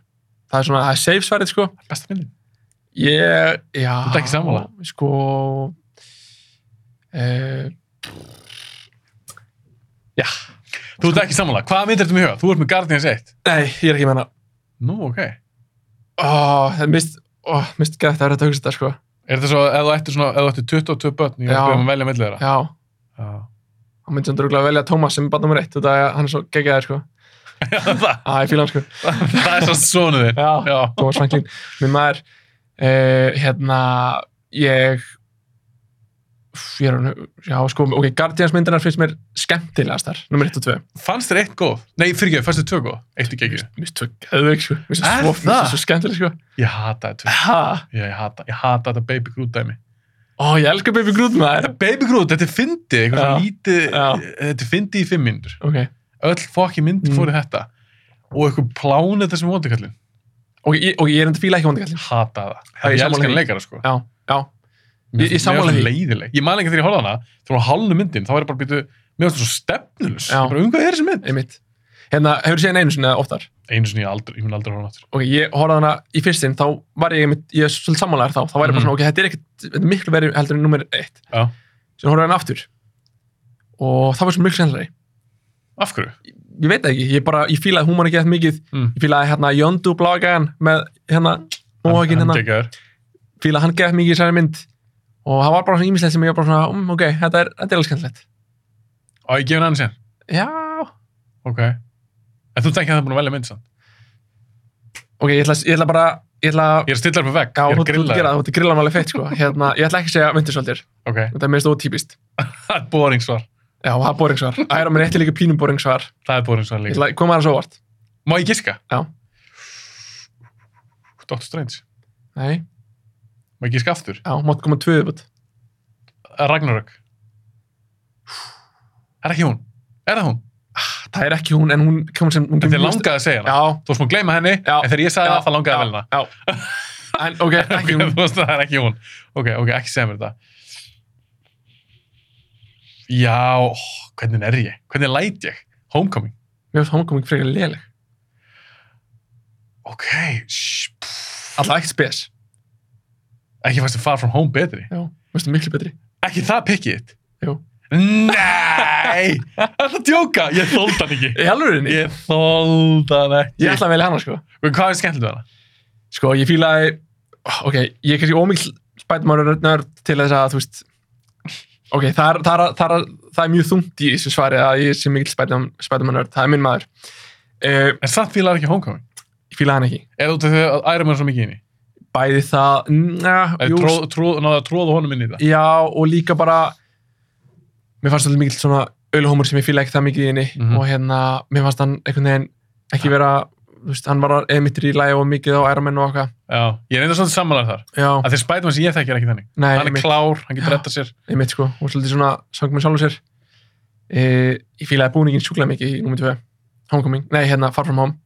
Það er svona, það er safe svarið sko.
besta myndin,
Ég, já.
Þú ert ekki sammála?
Sko, uh, Sko-
þú ert ekki samanlega, hvaða mynd er þetta með huga? þú ert með Guardians 1,
nei, ég er ekki með hana.
nú ok
Ó, það er mist, ó, mist gætt að vera að hugsa þetta sko.
Er þetta svo, ef þú ættir svona, ef þú ættir 22 börn, ég
Já.
var að velja mellið þeirra?
Já,
Já.
þá myndi sem dröglega velja Thomas sem er bara nummer eitt, þetta er hann er svo geggjaðir sko.
Já, það,
Æ, ég fíla hann sko.
það er svo svonu þinn.
Já.
Já.
Thomas Franklin minn maður uh, hérna ég Úff, ég er hann já sko ok Guardians myndirnar finnst mér skemmtilegast þar nummer 1 og 2
Fannst þér eitt góð? Nei, fyrir ekki, fannst þér tvö góð? Eitt ekki ekki.
minnst tvö geðveik sko minnst
Er
það svo
það?
finnst það svo skemmtileg sko
Ég hata þetta.
ha
Já, ég hata, ég hata þetta Baby Groot dæmi.
ó ég elskar Baby Groot maður
Baby Groot, þetta er fyndið, eitthvað
Já.
svona lítið,
Já.
þetta er fyndið í fimm mínútur.
ok
Öll fokki myndir
Mm.
mm. fóru í þetta. Og eitthvað plánið þetta sem vondikallin.
ok ég, okay, ég er enda fíla ekki vondikallin
Hata það.
Já, ég
ég
sammála
elskar
því.
hann leikara, sko.
já já Ég- ég sammála
því.
því.
Leiðileg. Ég man ekki þegar ég horfði á hana, þegar hún var hálnu myndin, þá var ég bara býtu, mér var þetta svo stefnulus.
Já.
Ég bara, um hvað er þessi mynd?
einmitt hérna hefur séð hann einu sinni eða oftar
einu sinni ég aldrei, ég mun aldrei horfa á hann aftur.
ok ég horfði á hana í fyrstin þá var ég einmitt ég er svolítið sammálaðar þá þá var ég bara
Mhm.
svona ok þetta er ekkert þetta er miklu verið heldur en nummer 1
Já.
sem horfði á hann aftur og það var svo miklu sennlega
Af hverju?
ég veit það ekki, ég bara, ég fílaði hún man ekki eftir mikið
Mm.
ég fílaði hérna Jöndu blágan með hérna, móhaginn hérna
geggjaður.
fílaði hann gefð mikið í særi mynd og það var bara svona ímislegt sem ég var bara svona um, ok, þetta er, þetta er alveg skemmtilegt
Á, ég gefur hann annars enn.
já,
Ok. En þú ert ekki að það búin að velja mynd sann.
ok, ég ætla, ég ætla bara ég ætla,
Ég er að stilla upp að vegg.
já,
ég er
þú
að
þú
grilla
gera
það.
það, þú grillar alveg feitt sko hérna, ég ætla ekki að segja myndisoldir,
Ok.
þetta er mest ótypist
Það er bóringsvar.
já, það er bóringsvar, æra mér eitt er líka pínum bóringsvar
Það er bóringsvar
ég
líka.
ætla, koma það svo vart,
Má ég giska?
Já.
Dr. Strange.
nei,
Má ég giska aftur?
já, mátt koma tvö viðbót.
Ragnarök. Er ekki hún? Er það hún?
Ah, það er ekki hún, en hún kom sem hún
En þið
kemur-
langaði að segja hana.
já,
Þú varst múið að gleyma henni,
Já.
en þegar ég sagði
Já.
það, það langaði að velja hana.
já, já. en ok,
Ok,
ekki um- hún
þú veist að það er ekki hún. Ok, ok, ekki segja mér þetta. Já, ó, hvernig er ég? Hvernig læt ég? Homecoming.
Mér finnst homecoming frekar léleg.
Ok, shh, pff.
Alltaf ekkert spes.
ekki fannst þið far from home betri.
Já. Mér finnst það miklu betri.
Ekki það pikkið þitt?
Jú.
Nei! Það er að djóka. Ég þóld hann ekki.
Í alvegurinni?
Ég þóld hann
Ég
ekki.
ætla að velja hana, sko.
Og Hvað er skemmtilegt við hana?
Sko, ég fílaði... Ok, ég er kannski ómikl spætumárnörd til þess að, þú veist... Ok, það er, það er, það er, það er mjög þungt í þessu svari að ég sé mikil spætumárnörd. Það er minn maður. Uh,
En samt fílar ekki homecoming.
ég fílaði hann ekki.
Er það út af því að Iron Man er svo mikið inni?
Bæði það... Njá,
Eða tróð, tróð, náðu að tróða honum inn í það?
Já, og líka bara mér fannst svolítið mikill svona ölhómur sem ég fíla ekki það mikið í henni
Mhm.
og hérna, mér fannst hann einhvern veginn ekki vera, þú veist, hann var eða mittir í lægi og mikið á æramennu og okkar
Já, ég er einnig svolítið sammálar þar.
Já,
Að því Spiderman sem ég þekki er ekki þannig.
nei,
hann er
einmitt,
klár, hann getur
Já.
rettað sér
einmitt sko og svolítið svona sang með sjálfur sér e, Ég fílaði búningin sjúklega mikið í nummer 2 Homecoming, nei, hérna, Far From Home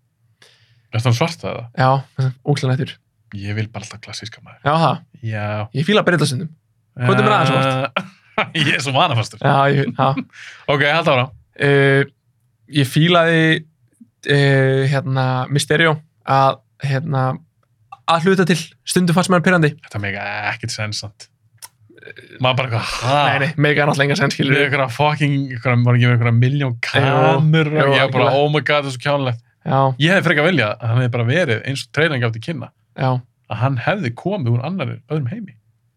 Er það svarta eða?
Já, ókslega nættur
Ég vil bara alltaf klassíska maður
Já, það,
Já
ég fíla breytasundum Hvað er mér aðeins
svart? Ég er svo vanafastur
Já, ég, já
Ok, held ára
uh, ég fílaði uh, hérna Mysterio að hérna að hluta til stundum fannst mér hann pyrrandi
Þetta meika ekkert sensant Maður bara eitthvað
nei, nei,
"Ha?"
mega hann alltaf enga sen
Við
skilur já,
ykkur að fucking ykkur, Var ekki með ykkur að miljón kamur
jú,
Ég var bara,
algjörlega.
oh my god, það er svo kjánlegt
já,
Ég hefði frekar viljað að hann hefði bara verið eins og trailing átti kynna
já,
að hann hefði komið úr annar öðrum heimi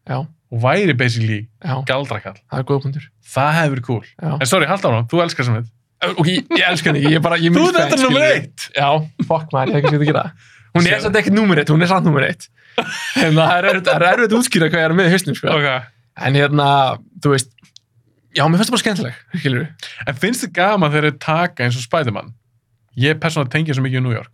já,
og væri basically
já,
galdrakall
það er góð punktur
það hefði verið cool
Já.
en sorry, halda áram, þú elskar sem þetta
Ok, ég, ég elska henni, ekki, ég er bara, ég er
Þú
mikill
ert þetta
fan,
nummer
skilurðu.
eitt!
Já, fokk maður, ég hef ekki sér að gera það. Hún er
Sjáðu.
samt ekkert nummer eitt, hún er samt nummer eitt. En það er erfitt- það er erfitt að útskýra hvað ég er með í hausnum, sko.
okay.
En hérna, þú veist, já, mér finnst það bara skemmtileg, skilur við.
En finnst þið gaman þegar þið taka eins og Spiderman? Ég persónulega tengi svo mikið í New York.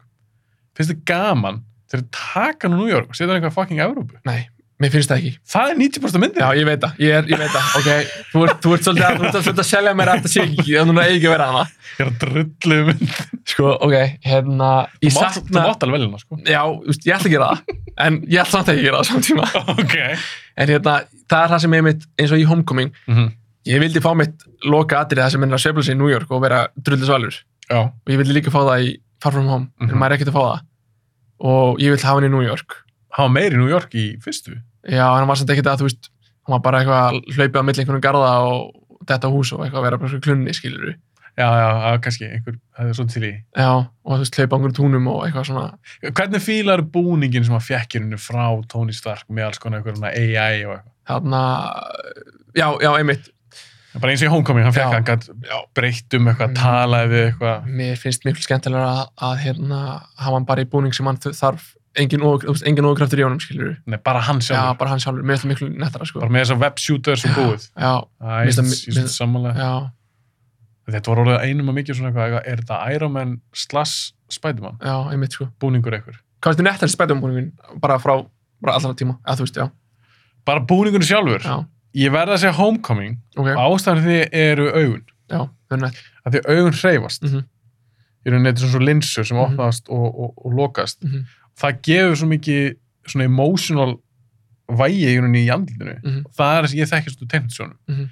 Finnst þið gaman þegar þið taka nú New York og setja hann eitthvað fucking Evrópu?
Nei, mér finnst það ekki.
Það er 90% myndið.
Já, ég veit það, ég, er, ég veit það, ok. Þú ert, þú ert svolítið að, þú ert svolítið að selja mér að þetta sé ekki, þannig að það eigi ekki að vera hana.
Ég er að drullu um mynd.
Sko, ok, hérna,
Þú
ég
mátt- þú
sakna,
mátt alveg velina, sko.
já, þú veist, ég ætla að gera það, en ég ætla samt ekki að gera það á sama tíma.
ok.
En hérna, það er það sem ég mitt, eins og í Homecoming, ég vildi fá mitt loka atrið það sem er að sveifla sig í New York og vera drullið svalur
Já.
og ég vildi líka fá það í Far From Home en
Mhm.
maður er ekkert að fá það og ég vildi hafa hann í New York
Hann var meir í New York í fyrstu.
já, en hann var samt ekkert að, þú veist hann var bara eitthvað að hlaupa á milli einhvern garða og þetta hús og eitthvað að vera bara svona klunni, skilur
Já, já, já, kannski einhver, það er svona til í.
já, og þú veist, hlaupa á einhvern túnum og eitthvað svona
Hvernig fílar búningin sem hann fekk í hennu frá Tony Stark með alls konar einhver svona AI og eitthvað?
þarna, já, já, einmitt
Bara eins og í Homecoming, hann fekk
Já.
hann gat breytt um eitthvað,
Mm.
talaði við eitthvað.
mér finnst miklu skemmtilega að, að hérna, hafa hann bara í búning sem hann þarf engin, og, þú veist, engin ógraftur í honum, skilur
Nei, bara hann
já,
sjálfur.
bara hann sjálfur, mér finnst það miklu nettara, sko
bara með þess að webshooters og búið
já,
Æ, ég
Mér
finnst-
finnst
ég
það-
finnst samanlega
já,
þetta var orðið einum að mikið svona eitthvað eitthvað, er þetta Iron Man slash Spiderman
já, einmitt sko
búningur eitthvað
hvað er þetta nettar spætumbúningin um bara frá bara allra tíma, eða þú veist, já,
bara búningur sjálfur
já
ég verða að segja Homecoming
ok,
og ástæðan fyrir því eru augun
já, það er nett
að því augun hreyfast
Mhm.
ég er neitt svona linsur sem
Mhm.
opnaðast og, og, og lokast
Mhm.
það gefur svo mikið svona emotional vægi í rauninni í andlinu
Mhm.
það er það sem ég þekkist úr tegnitsjónum
Mhm.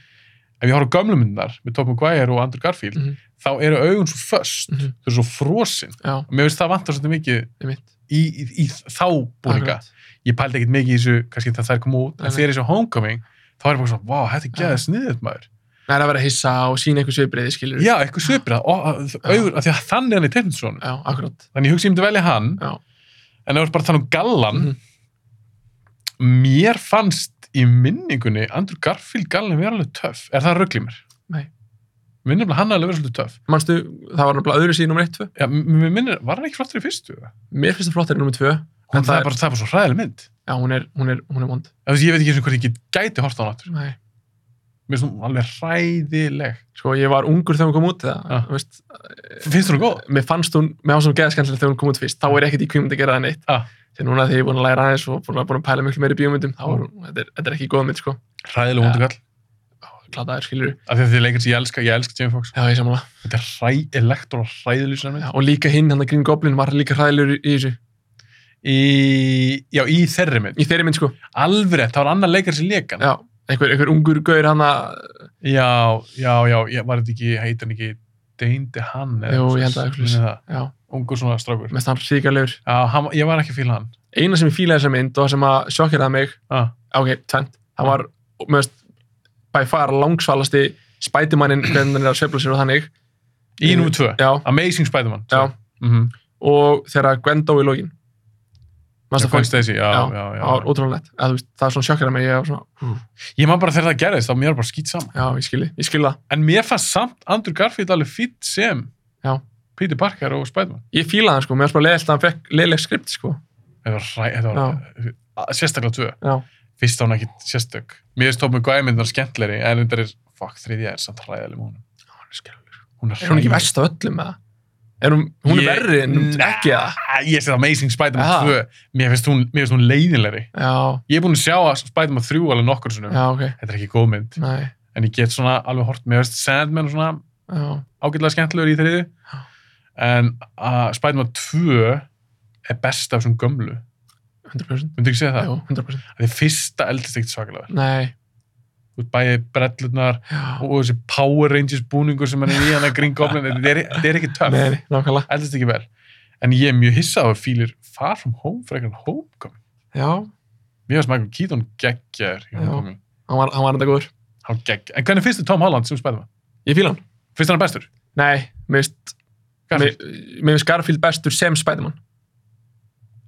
ef ég horf á gömlu myndar með Tom McGuire og Andrew Garfield
Mhm.
þá eru augun svo föst
Mhm.
þau eru svo frosin
já,
og mér finnst það vantar svolítið mikið
einmitt,
í, í, í þá búninga
Akkurat.
ég pældi ekkert mikið í þessu, kannski þegar það er komið út en
Nei, Ah. nei.
þegar þessu homecoming, þá er ég bara svona vá, þetta er gæðið sniðið maður
það er að vera hissa og sína einhver svipriði, skilur
já, eitthvað svipir,
Ah.
augur, af því að þannig er hann í teiknisónu,
já, akkurat,
þannig ég hugsi ég myndi velja hann
Já.
en ef þú ert bara að tala um gallan
Mhm.
mér fannst í minningunni Andrew Garfield gallan vera alveg töff er það ruggli mér?
Nei.
Mér minnir nefnilega að hann hafi alveg verið svolítið töff.
manstu, það var náttúrulega öðru síðan nummer 1, 2
Já, mér minnir, var hann ekki flottur í fyrstu?
mér finnst það flottar í nummer 2
Hún, það,
það
er bara, það er bara svo hræðileg mynd.
já, hún er, hún er, hún er vond
Ef þú veist, Ég veit ekki eins og hvort ég get- gæti hort á hann aftur.
Nei.
Mér finnst hún alveg hræðileg.
sko, ég var ungur þegar hún kom út
Já.
það, þú veist,
Finnst þú hún góð?
mér fannst hún, mér fannst hún geðskanlega þegar hún kom út fyrst, þá er ég ekkert í kvímynd að gera það neitt
Já.
þegar núna þegar ég er búin að læra aðeins og búin að, búin að pæla miklu meiri í bíómyndum þá
Mm.
er, hún- þetta er, þetta er ekki góð mynd, sko
Hræðileg
Ja.
vondu kall.
gladaður, skilur
Af því að þið leikir sem ég elska, ég elska Jamie Foxx.
já, ég sammála
Þetta er hræðilegt og hræðileg sem
Já,
mynd.
og líka hinn, hann að Green Goblin var líka hræðilegur í í þessu
Í, já, í þeirri mynd.
í þeirri mynd sko,
Alveg rétt, það var annar leikar sem leik hann.
já, einhver, einhver ungur gaur hann að,
Já, já, já, ég var þetta ekki, heitir hann ekki Dane DeHaan? eða
Jú,
eitthvað
ég held
svoleiðis.
að eitthvað
Minnir
svoleiðis.
það.
já,
Ungur svona strákur.
mest hann ríkarlegur
Já, hann, ég var ekki að fíla hann.
eina sem ég fílaði þessa mynd og það sem að sjokkeraði mig
Ah,
ok, tvent, hann var mjögst, by far langsvalasti spætumannin, hvernig hann er að sveifla sér og þannig,
í
Ég-
númer 2.
já,
Amazing Spider-Man.
Já.
Mm
og þegar Gwen dó í lógin
-hmm.
mannst að
Gwen
fannst
Stacy, já,
Já,
já, já.
það var ótrúlega nett, eða þú veist, það er svona sjokkeraði mig ég var svona,
Ég man bara þegar það gerðist, þá mér var bara skýt saman.
já, ég skilji, ég skilji það
En mér fannst samt Andrew Garfield alveg fýtt sem
Já.
Peter Parker og Spiderman.
ég fílaði hann sko, mér var bara leiðilt að hann fekk leiðileg skript sko,
Þetta var, ræ, þetta var að- sérstaklega tvö.
já,
Fyrst var hún ekki sérstök. Mér finnst Tómi Guæmyndar skemmtleri, en þetta er, fuck, þriðja er samt hræðileg múnum.
hann er skilji
Hún er
Er hún ekki
hræðileg.
verst af öllum eða? Er hún, hún
Ég-
er verri en ekki eða?
Ah, Ég sé Amazing
Aha.
Spider-Man 2. Mér finnst hún, mér finnst hún leiðinlegri.
Já,
Ég er búin að sjá að Spider-Man 3 alveg nokkur sinnum.
já, ok.
Þetta er ekki góð mynd.
Nei,
En ég get svona alveg hort, mér finnst Sandman og svona
já,
ágætlega skemmtilegur í þriði.
Já.
En uh, Spider-Man 2 er best af svona gömlu.
100%.
Myndu ekki segja það?
Jú, 100%.
Því fyrsta eldist ekkert svakalega vel.
Nei,
Þú veist, bæði brellurnar
já.
og þessi Power Rangers búningur sem hann er í hann að Green Goblin, þetta er, þetta er ekki töff.
Nei, nei, nákvæmlega.
Eldist ekki vel. En ég er mjög hissað á að fýlir Far From Home frekar en Homecoming.
Já,
Mér finnst Michael Keaton geggjar í Homecoming.
hann var, hann var enda góður.
Hann gegg. En hvernig finnst þið Tom Holland sem spæðum hann?
Ég fíla hann.
Finnst hann bestur?
Nei, mér finnst, mér
Garfield?
mér finnst Garfield bestur sem Spiderman.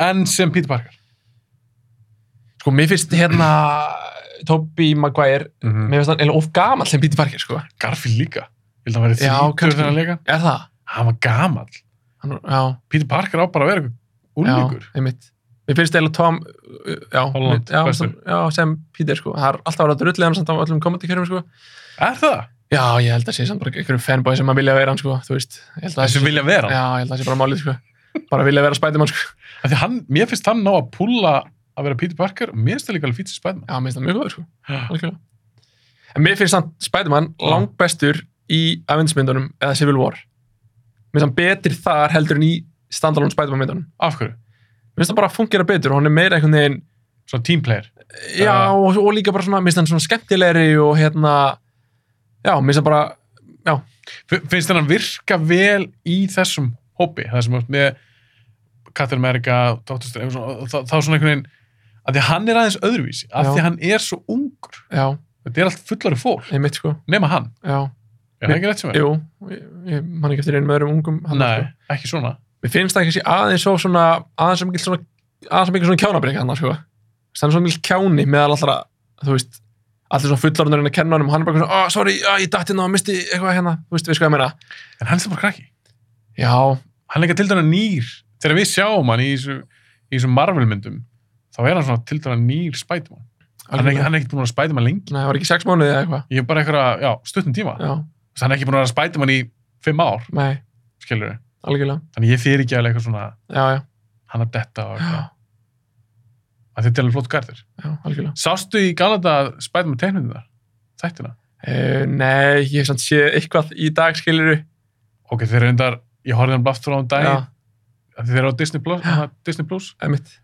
En sem Peter Parker?
Sko, mér finnst hérna Tobey Maguire,
Mhm.
mér finnst hann eiginlega of gamall sem Píti Parker, sko.
Garfield líka. Ég held að hann væri
Já,
þrítur
kannski.
þegar hann leika.
Er það?
Hann var gamall.
Hann, já,
Peter Parker á bara að vera eitthvað unlíkur.
já, einmitt. Mér finnst eiginlega Tom, uh, já,
Holland,
já,
bestur.
sem- já, sem Píti, sko. Það er alltaf að vera drullið hann samt á öllum kommentikjörum, sko.
Er það?
Já, ég held að sé samt bara einhverjum fanboy sem að vilja vera hann, sko, þú veist. Ég held að
Það sem vilja vera.
Já, ég held að það sé bara málið, sko. Bara vilja vera Spiderman, sko.
Af Því hann, mér finnst hann ná að púla að vera Peter Parker og mér finnst það líka alveg fýtt sem Spiderman.
Já, mér finnst það mjög góður, sko.
Já.
Algjörlega. En mér finnst samt Spider-Man
Já.
langbestur í Avengers-myndunum eða Civil War. Mér finnst hann betur þar heldur en í standalone Spider-Man-myndunum.
Af hverju?
Mér finnst það bara að fungera betur og hann er meira einhvern veginn,
Svona team player.
já,
Já.
og, og líka bara svona, mér finnst hann svona skemmtilegri og hérna, já, mér finnst það bara,
F- Finnst þér hann virka vel í þessum hópi? Það sem átt með Captain America, Doctor Strange, og svona- þá þá svona einhvern veginn að því að hann er aðeins öðruvísi, af
Já.
því að hann er svo ungur.
já,
Þetta er allt fullari fólk,
ég mitt sko,
nema hann.
já,
Er það ekki rétt sem er?
jú, ég, ég man ekki eftir einu með öðrum ungum. þarna,
Nei,
Sko.
ekki svona.
Mér finnst það ekki aðeins svo svona, aðeins svo mikil svona, aðeins svo mikil svona kjánabrið hann, sko. Þannig svo mikil kjáni meðal allra, þú veist, allir svona fullorðnur en að kenna hann og hann er bara svona, oh, sorry, ah, ég dætti hérna og misti eitthvað hérna, þú veist, við sko ég meina.
En hann er það bara krakki.
Já,
Hann er líka til dæna nýr. Þegar við sjáum hann í þessu, í þessu Marvel-myndum, þá er hann svona til dæna nýr Spiderman. Hann er, ekki-
algjörlega.
hann er ekkert búin að vera Spiderman lengi.
Nei, það var ekki sex mánuði eða eitthvað.
Ég er bara eitthvað, já, stuttum tíma.
Já,
Þess að Hann er ekki búin að vera Spiderman í fimm ár,
nei,
skilur við.
algjörlega.
Þannig ég fyrir ekki alveg eitthvað svona,
Já, já,
hann að detta og
já,
eitthvað. Að Þetta er alveg flott garður.
já, algjörlega.
Sástu í Galata Spiderman teiknundin þar? Þættina?
Uh, nei, ég hef samt sé eitthvað í dag, skiliru.
Ok, þeir eru endar, ég horfði hann blaftur á um daginn,
Já,
af því þeir eru á Disney Plus,
Já.
Disney Plus
emitt.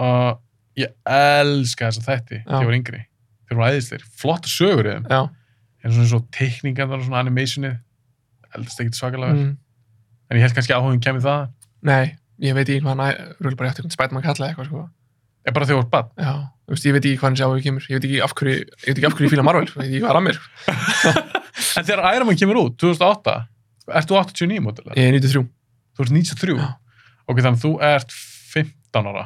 og ég elska þessa þætti þegar
Já.
ég var yngri. Þeir voru æðisleir, flott sögur í þeim.
Já,
En svona svo teikningarnar og svona animationið, eldast ekkert svakalega vel.
mm,
En ég held kannski áhugin kemur það.
nei, ég veit ekki hvað hann, rúli bara eftir hvernig Spiderman kallaði eitthvað, sko.
Ég bara þegar voru bann.
Já, þú veist, ég veit ekki hvað hann sé á við kemur. Ég veit ekki af hverju, ég veit ekki af hverju ég fíla Marvel, sko. ég veit ekki hvað er að mér. sko.
En þegar Iron Man kemur út, 2008, ert þú 89 mótilega?
Ég er 93.
Þú ert 93.
Já.
Ok, þannig að þú ert 15 ára.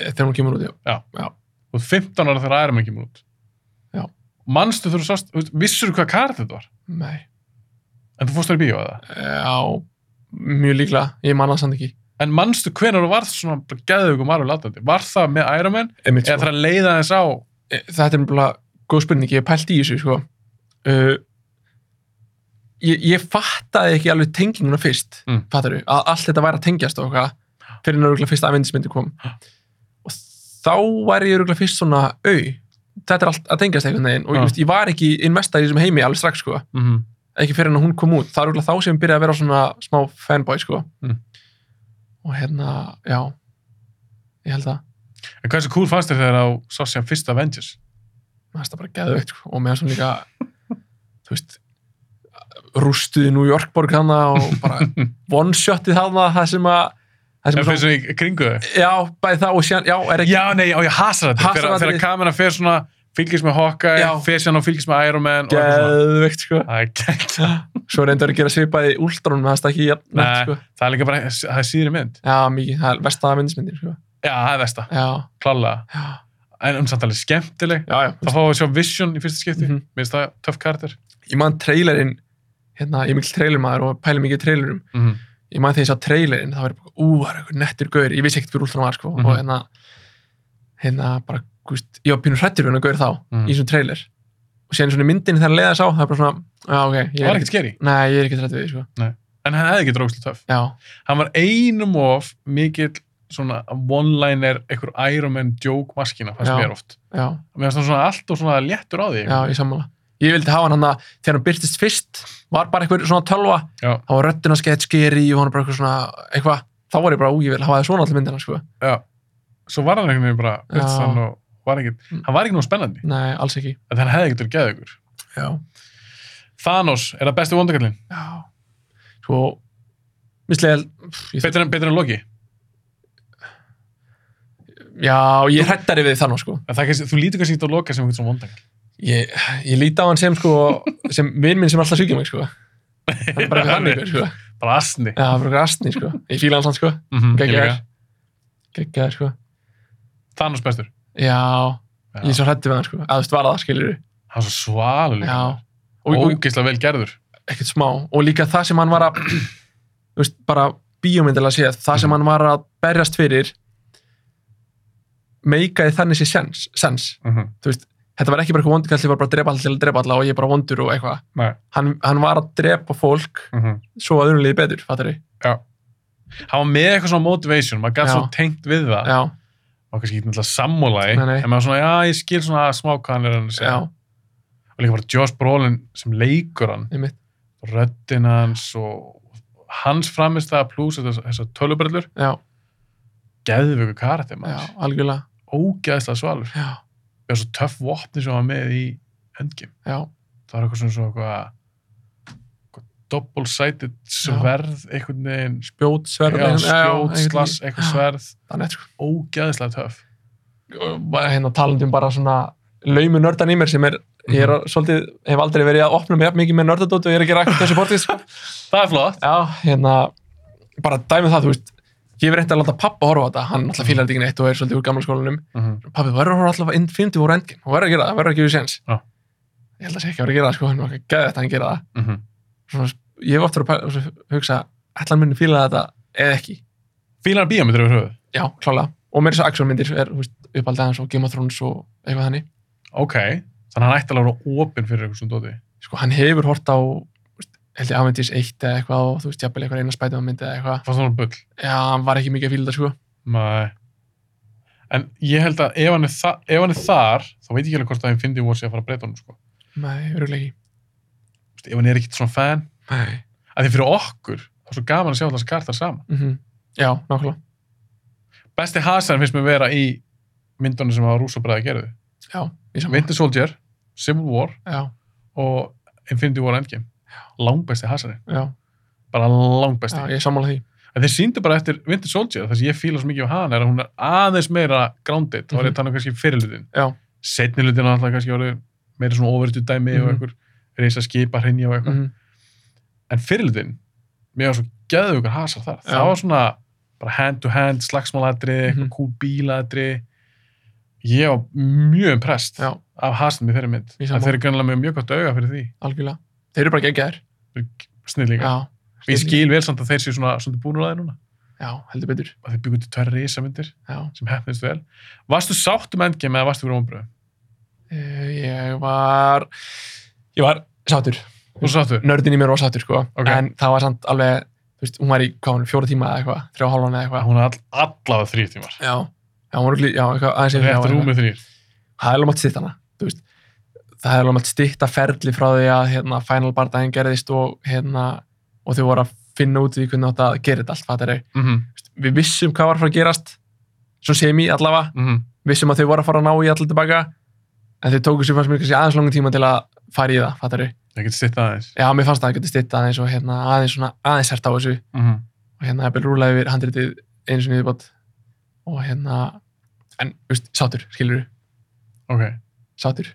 eh, Þegar hún kemur út, já.
Þú ert 15 ára þegar Iron Man kemur út.
Já.
Manstu þú sást, þú veist, vissirðu hvað kart þetta var?
Nei,
En þú fórst þér í bíó eða?
já, mjög líklega, ég manna það samt ekki.
En manstu hvenær þú varð svona bara geðveikur Marvel aðdáandi? Var það með Iron Man?
Emitt,
Eða það leiða þess á?
Eh, þetta er bara góð spurning, ég hef pælt í þessu sko. uh, ég, ég fattaði ekki alveg tenginguna fyrst
Mm.
fattaru, að allt þetta væri að tengjast og eitthvað fyrir náttúrulega fyrst afvindismyndi kom og þá væri ég náttúrulega fyrst svona au, þetta er allt að tengjast einhvern veginn og
Já.
ég, veist, ég var ekki investað í þessum heimi alveg strax sko,
Mm -hmm.
ekki fyrir en að hún kom út það er örugglega þá sem ég byrjaði að vera svona smá fanboy sko.
Mm.
og hérna, já ég held að
En hversu cool fannst þér þegar þú sást síðan fyrst Avengers?
mér finnst það bara geðveikt sko. og mér finnst það líka þú veist rústuði New York borg hana og bara one-shotið hana það sem að það
En
sem að
fyrst svona í kringu þau?
já, bæði það og síðan, já, er ekki
Já, nei, já, ég hasar þetta.
Hasar
Þegar,
þetta.
þegar kamera fer svona, fylgist með Hawkeye,
Já.
fer síðan og fylgist með Iron Man og eitthvað svona.
geðveikt sko
Það er gætt.
svo reyndar að gera svipaði últrón með það stakki jafn
Nei.
nett sko
Það er líka bara, það er síðri mynd.
já, mikið, það er vestaða myndismyndir sko
Já, það er versta,
já,
klálega.
já,
En um samtalið skemmtileg.
já, já.
Það fáum við að sjá Vision í fyrsta skipti. Mm
Mhm.
-hmm. Minnst það töff karakter.
ég man trailerinn hérna, ég er mikil trailermaður og pæli mikið í trailerum
Mm -hmm.
ég maður þegar ég sá trailerinn, það var ég bara, ú, það er eitthvað nettur gaur, ég vissi ekkert hver úlfrun var, sko,
Mhm.
og hérna, hérna, bara, gúst, ég var pínur hrættur við hennar gaur þá,
Mhm.
í svona trailer, og síðan svona í myndinni þegar hann leiða sá, það er bara svona, já, ok, ég er
Það var
ekkert,
ekkert skeri.
nei, ég er ekkert hrættur við, því, sko,
En hann hefði ekki drókslega töff.
já,
Hann var einum of mikill svona one-liner, einhver Iron Man joke maskina, fannst
Já.
mér oft.
já,
Mér fannst hann svona allt og svona léttur á því.
já, ég sammála. Ég vildi hafa hann hann að, þegar hann byrtist fyrst, var bara eitthvað svona tölva,
Já.
þá var röddina skeitt skeri og hann bara eitthvað svona, eitthvað, þá var ég bara, ú, ég vil hafa það svona allir myndina, sko,
Já. Svo var hann einhvern veginn bara
Já.
fyrst hann og var ekkert,
Mm.
hann var ekki nú spennandi.
nei, alls ekki,
En hann hefði ekkert verið geðið ykkur.
já.
Thanos er það besti vondakallin.
Já, sko, mislega, pff, ég
Betur en, betur en Loki.
Já, ég hættari við þannig sko.
En það kannski, þú lítur kannski ekki á Loki sem einhvern svona vondakall.
Ég, ég líti á hann sem sko, sem vinn minn sem alltaf sýkja mig sko. Hann er bara eitthvað
Hann er-
þannig sko.
Bara asni.
Já, bara eitthvað astni sko. Ég fíla hann sann sko.
Mm -hmm,
Geggjaður. Geggjaður sko.
Thanos bestur.
já,
Já.
ég er svo hrætti við hann sko, að þú veist var það skilur
Hann er svo svalur líka.
já, og, og
Ógeðslega vel gerður.
ekkert smá og líka það sem hann var að þú veist, bara bíómyndilega séð það sem
Mhm.
hann var að berjast fyrir meikaði þannig sér sens, sens.
Mhm.
Þú veist, þetta var ekki bara eitthvað vondur kall ég var bara að drepa alltaf til að drepa alla og ég er bara vondur og eitthvað
Nei.
hann, hann var að drepa fólk
Mhm.
svo að öðrunlega betur, fattar þau
Hann var með eitthvað svona motivation, maður gæti
Já.
svo tengt við það.
já,
og kannski ekki náttúrulega sammálaði
Nei, nei.
en maður svona, já, ég skil svona smá hvað hann er að
já,
segja og líka bara Josh Brolin sem leikur hann
einmitt
röddin hans og hans framistæða pluss þessar þessa tölubrellur
já,
geðvöku karakter
já,
maður,
algjörlega
ógeðslega svalur
já,
og svo töff vopni sem hann var með í endgame
já,
það var eitthvað svona svona eitthvað double-sided sverð einhvern veginn,
bjót, sverð
já,
einhvern-
skjót,
einhvern-
slass, eitthvað sverð
það er neitt sko
ógeðslega töff
og bara hérna talandi um bara svona laumu nördan í mér sem er, ég
Mhm.
er að- svolítið, hef aldrei verið að opna mig jafn mikið með nördadót og ég er að gera akkur þessu bortið, sko.
það er flott
Já, hérna, bara dæmið það, þú veist, ég hef reyndið að láta pappa horfa á þetta, hann alltaf fílar þetta ekki neitt og er svolítið úr gamla skólanum.
Mhm.
Pappi, þú verður að horfa alltaf Infinity War Endgame, hún verður að gera það, verður að gefa séns.
Já.
Ég held að sé ekki að verður að gera það, sko, hann var ekki að þetta hann gera það.
Mhm.
Svona, ég hef oft verið að pæla- svona hugsa, ætla hann minni fíla þetta eða ekki?
fílar hann bíómyndir yfir höfuð
Já, klálega. Og meira svo aksjónmyndir er, þú veist, uppaldið hans og Game of Thrones og eitthvað þannig.
Ok, þannig að hann ætti alveg að vera opinn fyrir eitthvað svona dóti.
sko, hann hefur hort á þú veist, held ég Avengers 1 eða eitthvað og þú veist, jafnvel eitthvað eina spætum myndi eða eitthvað
Fannst það alveg bull?
já, hann var ekki mikið að fíla þetta sko
Nei. En ég held að ef hann er, þa ef hann er þar, þá veit ég ekki alveg hvort að hann fyndi voru sig að fara að breyta honum, sko.
nei, öruglega ekki
Þú veist, Ef hann er ekkert svona fan,
nei.
að því fyrir okkur, þá er svo gaman að sjá alltaf kartar saman.
Mm já, nákvæmlega
Besti hasarinn finnst mér vera í myndunum sem að Rússo bræði gerðu.
já, ég saman
Winter Soldier, Civil War
já,
og Infinity War Endgame. Langbesti hasarinn.
já,
Bara
já,
langbesti.
ég er sammála því
En þeir síndu bara eftir Winter Soldier, þess að ég fíla svo mikið af hana er að hún er aðeins meira grounded, þá er ég
Mhm.
að tala um kannski fyrirlutin.
Já.
Setni lutin er alltaf kannski orðið meira svona overutu dæmi og
Mhm.
einhver reysa skipa hrinja og eitthvað.
mm
En fyrirlutin, mér var svo gæðu ykkur hasar þar.
Já.
Það var svona bara hand to hand, slagsmáladri, mm
Mhm.
eitthvað cool bíladri. Ég var mjög impressed
já,
af hasnum í þeirri mynd.
Ég
Það
sammála.
þeir eru grannlega með mjög gott auga fyrir því.
algjörlega þeir eru bara geggjaðir
Snillíka.
já,
Ég skil vel samt að þeir séu svona, svona búnur að þeir núna.
já, heldur betur
Að þeir byggu til tvær risamyndir.
já,
sem hefnist vel. Varstu sátt um endgame eða varstu fyrir vonbröðu?
uh, ég var ég var sátur
Þú varst sáttu?
nördin í mér var sátur sko
Ok.
en það var samt alveg þú veist, hún var í hvað, var hún, fjóra tíma eða eitthvað þrjá og hálfan eða eitthvað
Mm. Hún er all, allavega þrýr tímar.
já, já, hún var örugglega- já, eitthvað aðeins yfir þrjá eða
Rétt
eitthvað.
rúmið þrýr.
það er alveg mátt stýtt hana þú veist. það er alveg mátt stýtt að ferli frá því að hérna, final bardaginn gerðist og, hérna, og þau voru að finna út í hvernig átt að gera þetta allt fattar þau.
Mm -hmm.
við vissum hvað var að fara að gerast svo sem í allavega,
mm -hmm.
vissum að þau voru að fara að ná í allir tilbaka en þau tóku sér fannst mér kannski aðeins langan tíma til að fara í það fattar þau.
Ég get stitt aðeins.
já, mér fannst það að geta stýtt aðeins og hérna, aðeins svona aðeins hert á þessu
Mm -hmm.
og hérna ég bel rúlega yfir handritið eins og niðurbátt og hérna en, þú veist, sátur, skilur
Ok.
sátur,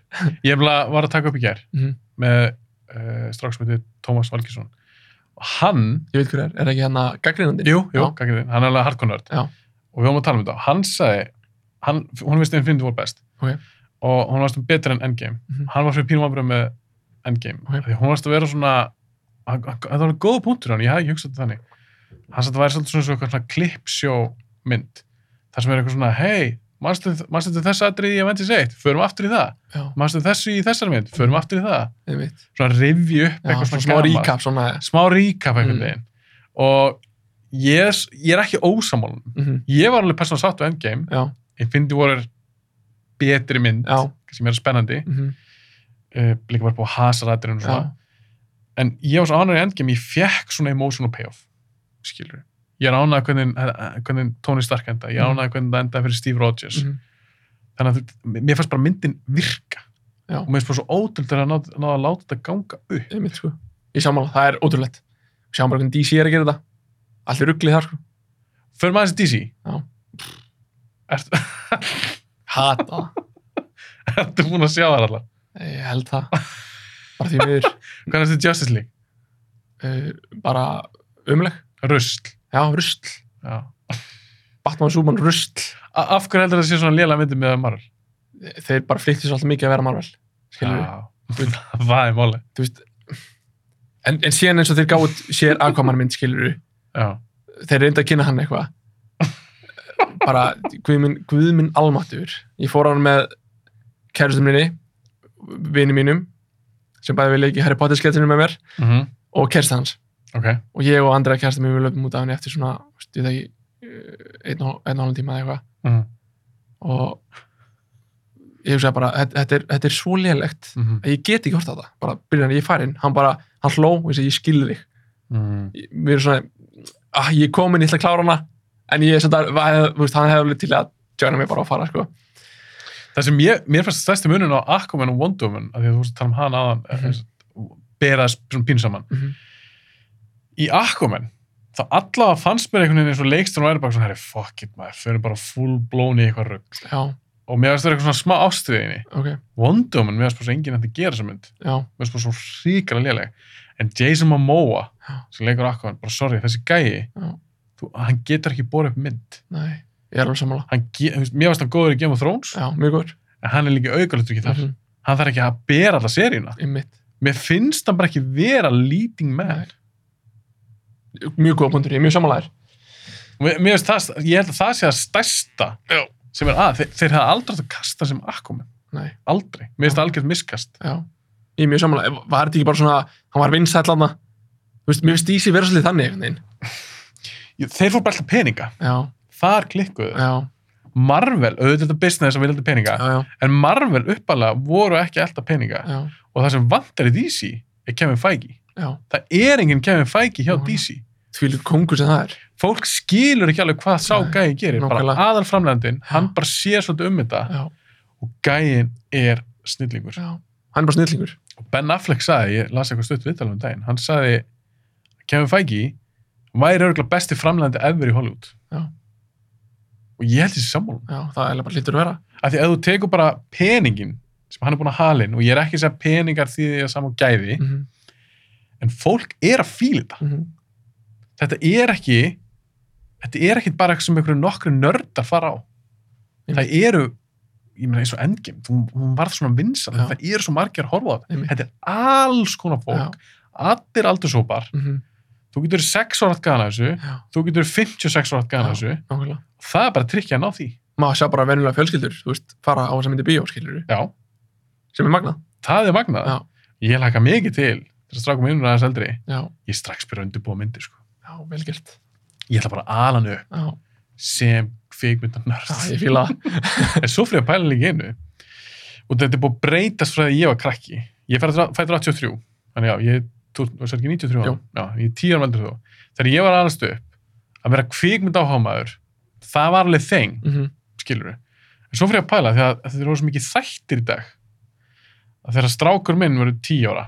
Ég hefla, var að taka upp í gær
Mhm.
með uh, strax með Tómas Valkesson. Og hann,
ég veit hver er, er ekki hérna gaggrinandi?
jú, jú,
Já.
gangið, hann er alveg hardkonörd.
Já.
Og við vorum að tala um þetta. Hann sagði, hann, hún veist Infinity War best.
Ok.
Og hún varst um betur en Endgame.
Mhm.
Hann var fyrir pínum ábröð með Endgame.
Ok.
Því hún varst að vera svona hann- hann- það var góð punktur hann, ég hafði ekki hugsað þetta þannig hann satt að væri svolítið svona, svona, svona, svona klippsjó mynd, þar sem er eitthvað svona hei, manstu manstu til þess aðrið ég vendi seitt, förum aftur í það
já,
manstu þessu í þessar mynd, förum aftur í það
einmitt
svona rifji upp
já,
eitthvað
svona
svona
smá
gamalt.
recap svona,
smá ríkap einhvern
Mm.
veginn og ég, er s- ég er ekki ósamál
mhm,
ég var alveg persónum sátt á Endgame
já,
ég fyndi voru betri mynd
já
sem er spennandi,
mhm,
uh, líka bara búið að hasa rættirinn og
já,
svona en ég var svo ánægður í Endgame, ég fekk svona emotional payoff, skilur ég er ánægður hvernig, eh, hvernig Tony Stark enda ég er
Mhm.
ánægður hvernig það enda fyrir Steve Rogers
mhm,
þannig að þú- mér fannst bara myndin virka
Já.
og mér finnst bara svo ótrúld að ná, ná að láta þetta ganga upp
einmitt sko ég sammála, það er ótrúlegt við sjáum bara hvernig DC er að gera þetta allir rugglið þar sko
fyrir maður þessi DC
Já.
Ert,
hata, það.
ertu búin að sjá það allar
ég held það bara því miður
hvernig er þetta Justice League?
uh, bara umleg,
Rusl
já, rusl
Já.
Batman Súman rusl
A- af hverju heldur þetta sé svona lélega myndi með Marvel?
þeir bara flýttu svolítið mikið að vera Marvel skilur við,
við. Það er máli.
þú veist en, en síðan eins og þeir gáðu sér Aquaman mynd skilur við,
Já.
þeir reyndu að kynna hann eitthvað bara guðminn guðmin almatur ég fór á hann með kærustum minni vini mínum sem bæði vilja ekki Harry Potter sketsinu með mér
Mm
og kærsta hans
Ok.
og ég og andra kærsta mín við löfum út af henni eftir svona þú veist, ég veit ekki, einn og einn og hálfum tíma eða eitthvað
Mm
og ég hugsaði bara, þetta, þetta, er, þetta er svo lélegt
-hmm.
að ég get ekki hort á það, bara byrjan ég fær inn hann bara, hann hló og ég segi, ég skilði þig
Mm
Ég- við erum svona, ah, ég er komin, ég ætla að klára hana en ég er svona, þú veist, hann hefði alveg til að joina mig bara og fara, sko
Það sem ég, mér fannst stærsti munun á Aquaman og Wonder Woman, af því að þú vorst að tala um hana aðan, mm
Mhm.
-hmm. bera svona pínu saman.
Mhm.
Í Aquaman, þá allavega fannst mér einhvern veginn eins og leikstur og væri bara svona, herri, fuck it maður, fyrir bara full blown í eitthvað rugg.
já,
Og mér fannst það eitthvað svona smá ástriðinni.
ok,
Wonder Woman, mér fannst bara svo enginn hægt að gera þessa mynd.
já,
Mér fannst bara svo ríkala léleg. En Jason Momoa,
Já.
sem leikur Aquaman, bara sorry, þessi gæi,
Já.
þú, hann getur ekki borðið upp mynd.
nei ég er alveg sammála,
Hann, ge- þú veist, mér fannst hann góður í Game of Thrones,
já, mjög gór
en hann er líka aukalutur ekki þar.
Mhm,
hann þarf ekki að bera alla seríuna
einmitt,
mér finnst hann bara ekki vera leading man
mjög góða punktur, ég er mjög sammála þér
mér, mér finnst það, ég held að það sé það stærsta
Já.
sem er að, þeir, þeir hefða aldrei átt að kasta sem akkomin,
nei,
aldrei mér finnst það algjörð miskast
já, ég er mjög sammála var þetta ekki bara svona, hann var vinsæll hann þú veist, mér finnst Dísi vera svolítið þannig einhvern veginn.
Jú, þeir fór bara alltaf peninga,
já,
þar klikkuðu þeir.
já,
Marvel, auðvitað er þetta business að vilja alltaf peninga,
já, já,
en Marvel uppalega voru ekki alltaf peninga
já,
og það sem vantar í DC er Kevin Feige
já.
það er enginn Kevin Feige hjá
Nú, nú.
DC
tvílur kongur sem það er
fólk skilur ekki alveg hvað sá
Nei,
gæi gerir, bara
nákvæmlega.
aðalframlegandinn
Já.
hann bara sér svolítið um þetta
já,
og gæin er snillingur.
já. hann er bara snillingur
Og Ben Affleck sagði, ég las eitthvað stutt viðtalum um daginn, hann sagði Kevin Feige væri örgulega besti framlegandi ever í Hollywood.
Já.
Og ég held þessi sammálum.
já, það er bara lítur að vera
Af því að þú tekur bara peningin sem hann er búin að halin og ég er ekki að segja peningar því því að saman gæði,
mm -hmm.
en fólk er að fíla þetta.
mhm,
Þetta er ekki þetta er ekki bara eitthvað sem einhverju nokkru nördar fara á. Það eru ég meina eins og Endgame, þú, hún varð svona vinsal,
Já.
það eru svo margir að horfa á þetta.
Einmitt.
Þetta er alls konar fólk
já,
allir aldurshópar,
mm -hmm.
þú getur verið 6 árat gæðan af þessu,
já,
þú getur verið 56 árat gæðan af
Já.
þessu,
nákvæmlega
það er bara trikkja að ná því.
maður sjá bara venulega fjölskyldur, þú veist, fara á þess að myndi bíó, skilur
Já,
sem er magnað,
það er magnað.
Já.
Ég laka mikið til þess að strákum innur aðeins eldri,
já,
ég strax byrja að undirbúa myndir, sko.
já, velgert
Ég ætla bara að ala hann upp
já,
sem kvikmyndan
já,
nörd.
ég fíla það
en svo fyrir ég að pæla líka í einu og þetta er búið að breytast frá því að ég var krakki ég fættur 83 þannig já, ég þú þú veist ekki 93 ára?
Jú.
já, ég er 10 ára veldur þú þegar ég var aðalast upp að vera kvikmynd áhámaður það var alveg þeng,
mm -hmm.
skilur en svo fyrir ég að pæla því að þetta eru svo mikið þættir í dag að þegar strákur minn verður 10 ára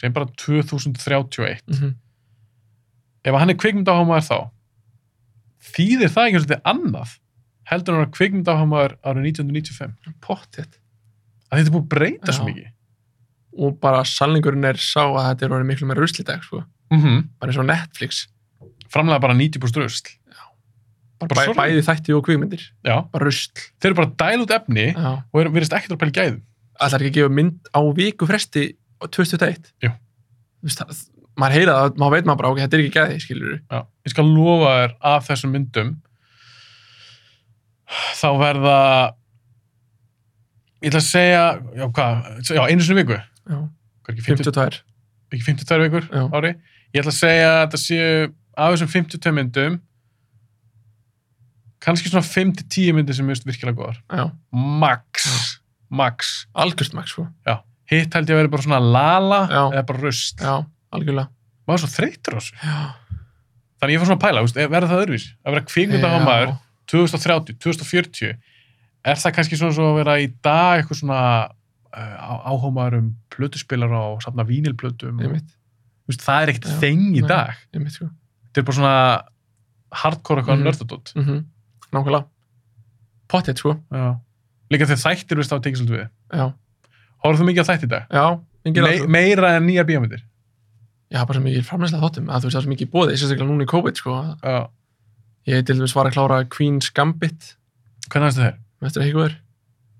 sem bara 2031
mhm.
ef hann er kvikmynd áhámaður þá þýðir það ekki svolítið annað heldur hann að kvikmynd áhámaður árið 1995
pottitt
að þetta er búið að breyta svo
Já.
mikið
og bara sannleikurinn er sá að þetta er orðið miklu meira rusl í dag, sko
mm -hmm.
bara eins og Netflix,
framlega bara 90% rusl
bara,
Bara
bæ,
svoleiðis.
bæði þætti og kvikmyndir
já.
bara rusl,
þeir eru bara að dæla út efni
já
og eru verist ekkert að pæla í gæðum
ætlar ekki að gefa mynd á viku fresti á 2021
Jú.
Þú veist, það- maður heyra það, maður veit maður bara ok, þetta er ekki gæði, skilur
já. ég skal lofa þér af þessum myndum þá verða ég ætla að segja já, hvað, já, einu sinni í viku
já,
Hvað er ekki 50,
52,
ekki 52 vikur
Já.
ári ég ætla að segja að þetta séu af þessum 52 myndum kannski svona 5-10 myndir sem mjög virkilega góðar
já,
max, max
algjörst max sko,
hitt held ég að vera bara svona lala
Já.
eða bara rust
já, algjörlega
maður er svo þreytur á þessu
já,
þannig ég fór svona að pæla, þú veist, verður það öðruvís að vera kvikmyndahámaður 2030, 2040 er það kannski svona svo að vera í dag eitthvað svona uh, áhámaður um plötuspilara og safna vínilplötum
ég mitt,
Þú veist, það er ekkert
Já,
þeng í
nei.
dag
ég mitt sko
þetta er bara svona hardcore eitthvað
Mhm.
mm -hmm. nördadótt
mm nákvæmlega pottet sko,
líka þegar þættir, þú veist, það tekið svolítið við
já,
horfðu þú mikið á þætti í dag?
já engin
Me
Me
meira en nýja bíómyndir
já, bara sem ég er framleyslega þáttum að þú veist það sem ekki bóði, ég sérstaklega núna í COVID sko
Já.
ég til dæmis var að klára Queen's Gambit
hvernig aðeins það er?
með eftir að híkuður,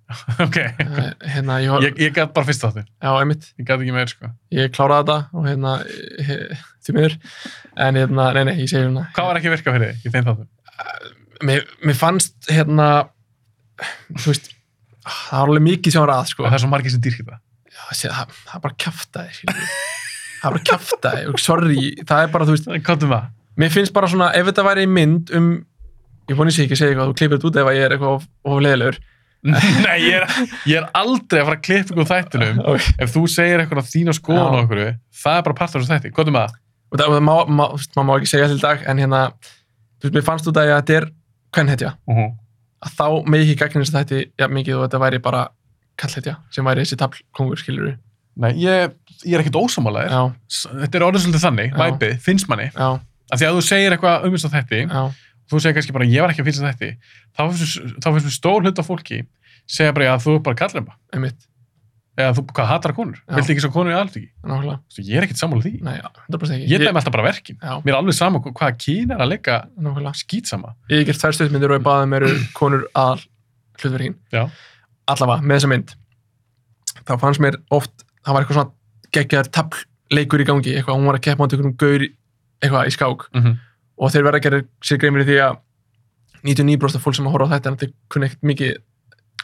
ok,
Eh, hérna, ég, var,
ég, ég gæt bara fyrst þáttin
já, einmitt,
ég gæt ekki meir sko
ég kláraði þetta og hérna, he, því miður en hérna, nei, nei, ég segi hérna
hvað var ekki að virka fyrir þig í þeim þáttum?
mér, mér fannst hérna þú veist, það var alveg mikið sem var að sko.
það er svo margir sem dýrkita
Já, sé, það, það er bara kjaftaði skilur við. það er bara kjaftaði, sorry það er bara, þú veist,
hvað um það?
mér finnst bara svona ef þetta væri mynd um ég vonið sér ekki að segja eitthvað, þú klippir þetta út ef að ég er eitthvað of, of leðilegur
Nei, ég er, ég er aldrei að fara að klippa ykkur úr þættinum
okay.
ef þú segir eitthvað á þína skoðun
Já.
okkur það er bara partur af þessu þætti, hvað um það?
og það, og það má, má, þú veist, maður má ekki segja til dag en hérna, þú veist, mér fannst út af því að þetta er kvennhetja,
Uh -huh.
að þá megi ekki gagnins þetta ja, mikið og þetta væri bara kallhetja, sem væri þessi tablkongur skilur við.
Nei, ég, ég er ekkert ósamálaðir
já,
þetta er orðin svolítið þannig,
Já.
væpið, finnst manni
já,
af því að þú segir eitthvað um þess að þætti
já,
þú segir kannski bara ég var ekki að finnst þetta þá finnst- þá finnst mér stór hlut af fólki segja bara að þú er bara kallemba
einmitt,
eða þú hvað hattar konur,
Já.
viltu ekki svo konur í alveg
nákvæmlega
ég er ekkert sammála því,
nei, 100% ekki
ég dæmi alltaf bara verkin
já,
mér er alveg sama hva- hvaða kín er að leika
nákvæmlega
skýtsama
ég hef gert tvær stuðmyndir og ég baði mér konur að hlutverkin
Já.
allavega með þessa mynd þá fannst mér oft það var eitthvað svona geggjaður tafl leikur í gangi eitthvað hún var að keppa á einhverjum gaur í- eitthvað í skák
mm -hmm.
og þeir verða að gera sér grein fyrir því að 99% af fólk sem að horfa á þetta en þeir kunna ekkert mikið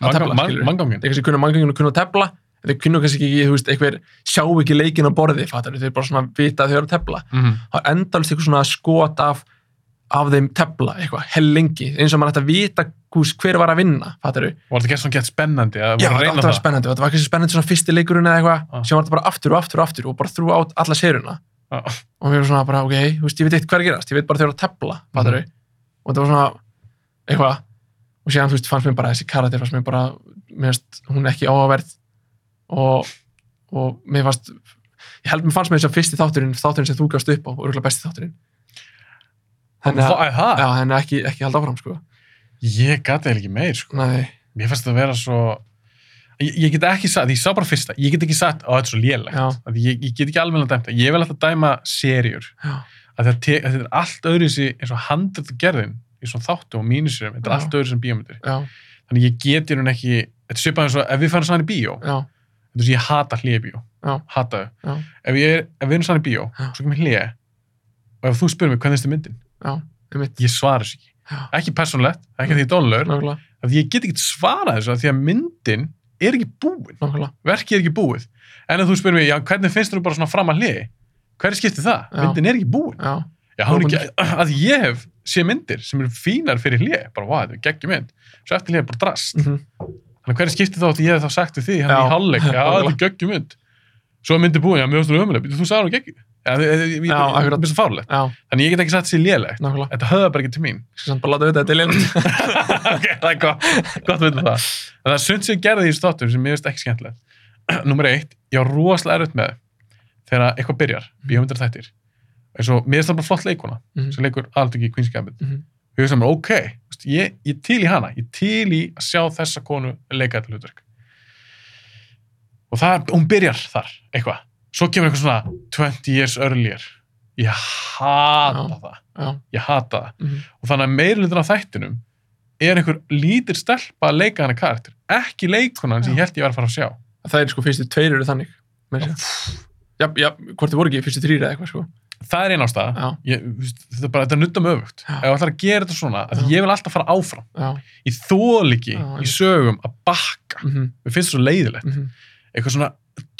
að tefla skilur
manngangin
eitthvað sem kunna manngangin og kunna að tefla en þeir kunna kannski ekki, þú veist, eitthvað sjá ekki leikin á borði, fattar þeir bara svona vita að þau eru að tefla það er endalist eitthvað svona skot af af þeim tefla, eitthvað, hellingi eins og maður ætti að vita hús, hver var að vinna fattar þau?
og þetta gerst svona gett spennandi að
Já, þetta
voru að
átti
reyna
að vera
það
spennandi og þetta var kannski spennandi svona fyrsti leikurinn eða eitthvað,
Ah.
sem var þetta bara aftur og aftur og aftur og bara þrú átt alla séruna
Ah.
og mér var svona bara, ok, þú veist, ég veit eitt hver að gerast ég veit bara þau eru að tefla, fattar þau og þetta var svona, eitthvað og síðan, þú veist, fannst mér bara þessi karakter fannst mér bara, mér finnst hún ekki áverð og, og mér fannst ég held mér fannst mér þess að fyrsti þátturinn þátturinn sem þú gafst upp á, og örgulega besti þátturinn þannig að,
Vá, er það?
já, þannig að ekki, ekki halda áfram, sko
ég gæti eða ekki meir sko.
Nei,
mér fannst þetta að vera svo ég, ég get ekki sagt, því ég sá bara fyrsta ég get ekki sagt, á þetta er svo lélegt
já,
Af því ég, ég get ekki alveg að dæma það ég vil alltaf dæma serjur
já,
að þetta, te- að þetta er allt öðru eins og handrið gerðin í svona þáttum og mínusurum þetta
Já.
er allt öðru sem bíómyndir
já,
þannig ég get í raun ekki þetta er svipað eins og ef við færum saman í bíó
já,
þetta er svo ég hata hlýja bíó
Já.
hata
Já.
þau ef, ég er, ef við erum saman í bíó
Já.
svo kemur hlýja og ef þú spyrir mig hvernig þetta er myndin
já, ég mitt
ég svara þessu ekki
Já.
ekki persónlegt, ekki því dónlur
Nákvæmlega,
af því ég get ekki svarað þessu af því að myndin er ekki búin
nákvæmlega,
verkið er ekki búið en ef þú spyrir mig, já, hvernig finnst þú bara svona fram að hliði hverju skiptir það?
Já.
myndin er ekki búin
já,
Já, hún er ekki, að ég hef sé myndir sem eru fínar fyrir hlið, bara vá, þetta er geggjum mynd, svo eftir hlið er bara drast.
mhm,
Þannig hverju skipti þá að ég hef þá sagt við því, hann
Já.
í hálfleik, já, þetta er geggjum mynd. Svo er myndi búin, já, mjög stóru ömuleg, þú sagði hann geggjum. Já, ég, ég, ég,
Já,
ég,
akkurat.
ég, svo fárlegt.
já,
Þannig ég get ekki sagt sér lélegt.
nákvæmlega
Þetta höfða bara ekki til mín.
Ég skal samt bara láta vita að þetta er leiland
ok, það er gott, gott veitum það. En það er sund sem ég gerði í státum sem mér finnst ekki skemmtilegt. Númer eitt, ég á rosalega erfitt með þegar eitthvað byrjar, bíómyndar og þættir. Eins og mér finnst það bara flott leikuna sem leikur aldrei í Queen's Gambit
Mhm.
og ég hugsa mér, ok, þú veist, ég, ég til í hana ég til í að sjá þessa konu leika þetta hlutverk og það, hún byrjar þar eitthvað, svo kemur eitthvað svona 20 years earlier ég hata
Já.
það,
Já,
ég hata það
mhm,
og þannig að meirlutin af þættinum er einhver lítir stelpa að leika hana karakter ekki leikunan sem ég
Já.
held ég var að fara að sjá
það er sko fyrstu tveir eru þannig meira að segja. Já, já, hvort þið voru ekki fyrstu þrýra eitthvað sko
það er einn ástæða
Já,
ég, þú veist, þetta er bara, þetta er nuttum öfugt
Já.
ef það ætlar að gera þetta svona, að
Já.
ég vil alltaf fara áfram
já,
í þóliki
Já,
í
einmitt.
sögum að bakka
mhm,
mér finnst það svo leiðilegt
mhm,
eitthvað svona,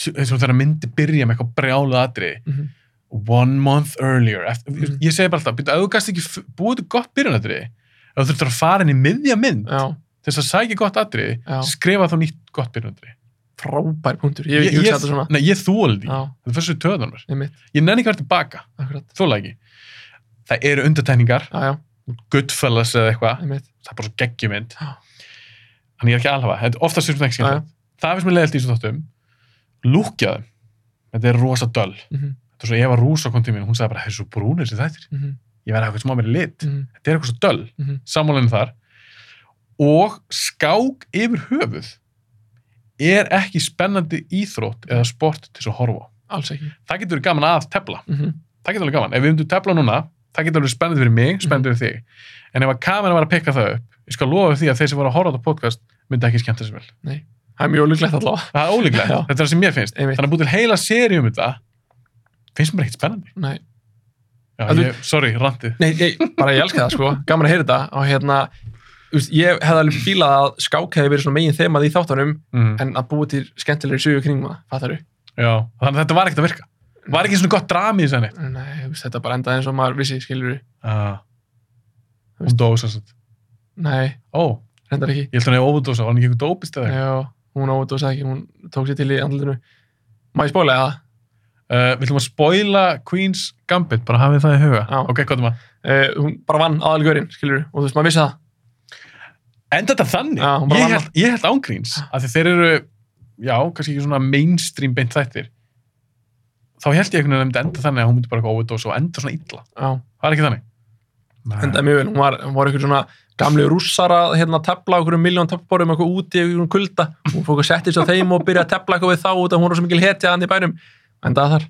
eitthvað svona þegar myndi byrja með eitthvað brjáluð atriði
mhm
one month earlier eftir,
Mhm.
ég segi bara alltaf, býttu, ef þú gast ekki f- búið til gott byrjunadriði ef þú þurftur að fara inn í miðja mynd
Já,
til þess að sækja gott atriði
Já.
skrifa þá nýtt gott byrjunadriði
frábær punktur, ég hef ekki hugsað þetta svona
nei, ég þóldi
Já,
ekki, það fyrst svo töðan mér
einmitt,
ég nenni ekki verið tilbaka,
akkurat
þóla ekki það eru undartekningar,
Já, já,
Goodfellas eða eitthvað
einmitt,
það er bara svo geggjumynd
Já.
þannig ég er ekki að alhafa, þetta er oftast sem þetta ekki skemmt það finnst mér leiðilt í þessu þáttum lúkjaðum, þetta er rosa döl þetta
mhm,
er svo Eva Rúsa kom til mín, hún sagði bara, það er svo brúnir sem þættir,
mhm,
ég verði að hafa eitthvað smá meiri lit
mhm,
þetta er eitthvað svo döl,
mhm
sammálinu þar og skák yfir höfuð er ekki spennandi íþrótt eða sport til þess að horfa á.
Alls ekki
það getur verið gaman að tefla
mhm,
það getur alveg gaman, ef við myndum tefla núna það getur alveg
Mhm.
spennandi fyrir mig, spennandi fyrir þig en ef að kamera var að pikka það upp ég skal lofa því að þeir sem voru að horfa á þetta podcast myndi ekki skemmta sér vel.
það er mjög líklegt allavega
Það er ólíklegt,
Já.
þetta er það sem mér finnst.
Einmitt.
Þannig að búið til heila séri um þetta, finnst mér ekkert spennandi.
Nei.
Já,
Að þú-
ég, sorry, randið.
Nei, ég, bara ég elska það sko, gaman að heyra þetta og hérna, þú veist, ég hefði alveg fílað að skák hefði verið svona megin þemað í þáttunum
Mm.
en að búi til skemmtilegri sögu kringum það, fattar þú?
Já, þannig að þetta var ekkert að virka. Var ekki svona gott drami í þessu henni.
Nei, þú veist, þetta bara endaði eins og maður vissi, skilur
Ah. Hún dói svo svo.
nei,
Ó,
reyndar ekki
ég held að hún hefði óvudósa, var hann ekki einhver dópist eða? eitthvað?
Já, hún óvudósa ekki, hún tók sér til í andlutinu Má ég spóla það?
Uh, við ætlum að spoila Queen's Gambit, bara hafið það í huga.
Já.
Ok, hvað er maður?
Uh, hún bara vann aðalgörinn, skilur og þú veist, maður vissi það
Enda þetta þannig?
Já, hún bara
ég,
vann
held, ég held ángríns, af því þeir eru, já, kannski ekki svona mainstream beint þættir. Þá held ég einhvern veginn að þetta enda þannig að hún myndi bara óvudósa og enda svona illa.
Já,
Það er ekki þannig.
endaði mjög vel, hún var, hún var ykkur svona gamli rússar að hérna tepla okkur um miljón tepporum eitthvað úti í einhverjum kulda hún fór að setja sér þeim og byrja að tepla eitthvað við þá út að hún var svo mikil hetja hann í bænum endaði þar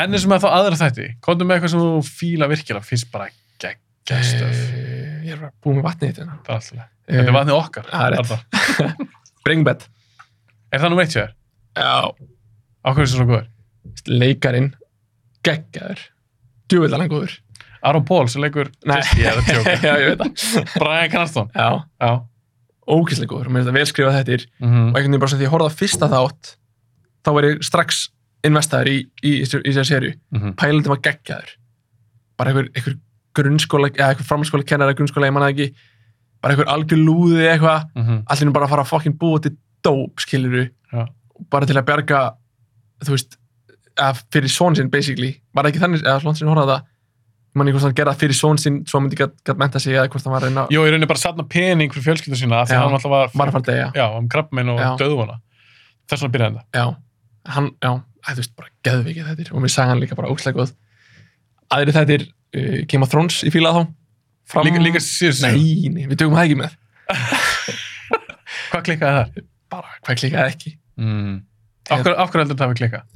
En eins og með þá aðra þætti, komdu með eitthvað sem þú fíla virkilega, finnst bara geggjastöf.
Eh, Ég er bara búið með vatnið þetta Eh,
Það er alltaf. leið. Þetta er vatnið okkar.
Mhm. það er rétt.
Arnar.
Bringbett
Er það nú veit sér?
Já,
Á hverju er það svo góður?
leikarin geggjaður djúvillalangúður
Aron Pól sem leikur...
Nei.
Ég er að tjóka.
Já, ég veit það
Brian Cranston.
Já, Mhm,
Já.
ókýrslega góður, mér finnst það vel skrifað þetta og
Mm
einhvern veginn bara svona því að ég horfði á fyrsta þátt þá var ég strax investaður í, í, í, í þessari serju
-hmm.
pælandi var geggjaður bara einhver, einhver grunnskóla eða einhver framskóla kennara grunnskóla, ég manna ekki bara einhver algjör lúði eða eitthvað
Mm -hmm.
allir bara að fara að fokkin búa til dóp skiluru
Já.
bara til að berga þú veist að fyrir són sinn basically var það ekki þannig eða slónt sinn horfði á það ég manni hvort hann gerða fyrir són sinn svo hann myndi gæt, gæt menta sig eða hvort hann var að reyna
Jó, ég raunin bara að sapna pening fyrir fjölskyldu sína af
Já.
því að hann alltaf var...
var að fara að deyja
Já, um krabbmein og
Já.
döðvona. Þess vegna byrjaði þetta.
já, hann, já, að, þú veist, bara geðvikið þetta er og mér sagði hann líka bara óslega góð aðri þetta er uh, Game of Thrones í fílað þá Fram...
Líka, líka síðust.
nei, nei, við tökum það ekki með
Hvað klikkaði þar?
bara, hvað klikaði ekki
Mm.
Mhm.
Af hverju af hverju heldur þetta hafi klikkað?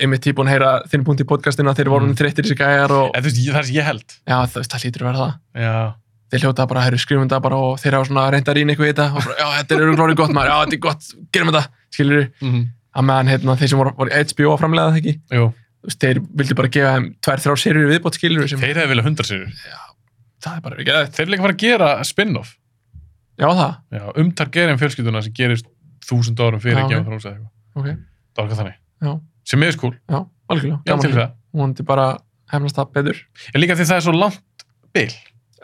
einmitt tíbúin að heyra þinn punkt í podcastinu að þeir voru
Mm.
mm. þreyttir þessi gæjar og
Eða, þú veist, ég- Það er sem ég held.
já, það, það lítur að vera það
Já.
þeir hljóta bara, þeir eru skrifunda bara og þeir hafa svona reynda að rýna eitthvað í þetta og bara, já, þetta er glóri gott maður, já, þetta er gott, gerum þetta skilur
Mm.
að meðan hérna, þeir sem voru, voru HBO að framlega það ekki
Jú.
þú veist, þeir vildu bara gefa þeim tvær, þrjár serjur viðbót skilur sem
Þeir hefði viljað hundra sér.
það er bara ekki aðeitt
Þeir eru líka að fara að gera spin-off.
já, það,
Já, um Targaryen fjölskylduna sem gerist þúsund árum fyrir
Já,
að
ok.
gefa frá húsa eitthvað.
ok
Það var eitthvað þannig.
Já.
Sem er skúl.
Já, algjörlega.
Ég til
Gaman.
það.
Hún er bara hefnast það betur.
Ég líka því það er svo langt bil,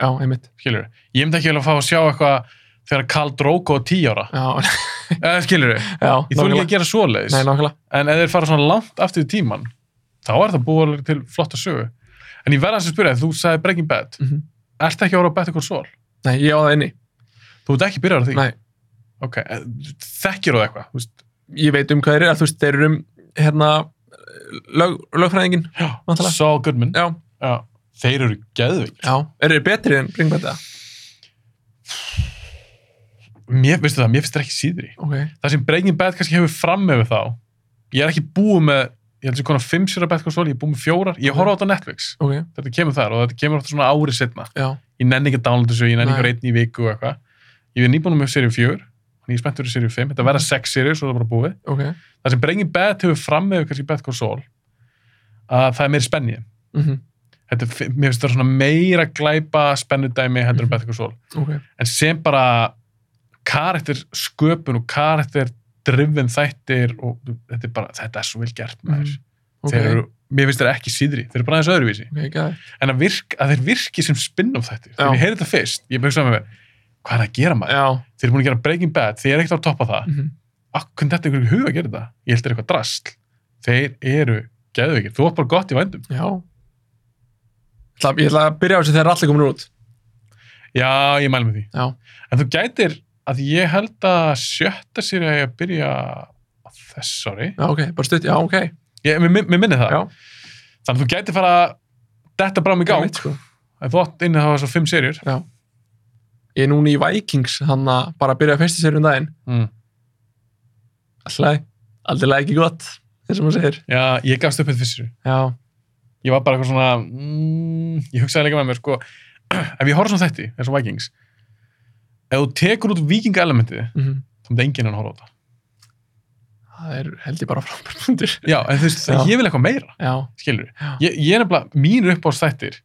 Já, einmitt.
skilur Ég myndi ekki vel að fá að sjá eitthvað þegar Karl Drogo er 10 ára.
Já,
Eh, skilur við.
já
Ég þú ekki að gera svoleiðis.
Nei, nákvæmlega.
En ef þeir fara svona langt aftur í tíman, þá er það búið alveg til flotta sögu. En ég verða að spyrja, þú sagði Breaking Bad,
Mm
ert ekki ára að betta ykkur svol?
Nei, ég á það inni.
Þú ert ekki byrjar á því?
Nei.
Ok, en þekkir þú það eitthvað? Þú veist,
Ég veit um hvað þeir eru. Þú veist, þeir eru um, hérna, lög, lögfræðingin.
já,
Náttúrulega.
Saul Goodman.
Já,
Já. Þeir eru geðvig.
já. Eru þeir betri en Bringbætt eða?
Mér, veistu það, mér finnst það ekki síðri.
Ok.
Það sem Breaking Bad kannski hefur fram með þá, ég er ekki búið með, ég held sem konar fimm sér að betta ykkur svol, ég er búið með fjórar, ég horfa á þetta á Netflix.
Ok,
Þetta kemur þar og þetta kemur ofta svona ári setna.
já.
ég nenni ekki að downloada þessu, ég nenni
Nei.
ekki að reyna í viku og eitthvað. Ég er nýbúin með serið 4, þannig ég er spennt fyrir serið 5, þetta verða 6 serið, svo er það bara búið.
Ok.
Það sem Breaking Bad hefur fram með kannski Bad Call Saul, að það er meiri spennið.
Mm
Þetta, er- mér finnst það svona meira glæpa spennudæmi heldur en Bad Call Saul.
Ok.
En sem bara karakter sköpun og karakter drifin þættir og þetta er bara, þetta er svo vel gert maður.
Mhm.
Þeir eru, mér finnst þeir ekki síðri, þeir eru bara aðeins öðruvísi
Ok, gæði.
en að, virk, að þeir virki sem spin-off þættir þegar
Já.
ég heyrði þetta fyrst, ég beugst að með mér hvað er það að gera maður?
Já.
Þeir eru búin að gera Breaking Bad, þeir eru ekkert á topp af það
Mm -hmm.
Ak, hvernig þetta er ykkur í huga að gera þetta? Ég held þeir eitthvað drasl Þeir eru geðveikir, þú átt bara gott í vændum
Já. Ég ætla, ég ætla að byrja á þessu þegar allir komin út.
Já, ég mælu með því
Já.
En þú gætir að ég held að sjötta sér að ég að byrja á þessari
Já, ok. Bara stutt. Já, ok.
ég, mér, mér minni það
Já.
Þannig að þú gætir fara detta bráum í gang
Einmitt, sko.
en þú átt inni að hafa svo fimm serjur
Ég er núna í Vikings, hann að bara byrja að fyrstu sér um daginn.
mm.
Alltaf, alltaf ekki gott, eins og maður segir.
Já, ég gafst upp þetta fyrstu
Já,
ég var bara eitthvað svona mm, ég hugsaði líka með mér sko ef ég horf svona á þætti, eins og Vikings ef þú tekur út vikingaelementið
Mhm.
þá myndi enginn að horfa á þetta
það er held ég bara frábær fundur
já, en þú veist,
Já.
ég vil eitthvað meira
já,
skilur
Já.
ég, ég er nefnilega, mínir uppáðstættir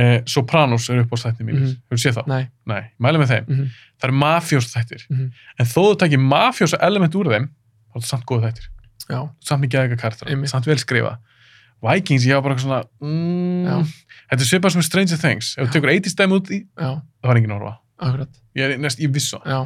eh, Sopranos eru uppáðstættir mínir mm
Mhm.
hefur séð þá?
nei
Nei, ég mæli með þeim
mm
það eru mafjósþættir
Mhm.
en þó þú takir mafjósa element úr þeim þá er það samt góð þættir
já,
samt mikið aðeins karakter,
Einmitt.
samt vel skrifa Vikings, ég var bara eitthvað svona mm, þetta er svipað sem Stranger Things ef þú tekur 80 stæmi út í,
já,
það var enginn að horfa á.
akkurat
ég er næst, ég viss á,
já.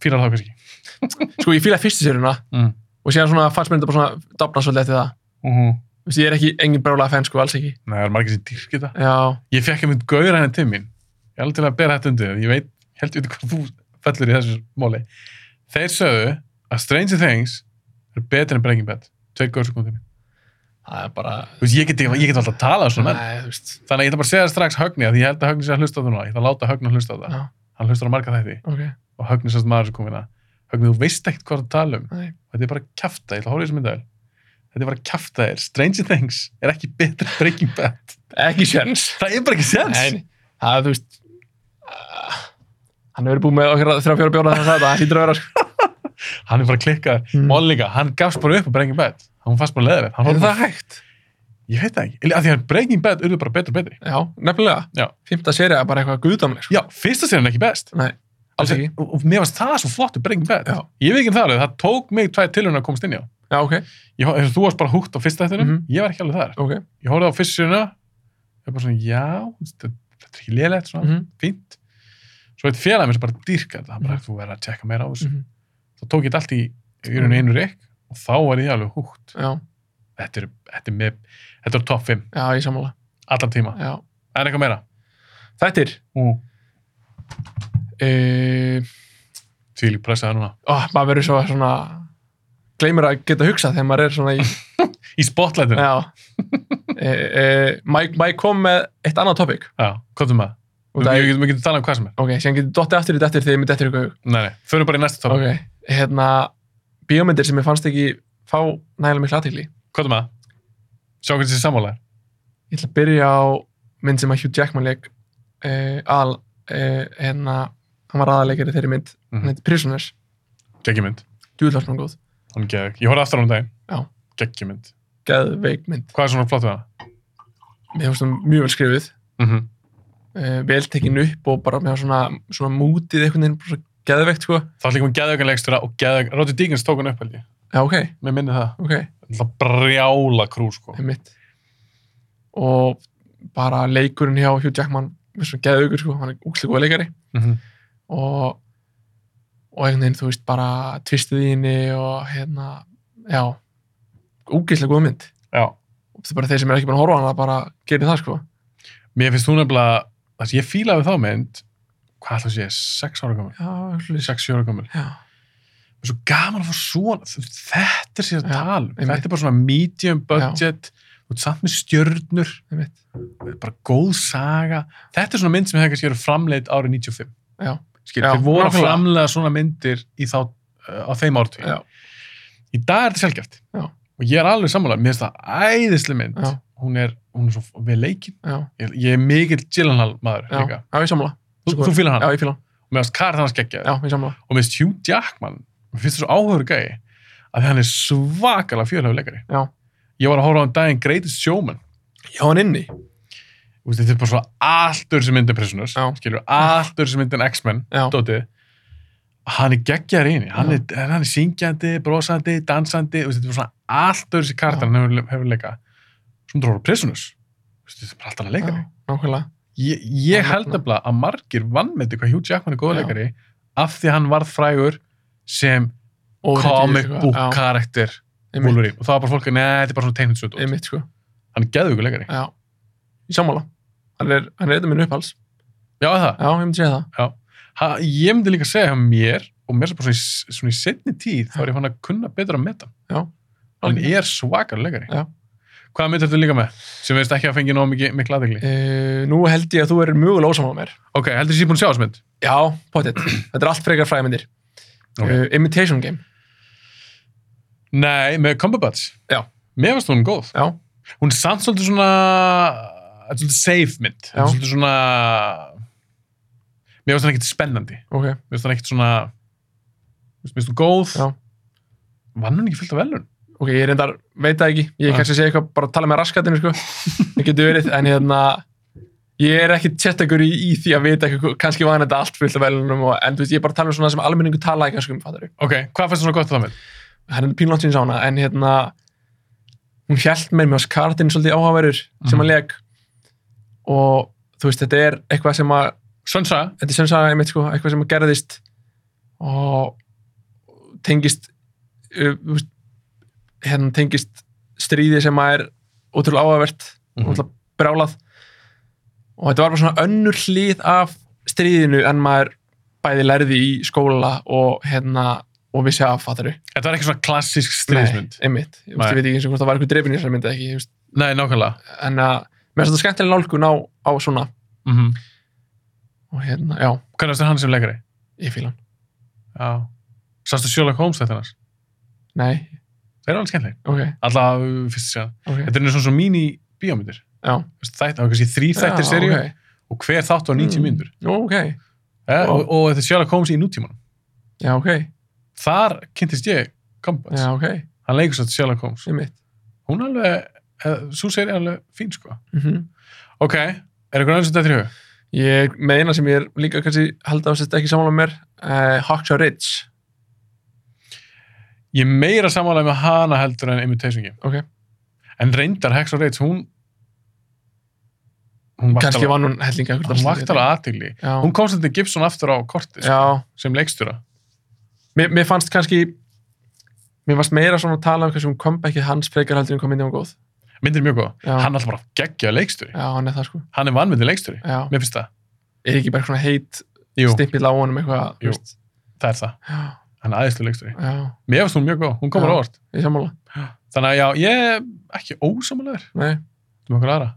fyrir það kannski ekki
sko ég fílaði fyrstu séruna
mm.
og síðan svona fannst mér þetta bara svona dafna svolítið eftir það
uh -huh.
Vist, ég er ekki engin brálaða fenn sko, alls ekki
Nei, það er margir sem dyrk þetta
já,
ég fekk einmitt gauður henni til mín ég er alveg til að bera þetta undir þér, ég veit ég held við hvað þú fellur í þessu móli þeir sögðu að Stranger Things er betur en Breaking Bad tveir gauður sem kom til mín
það er bara
Þú veist, ég get, ég get alltaf að tala svona menn
nei, þú veist
þannig að ég ætla bara að segja það strax Högni af því ég held að Högni sé að hlusta á það núna ég ætla að láta Högni að hlusta á það
Já.
hann hlustar á marga þætti
ok,
og Högni sérst maður sem kom hérna Högni þú veist ekkert hvað það tala um
nei,
þetta er bara kjafta ég ætla að hóra þessu myndaðil þetta er bara kjafta Stranger Things er ekki betur en Breaking Bad
ekki sjans
það er bara ekki sens
nei, það er þú veist uh, hann hefur verið búið með okkar þrjá fjóra bjóra þannig að það hýttur að vera sko.
hann er bara klikkar
Mm.
mm. líka, hann gafst bara upp á Breaking Bad hann fannst bara leðrið hann horfði bara,
hægt?
ég veit það ekki, Eller, af því að Breaking Bad urðu bara betur og betri
já, nefnilega,
Já.
fymta serið er bara eitthvað guðdamleg sko.
já, fyrsta serið er ekki best
nei, alls ekki
og, og mér varst það svo flott í Breaking Bad
Já.
ég veit ekki um það alveg, það tók mig tvær tilhörna að komast inn í á
já, ok,
ég, hor- eins og þú varst bara húgt á fyrsta þettunum
Mhm.
ég var ekki alveg þar,
ok
ég horfði á fyrsta serið ég er bara svona, já þetta þetta er ekki lélegt, svona,
Mhm,
fínt svo eitt félag mér sem bara dýrka þetta hann bara,
Mhm.
þú verður að tjekka meira á þessu
mhm,
þá tók ég þetta allt í, í raun einu rikk og þá var ég alveg húgt
já,
þetta er, þetta er, með, þetta er top 5
já, ég sammála
allan tíma
já.
Það er eitthvað meira.
þættir
Mm.
uh,
Því lík pressa það núna.
ó, maður verður svo svona gleymir að geta hugsað þegar maður er svona í
Í spotlightinu.
já uh, maður maður kom með eitt annað topic
Já, hvað þú með?
Út
Við
af-
getum ekki að tala um hvað sem er.
ok, síðan getur dottið aftur í dettir þegar ég myndi eftir eitthvað í hug.
Nei, nei, förum bara í næsta tópa.
ok, hérna bíómyndir sem ég fannst ekki fá nægilega mikla aðtíkli
Hvað þú með? Sjá hvernig þessi sammálaðir.
ég ætla að byrja á mynd sem að Hugh Jackman leik uh, al uh, hérna, hann var aðalegjari þeirri mynd
Mhm.
hann heitir Prisoners,
Geggjumynd.
djúðlarsmann góð
Hún er geðug. Ég horfði aftur á hún daginn.
Já.
Geggjumynd.
geðveik mynd,
Hvað er svona flott við hana?
mér finnst hún mjög vel skrifið
Mm
Mhm.
-hmm.
uh, vel tekin upp og bara með svona, svona mútið einhvern veginn bara svo geðveikt sko
Það er líka með geðugan leikstjóra og geðug... Roger Deakins tók hann upp held ég.
já ok,
Mér minni það.
ok,
Það er brjála krú sko.
einmitt og bara leikurinn hjá Hugh Jackman er svona geðveikur sko, hann er úkslega góð leikari
Mm -hmm.
og og einhvern veginn, þú veist, bara tvistið í henni og hérna, já ógeðslega góð mynd
Já.
og það er bara þeir sem er ekki búin að horfa á hana bara gerir það sko,
Mér finnst hún nefnilega... Það sem ég fílaði við þá mynd, hvað ætla að sé, 6 ára gömul?
já, hluti
6-7 ára gömul.
já,
það er svo gaman að fá svona þú- þetta er sér að
Já,
tala um.
einmitt.
þetta er bara svona medium budget þú ert samt með stjörnur
einmitt,
þetta er bara góð saga þetta er svona mynd sem hefði kannski verið framleitt árið 95
já,
Skil,
Já,
þeir voru að
nákvæmlega.
framleiða svona myndir í þá, uh, á þeim ártu
já,
í dag er þetta sjálfgeft
Já.
og ég er alveg sammála, mér finnst það æðislega mynd
Já.
hún er, hún er svo vel leikin
já,
ég, ég er mikill Gyllenhaal maður
já,
líka
já, ég samla
þú, þú fýlar hann,
já, ég fíla hann,
og mér finnst Karin hans geggja
já, ég samla
og mér finnst Hugh Jackman mér finnst það svo áhugur gæi að hann er svakalega fjölhæfur leikari
Já.
ég var að horfa á hann daginn Greatest Showman
já, hann inni,
Þú veist, þetta er bara svo allt öðru sem myndin Prisoners
Já.
skilur, allt öðru sem myndin X-Men
já,
dótið hann er geggjar í henni hann
Já.
er, hann er syngjandi, brosandi, dansandi þú veist, þetta er bara svona allt öðru sem kartan hann hefur, hefur leika sem þú horfa á Prisoners Þú veist, þetta er bara allt annað
já
leikari
nákvæmlega,
ég, ég
Já,
held
nefnilega.
nefnilega að margir vannmeti hvað Hugh Jackman er góða
Já.
leikari af því að hann varð frægur sem
Og
comic
þetta er
book
eitthvað, já,
karakter
einmitt,
Wolverine og það var bara fólk að neða, þetta er bara svona teiknitsut hann
einmitt sko,
er geðvíkur leikari
já, ég samla hann er, hann er eitthvað minn uppháls
já, er það,
já, ég myndi segja það,
ha, ég myndi líka að segja hjá mér og mér er bara svona í, svona í setni tíð þá er ég fann að kunna betur að meta
Já.
hann
Algjörlega.
er svakar leikari
Já.
hvaða mynd ertu líka með sem veist ekki að fengi nóg mikið mikla aðegli
uh, nú held ég að þú er mögulega ósamlega mér
ok, heldur þessi búin að sjá þessu mynd
já, potið, þetta er allt frekar fræðmyndir
Ok.
okay. Imitation Game,
nei, með Cumberbatch
Já.
mér varst hún góð
já
hún er samt svolítið svona þetta er svolítið safe mynd Þetta er
Já.
svolítið svona mér mér finnst hann ekkert spennandi
ok,
mér finnst hann ekkert svona mér finnst hann góð
Já.
vann hann ekki fullt af velun
ok, ég reyndar, veit það ekki ég
Nei.
kannski sé eitthvað, bara að tala með raskatinu sko. það getur verið, en hérna ég er ekki tjettakur í, í því að vita ekki, hvað- kannski var þetta allt fullt af velunum og, en þú veist, ég er bara að tala um svona sem almenningu tala ekki kannski um, fattar
ok, hvað fannst þú svona gott að það með?
það er pínlótt sín sána, en hérna hún hjælt með mér, skartinn svolítið áhaverur sem
Mhm.
að leg og þú veist, þetta er eitthvað sem að
Sönsa,
þetta er sem sagði einmitt sko, eitthvað sem gerðist og tengist uh, þú veist, hérna tengist stríði sem að er ótrúlega áhugavert
Mhm.
ótrúlega brálað og þetta var bara svona önnur hlið af stríðinu en maður bæði lærði í skóla og hérna og vissi af fattari
þetta var ekki svona klassísk stríðismynd nei,
einmitt, Nei.
Nei.
ég veit ekki eins og hvort það var eitthvað drefin í þessari myndi ekki, þú veist.
nákvæmlega
en að mér finnst þetta skemmtilega nálgun á, á svona
mm -hmm.
og hérna, já,
hvernig varst hann sem leikari?
ég fíla hann
Já. sástu Sherlock Holmes þetta hans?
Nei,
það er alveg skemmtileg,
ok,
alltaf fyrst sér
ok
þetta er einu svona svona mín í bíómyndir
Já.
þetta var kannski þrý þættir
Já,
serið
ok.
og hver þátt var 90
Mm.
mínútur
Nú, ok,
ja,
Vá.
og, og þetta er Sherlock Holmes í nútímanum
já, ok,
þar kynntist ég Gumbats,
já, ok,
hann leikur svo Sherlock Holmes
sem mitt.
hún er alveg, svo segir er alveg fín sko
Mm
ok, er eitthvað aðeins þetta í hug?
Ég með eina sem ég er líka kannski held að þetta ekki samanlega mér, uh, Hawkshaw Ridge,
ég er meira samanlega með hana heldur en Imitation Game
Ok.
en reyndar Hex og Reitz, hún hún
kannski
vakti
vann hún hellinga. einhvern
hún
dálítið.
vakti alveg aðtigli
Já,
hún komst þetta Gibson aftur á kortið sko,
já.
sem leikstjóra
Mér, mér fannst kannski, mér fannst meira svona að tala um kannski um comebackið hans frekar heldur en kom inn í hún góð.
myndir mjög góð,
Já.
hann er alltaf bara geggja leikstjóri
Já, hann er það sko.
hann er vanmyndi leikstjóri,
Já,
mér finnst það
er ekki bara svona heit
Jú,
stimpill á honum eitthvað, þú
Jú.
veist.
það er það,
Já,
hann er aðeinslu leikstjóri
já,
mér finnst hún mjög góð, hún komur
Já.
á orð
ég er sammála.
þannig að já, ég er ekki ósamalegur
Nei.
um okkur aðra,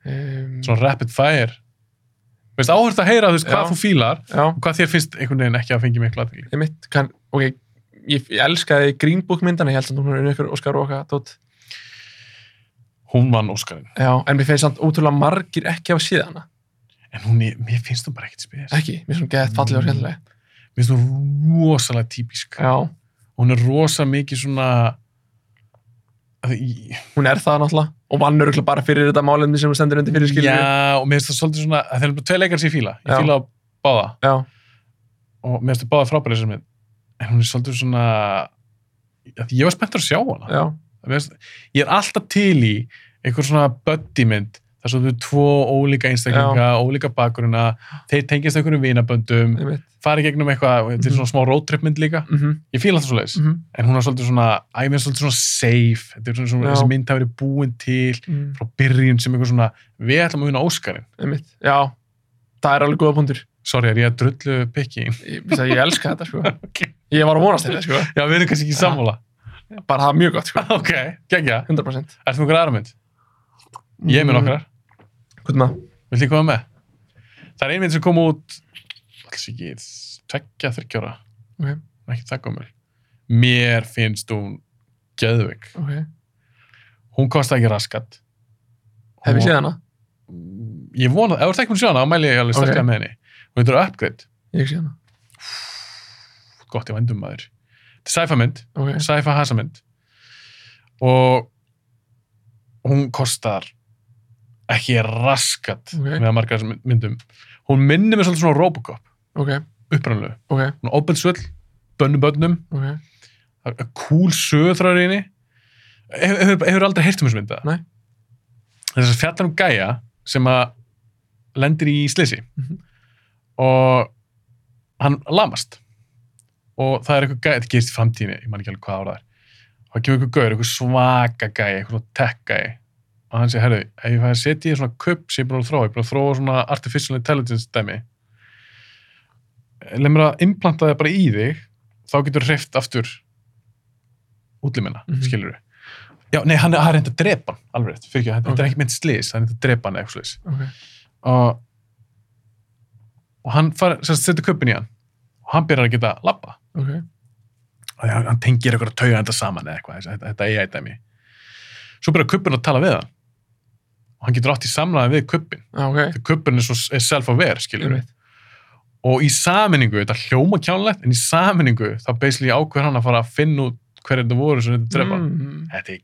Um,
svona rapid fire Mér finnst áhört að heyra þú veist, hvað
Já.
þú fílar
já,
og hvað þér finnst einhvern veginn ekki að fengi miklu aðtegli
ég mitt, kann, ok, ég, ég elskaði Green Book myndana, ég held samt að hún er unni ykkur Óskar og okkar, tótt.
hún vann Óskarinn
Já, en mér finnst samt ótrúlega margir ekki hafa síðan hana.
en hún er, mér finnst hún bara ekkert spes mér
Ekki, mér finnst hún geðið fallega og skemmtilega.
finnst hún rosalega típisk
Já,
hún er rosa mikið svona að í-
hún er það náttúrulega. Og vann öruglega bara fyrir þetta málefni sem hún stendur undir fyrir skilinu.
já, og mér finnst það svolítið svona að það er bara tvei leikar sem ég fíla ég
Já.
fíla á báða
Já,
og mér finnst það báða frábæri sem minn en hún er svolítið svona að ég var spenntur að sjá hana
já,
Mér finnst- ég er alltaf til í einhver svona buddy mynd þar sem þau eru tvo ólíka einstaklinga, ólíka bakgrunna þeir tengjast einhverjum vinaböndum
ég veit.
farið gegnum eitthvað, þetta er svona smá roadtrip mynd líka
Mm -hmm,
ég fíla það svo leiðis
mm
en hún er svolítið svona, æ, mér er svolítið svona safe þetta er svona, svona
Já.
þessi mynd hafi verið búin til
mhm,
frá byrjun sem eitthvað svona við ætlum að vinna Óskarinn
Já, það er alveg góða punktur.
sorry, er ég að drullu pikki inn?
Ég, vissi að ég elska þetta, sko.
Ok.
Ég var að vonast til þetta, sko.
já, við erum kannski ekki
Já.
sammála
Bara það er mjög gott, sko.
ok, geggja,
100%.
ertu með okkur aðra mynd? ég er
Mhm.
með nokkrar,
Hvernig það?
vilt ég koma með? það er ein mynd sem kom út alls ekki, tveggja, þryggjóra
Ok.
ekki það komur mér finnst hún geðvik
Ok.
hún kosti ekki raskat
Hef ég
Hún-
séð hana?
ég vona, ef þú ert ekki hún sjána, þá mæli ég alveg
Ok.
sterklega með henni hún heitir Upgrade,
Ég hef séð hana.
gott ég vendum maður þetta er sci-fi mynd,
Ok.
sci-fi hasamynd og hún kostar ekki raskat
Ok.
með að marga þessum mynd- myndum hún minnir mig svolítið svona á Robocop
Ok.
upprannlegu,
Ok.
hún er óbensvöll bönnum bönnum,
Ok.
það er kúl söðrar í henni hefur, hefur, hefur aldrei heyrt um þessu mynda
Nei.
þess að fjallar um gæja sem að lendir í slisi
Mhm.
og hann lamast og það er eitthvað gæja, þetta gerist í framtíðinni ég man ekki alveg hvað ára það er og það kemur eitthvað gaur, eitthvað svaka gæja eitthvað svona tech gæja og hann segir, herru, ef ég fæði að setja í svona kupp sem ég er búin að þróa, ég er búin að þróa svona artificial intelligence dæmi leið mér að implanta það bara í þig þá getur hreift aftur útlimina, mm
Mhm.
skilur já, nei, hann er hann er reyndi að drepa hann, alveg rétt, fyrir ekki, þetta
Ok.
er ekki mynd slis hann er reyndi að drepa hann eða eitthvað slis
Ok.
og, og hann far, sérst, setur kuppin í hann og hann byrjar að geta labba
Ok.
og hann, hann tengir eitthvað að tauga þetta saman eða eitthvað, þetta, þetta er ég dæmi svo byrjar kuppin að tala við hann og hann getur átt í samræði við kuppin
Já, ok.
þegar kuppin er, svo- er self-aware, skilur
Ég veit.
og í saminningu, þetta hljóma kjánlegt en í saminningu þá basically ákveður hann að fara að finna út hverju þetta voru sem þetta drepa
Mm,
þetta er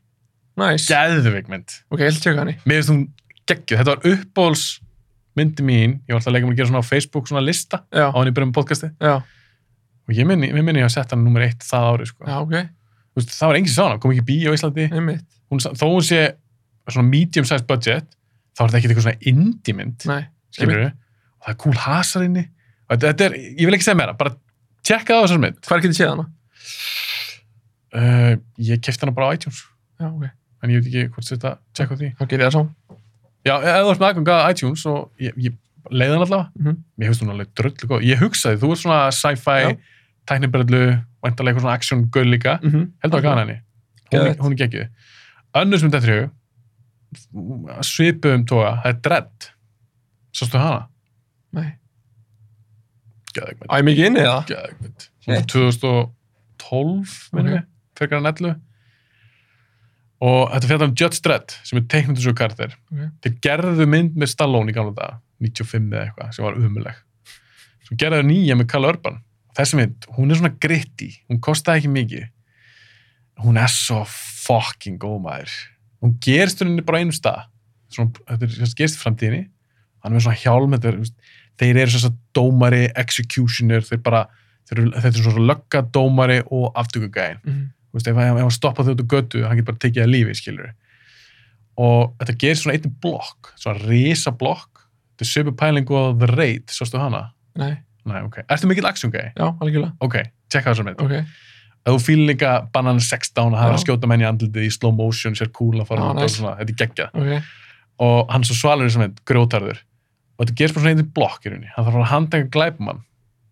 nice.
geðveik mynd
Ok, ég ætla að tjekka hann í.
mér finnst hún geggjuð, þetta var uppbóls myndi mín, ég var alltaf að leika mér að gera svona á Facebook svona lista
Já,
á hann í byrjum með podcasti
já,
og ég minni, mér minni ég að setja hann nummer eitt það árið sko.
já, ok,
Þú veist, það var engin sem sá hana, kom ekki í bíó á Íslandi
einmitt.
hún, sa- þó hún sé svona medium size budget þá er þetta ekkert eitthvað svona indie mynd
Nei,
skilur við, og það er cool hasar inni og þetta, þetta er, ég vil ekki segja meira bara tjekka á þessar mynd
hvar getur séð hana?
uh, ég kefti hana bara á iTunes
Já, ok,
en ég veit ekki hvort þetta tjekka á því
þá gerir ég það saman.
já, eða þú ert með aðgang að iTunes og ég, ég leiði hann allavega
Mhm.
mér finnst hún alveg dröllu góð, ég hugsaði, þú ert svona
Já.
sci-fi, tæknibrellu væntalega eitthvað svona action gull líka
Mm -hmm.
heldur að gana henni, hún, er-
Geðveikt.
hún er geggið önnur sem þetta er svipum tóa, það er Dredd sástu hana?
Nei.
geðveik mynd
Æ, mikið inni eða?
geðveik mynd hún er 2012 minnum
Ok.
við, frekar en 11 og þetta fjallar um Judge Dredd sem er teiknundur svo karakter
Ok.
þeir gerðu mynd með Stallone í gamla daga 95 eða eitthvað sem var umuleg svo gerðu þeir nýja með Karl Urban þessi mynd, hún er svona gritti hún kostaði ekki mikið hún er svo fucking góð maður hún gerst henni bara á einum stað svona, þetta er þetta gerst í framtíðinni hann er með svona hjálm þetta er, þú veist, þeir eru svona dómari, executioner þeir bara, þeir eru, þetta er svona löggadómari og aftökugæðin
Mm -hmm.
Þú veist, ef ef hann stoppa þau út á götu hann getur bara tekið að lífi, skilur og þetta gerist svona einnig blokk svona risa blokk þetta er sömu pælingu á The Raid, sástu hana?
Nei,
Nei, ok. Ertu mikill action-gæði?
já, algjörlega.
Ok, tjekka þessar með
Ok,
að þú fýlir líka banan 16 að hafa
Já.
að skjóta menn í andlitið í slow motion sér cool að fara
Já,
út og
nice.
svona, þetta er geggja
ok,
og hann svo svalur sem heit, grjótarður og þetta gerst bara svona einnig blokk í rauninni hann þarf að fara að handtaka glæpamann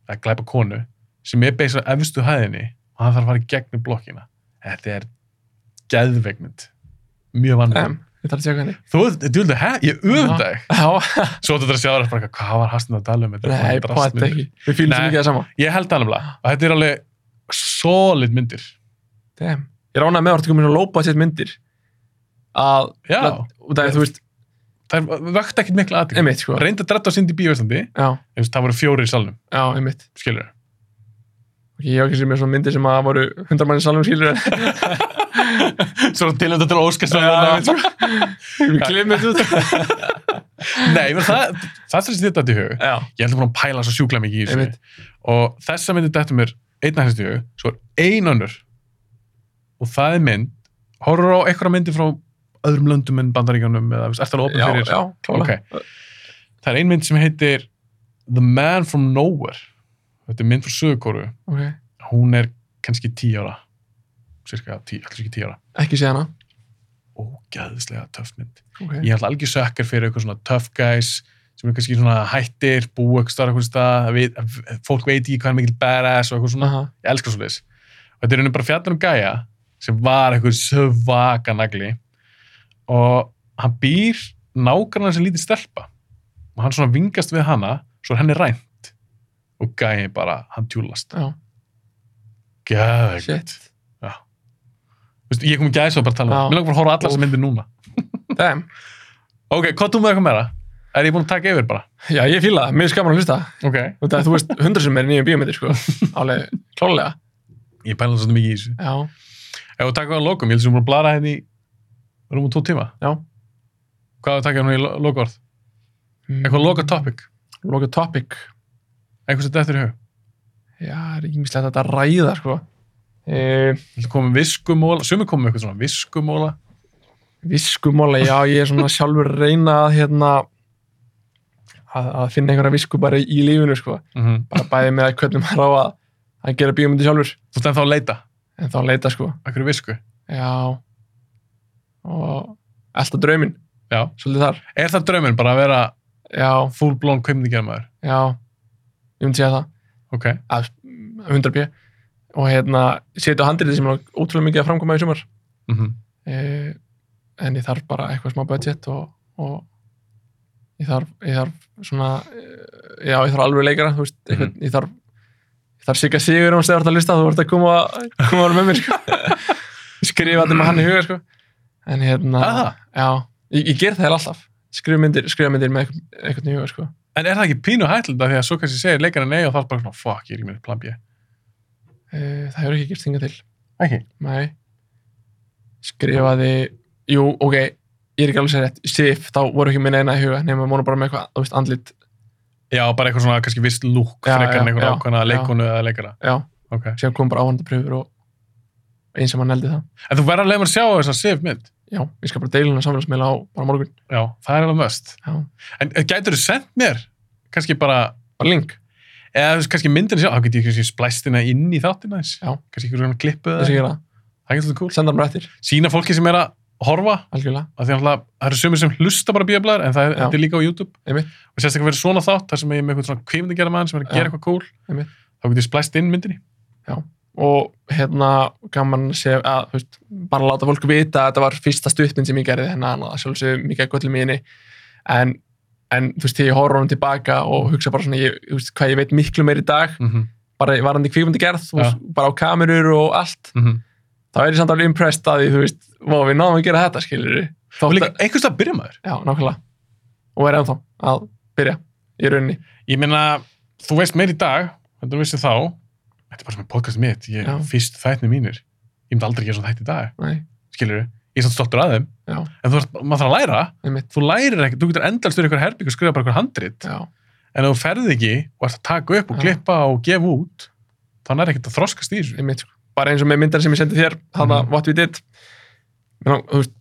eða glæpa konu sem er beislega efstu hæðinni og hann þarf að fara í gegnum blokkina þetta er geðveikmynd mjög vannmynd
em, ég þarf að tjekka hann í.
þú veit, þú veit, hæ, ég öfum dag
Já,
svo þetta er að sjá þér bara eitthvað, hvað var hastin að tala um þetta er
nei,
bara
pát
drastmyndir."
ekki. Við fýlum svo
Nei.
mikið það sama.
ég held það nefnilega, og þetta er alveg solid myndir
Damn. Ég ránaði með að orðið komin að lópa sér myndir. Að,
já,
út af því, þú veist,
það vögt ekkert mikla aðtík
einmitt, sko.
reynda að dretta á syndi í bíóðslandi
Já,
það voru fjóri í salnum,
já, einmitt.
skilur
Ok, ég var ekki sem með svona myndir sem að voru hundra manni salum skilur en
svo til þetta til
Já,
óskarsverðan
sko. við glimum þetta út.
nei, ég meina, það, það þarf þetta til hug
Já,
ég held að búin að pæla svo sjúkla mikið í
einmitt.
þessu og þessa myndi dættu mér einn að þessu hug, svo er ein önnur og það er mynd horfur á einhverja myndi frá öðrum löndum en bandaríkjónum eða er það alveg
Já,
opið fyrir
já, klála.
það er ein mynd sem heitir The Man From Nowhere þetta er mynd frá Suðukóru
Ok,
hún er kannski tíu ára cirka tíu, alls ekki tíu ára
ekki sé hana.
ógæðislega töff mynd.
Ok,
Ég held algjör sökkar fyrir eitthvað svona tough guys sem er kannski svona hættir, búa eitthvað starf eitthvað stað, að við, að fólk veit ekki hvað er mikil badass og eitthvað svona.
aha,
Ég elskar svo leis. Og þetta er henni bara fjallar um gæja sem var eitthvað svaka nagli og hann býr nákvæmlega sem lítið stelpa og hann svona vingast við hana svo er henni rænt og gæja bara, hann tjúlast.
já,
Gæðið.
shit.
Ég kom gæðis og bara að tala um
Já.
það. Mér langar bara að horfa á allar sem myndir núna.
Damn.
Ok, hvað þú með eitthvað meira? Er ég búin að taka yfir bara?
Já, ég fýla það, mér er gaman að hlusta.
Ok.
Þú veist, þú veist hundra sem er nýjum bíómyndir, sko. Alveg, klálega.
Ég pæla svolítið mikið í þessu.
Já,
Ef þú taka á lokum, ég held sem búin að blara henni í rúmum tvo tíma.
já.
Hvað þú taka henni í lo- lokaorð?
Mm.
Eitthvað loka topic?
Loka topic.
Eitthvað sem dettur í hug?
Já, það er ímislegt að þetta ræða, sko. E,
Þú komum viskumóla, sumir komum með eitthvað svona viskumóla.
viskumóla, já, ég er svona sjálfur að reyna að, hérna, að, að finna einhverja visku bara í lífinu, sko.
Mm -hmm.
Bara bæði með hvernig maður á að, að gera bíómyndir sjálfur.
Þú stend þá að leita
En þá leita, sko.
að hverju visku.
Já. Og alltaf drauminn,
Já.
svolítið þar.
Er það drauminn bara að vera
Já,
full blown kvimningjamaður?
já. Ég myndi segja það.
Ok.
að 100 p og hérna setja handriði sem er ótrúlega mikið að framkoma í sumar
Mm
eh, en ég þarf bara eitthvað smá budget og, og ég þarf, ég þarf svona eh, já, ég þarf alveg leikara þú veist, eitthvað, ég þarf ég þarf sigga sigur um að stefart að lista þú vart að koma, koma að vera með mér sko. skrifa þetta með hann í huga sko. en hérna
Aha.
já, ég, ég ger það alltaf skrifa myndir, skrifa myndir með eitthvað, eitthvað í huga sko.
En er það ekki pínu hættilegt að því að svo kannski segir leikarinn nei og þá er bara svona, fuck, ég er ekki með plan B.
Eh, það hefur ekki gert þingar til.
Ekki?
Nei. Skrifaði, jú, ok, ég er ekki alveg sér rétt. Sif, þá voru ekki minna eina í huga, nema múna bara með eitthvað, þú veist, andlit.
Já, bara eitthvað svona kannski vist lúk
Já,
frekar en
já, já,
eitthvað ákveðna
já.
leikonu eða leikara.
Já,
Ok.
síðan kom bara áhandi pröfur og eins sem hann eldi það.
En þú verður að leiða mér að sjá þess að sif mynd.
Já, ég skal bara deila hún að samfélagsmiðla á bara morgun.
Já, það er alveg möst.
Já,
En gætur þú sendt mér kannski bara,
bara link.
eða þú veist, kannski myndin sjá, þá getur ég kannski splæst hérna inn í þáttina þess.
Já.
Kannski ykkur svona klippu
Þess að
eða,
gera það.
það getur þú cool.
Senda hann bara eftir,
Sýna fólki sem er að horfa,
algjörlega.
af því að náttúrulega það eru sumir sem hlusta bara bíablaður, en það er,
Já.
þetta er líka á YouTube.
Einmitt.
Og sérstaklega verður svona þátt, þar sem ég er með eitthvað svona kvímyndagjara sem er að
Já.
gera eitthvað cool,
Einmitt.
þá getur ég splæst inn myndinni.
Og hérna, gaman að sé að, þú veist, bara láta fólk vita að þetta var fyrsta stuttminn sem ég gerði hennan og það sjálfsögum mikið að göllum í henni. En, en, þú veist, þegar ég horf honum tilbaka og hugsa bara svona, ég, þú veist, hvað ég veit miklu meir í dag,
Mm -hmm.
bara varandi kvíkmyndi gerð,
Já.
bara á kamerur og allt, þá er ég samt alveg impressed að því, þú veist, vá, við náðum að gera þetta, skilur við.
Og líka einhvers stað byrja maður.
Já, nákvæmlega. Og er ennþá að byrja í rauninni.
Ég meina, þú veist meir í dag, þannig að þú veist þá, þetta er bara sem er podcast mitt, ég
Já.
fyrst þættinu mínir. Ég myndi aldrei gera svona þætti í dag,
Nei,
skilur Ég er svona stoltur að þeim,
Já.
en þú, þarft- maður þarf að læra.
einmitt.
Þú lærir ekki, þú getur endalst fyrir eitthvað herbygg og skrifa bara eitthvað handrit,
Já,
en ef þú ferði ekki og ert að taka upp og
Já.
klippa og gefa út, þannig er ekkert að þroskast í þessu.
einmitt. sko. Bara eins og með myndar sem ég sendi þér, þarna
Mhm.
What We Did. Ná, þú veist,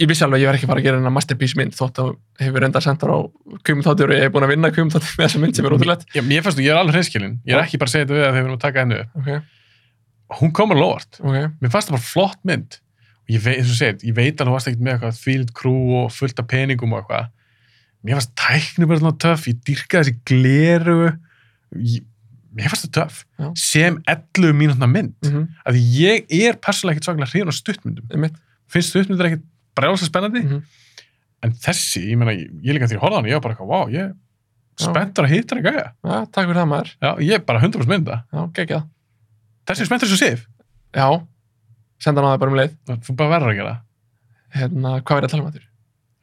ég vissi alveg að ég var ekki að fara að gera hennar masterpiece mynd þótt að hefur enda sendt þar á kumþáttur og ég hef búin að vinna kumþáttur með þessa mynd sem er ótrúlegt.
Ég, ég, fannst, ég er alveg hreinskilin, ég er ekki bara að segja þetta við að þegar við erum að taka hennu upp.
Ok,
Hún komur lóvart,
ok.
mér fannst það bara flott mynd og ég veit, eins og segið, ég veit alveg varst ekkert með eitthvað þvílind krú og fullt af peningum og eitthvað mér fannst tæknum bara svona töff ég dyrkaði þessi gleru ég, mér fannst það töff
Já.
sem 11 mínútna mynd
Mm -hmm.
af því ég er persónulega ekkert svaklega hrifin á stuttmyndum
Einmitt.
finnst stuttmyndur ekkert brjálsa spennandi
Mhm.
en þessi, ég meina, ég, ég líka því að horfa á hana ég var bara eitthvað, wow, ég er
Já.
spenntur að hitta það
Já, takk fyrir það maður.
já, ég er bara 100% mynda
Já, gekkja það.
þessi er spenntur svo sif,
Já, senda hann á það bara um leið.
þú bara verður að gera
Hérna, hvað er það að tala um þetta?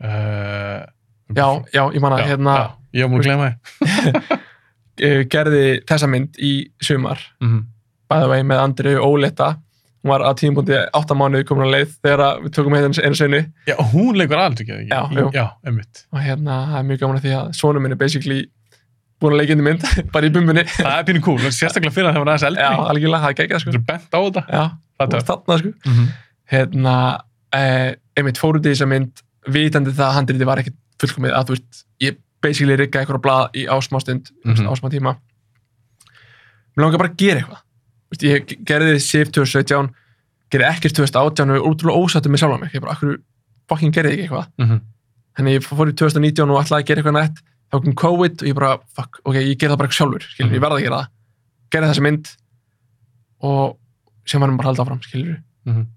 það. uh,
Já, já, ég manna,
Mm-hmm. Já,
hérna,
já, ég var múin að glemma þið
eh, gerði þessa mynd í sumar
Mhm.
by the way, með Andri Óletta hún var á tímpunkti 8 mánuði komin á leið þegar að við tökum hérna einu sinni
Já, hún leikur aldrei ekki,
Já,
ekki?
jú.
já einmitt.
og hérna, það er mjög gaman að því að sonum minn er basically búin að leika inn í mynd bara í bumminni, já,
Það er pínu cool, en sérstaklega fyrir að það var aðeins eldri. Já.
algjörlega, það geggjað
Þú
sko
eru bent á þetta.
já,
Það er
og þarna sko
töf.
hérna, eh, einmitt fóruð í þessa mynd vitandi það að handriti var ekkit fullkomið að þú veist, ég basically rigga einhverja blað í ásmástund, mm
Mhm.
-hmm. ásmá tíma mér langar bara að gera eitthvað Þú veist, ég gerði SIF 2017 gerði ekkert 2018 og ég er útrúlega ósættu með sjálfa mig, ég bara, akkur fucking gerði ég ekki eitthvað, þannig ég fór í 2019 og ætlaði að gera eitthvað nætt, þá kom COVID og ég bara, fuck, ok, ég gerði það bara ekki sjálfur skilur,
Mhm.
ég verði að gera það, gerði þessa mynd og sem varum bara að halda áfram, skilur Mhm.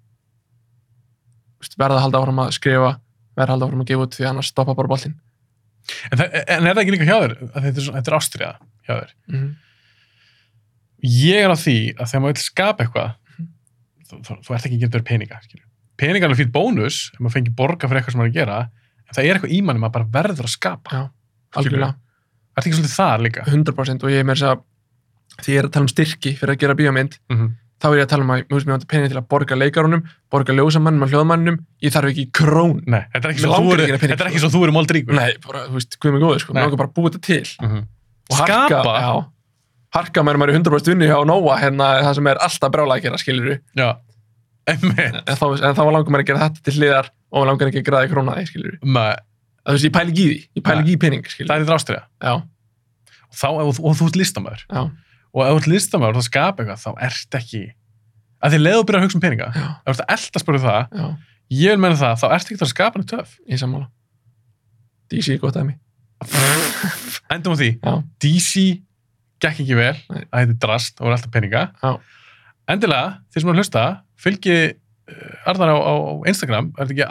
veist, verða að halda áfram að skrifa verða að halda áfram að gefa út því annars stoppa bara boltinn
En, það- en er það ekki líka hjá þér? Að Þetta er, svona- þetta er ástriða hjá þér.
mm -hmm.
Ég er á því að þegar maður vil skapa eitthvað, þú, þú, þú ert ekki getur peninga. Skilur. Peninga er alveg fyrir bónus, ef maður fengi borga fyrir eitthvað sem maður er að gera, en það er eitthvað í manni maður bara verður að skapa.
Já, algjörlega,
Er þetta ekki svolítið það líka?
100% og ég er með þess að því ég er að tala um styrki fyrir að gera bíómynd þá er ég að tala um að mjög sem ég vantar pening til að borga leikarunum borga ljósamannum og hljóðmannum ég þarf ekki krón
Nei, þetta er
Mig
ekki svo þú
langar
eru-
ekki að pening,
þetta er ekki svo þú eru moldríkur.
Nei, bara, þú veist, hvað er mig góður, sko,
Nei.
mér langar bara að búa þetta til
Mhm.
og harka,
Skapa?
já, harka mér maður er 100% unni hjá Nóa, hérna, það sem er alltaf brála að gera, skilur við,
Já, emmi,
en þá, en þá langar maður að gera þetta til hliðar og maður langar ekki að græða króna því, skilur við, þú veist, ég pæli ekki í því, ég pæli
Nei.
ekki í pening, skilur
það er drástriða.
já,
Og, þá, og, og þú ert listamæður.
já,
Og ef þú ert listamæður og það skapa eitthvað, þá ert ekki... Að því leið og byrja að hugsa um peninga,
já,
ef þú ert að eldast bara við það,
já
ég vil menna það, þá ert ekki það að skapa henni töf.
Ég sammála. DC er gott af mig.
Endum á því,
Já.
DC gekk ekki vel,
Nei.
það heiti drast og er alltaf peninga.
Já.
Endilega, þeir sem eru að hlusta, fylgi eh, Arnar á, á á Instagram, er þetta ekki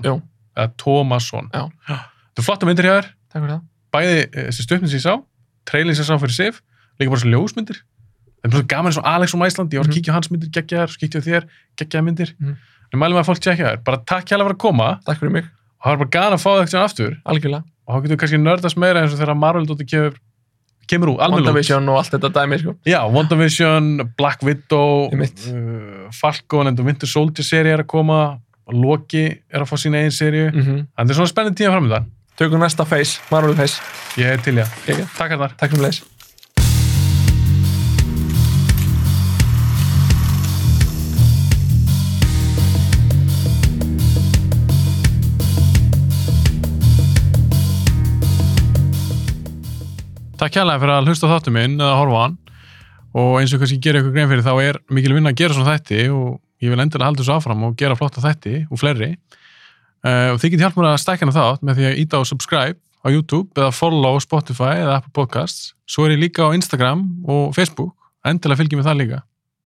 Punktur. Jú.
Eða Tómasson.
Já.
Þetta er flotta myndir hjá þér,
Takk fyrir það.
bæði eh, þessi stöfnum sem ég sá, trailin sem ég sá fyrir Sif, líka bara svo ljósmyndir. Það er bara svo gaman eins og Alex um Æsland, ég var að
Mhm.
kíkja á hans myndir, geggja þér, kíkja á þér, geggja myndir.
Mhm.
En mælum að fólk tjekka þér, bara takk hjá að vera að koma
Takk fyrir mig.
og það er bara gaman að fá það eitthvað aftur.
Algjörlega.
og þá getur við kannski nördast meira eins og þegar Marvel dóttir kemur, kemur úr, alveg
WandaVision og allt þetta dæmi sko.
Já, WandaVision, Black Widow
Einmitt.
uh, Falcon and the Winter Soldier seri er að koma Loki er að fá sína eigin seri mm.
mm
það er svona spennandi tíma framöndan
Tökum næsta face, Marvel face
ég er til í það,
Ekki.
takk hérna
Takk fyrir leys
Takk hérlega fyrir að hlusta á þáttu minn eða horfa á hann og eins og kannski gera ykkur grein fyrir þá er mikil vinna að gera svona þætti og ég vil endilega halda þessu áfram og gera flotta þætti og fleiri uh, og þið getið hjálp mér að stækja hana þátt með því að íta á subscribe á YouTube eða follow á Spotify eða Apple Podcasts svo er ég líka á Instagram og Facebook endilega fylgjum við það líka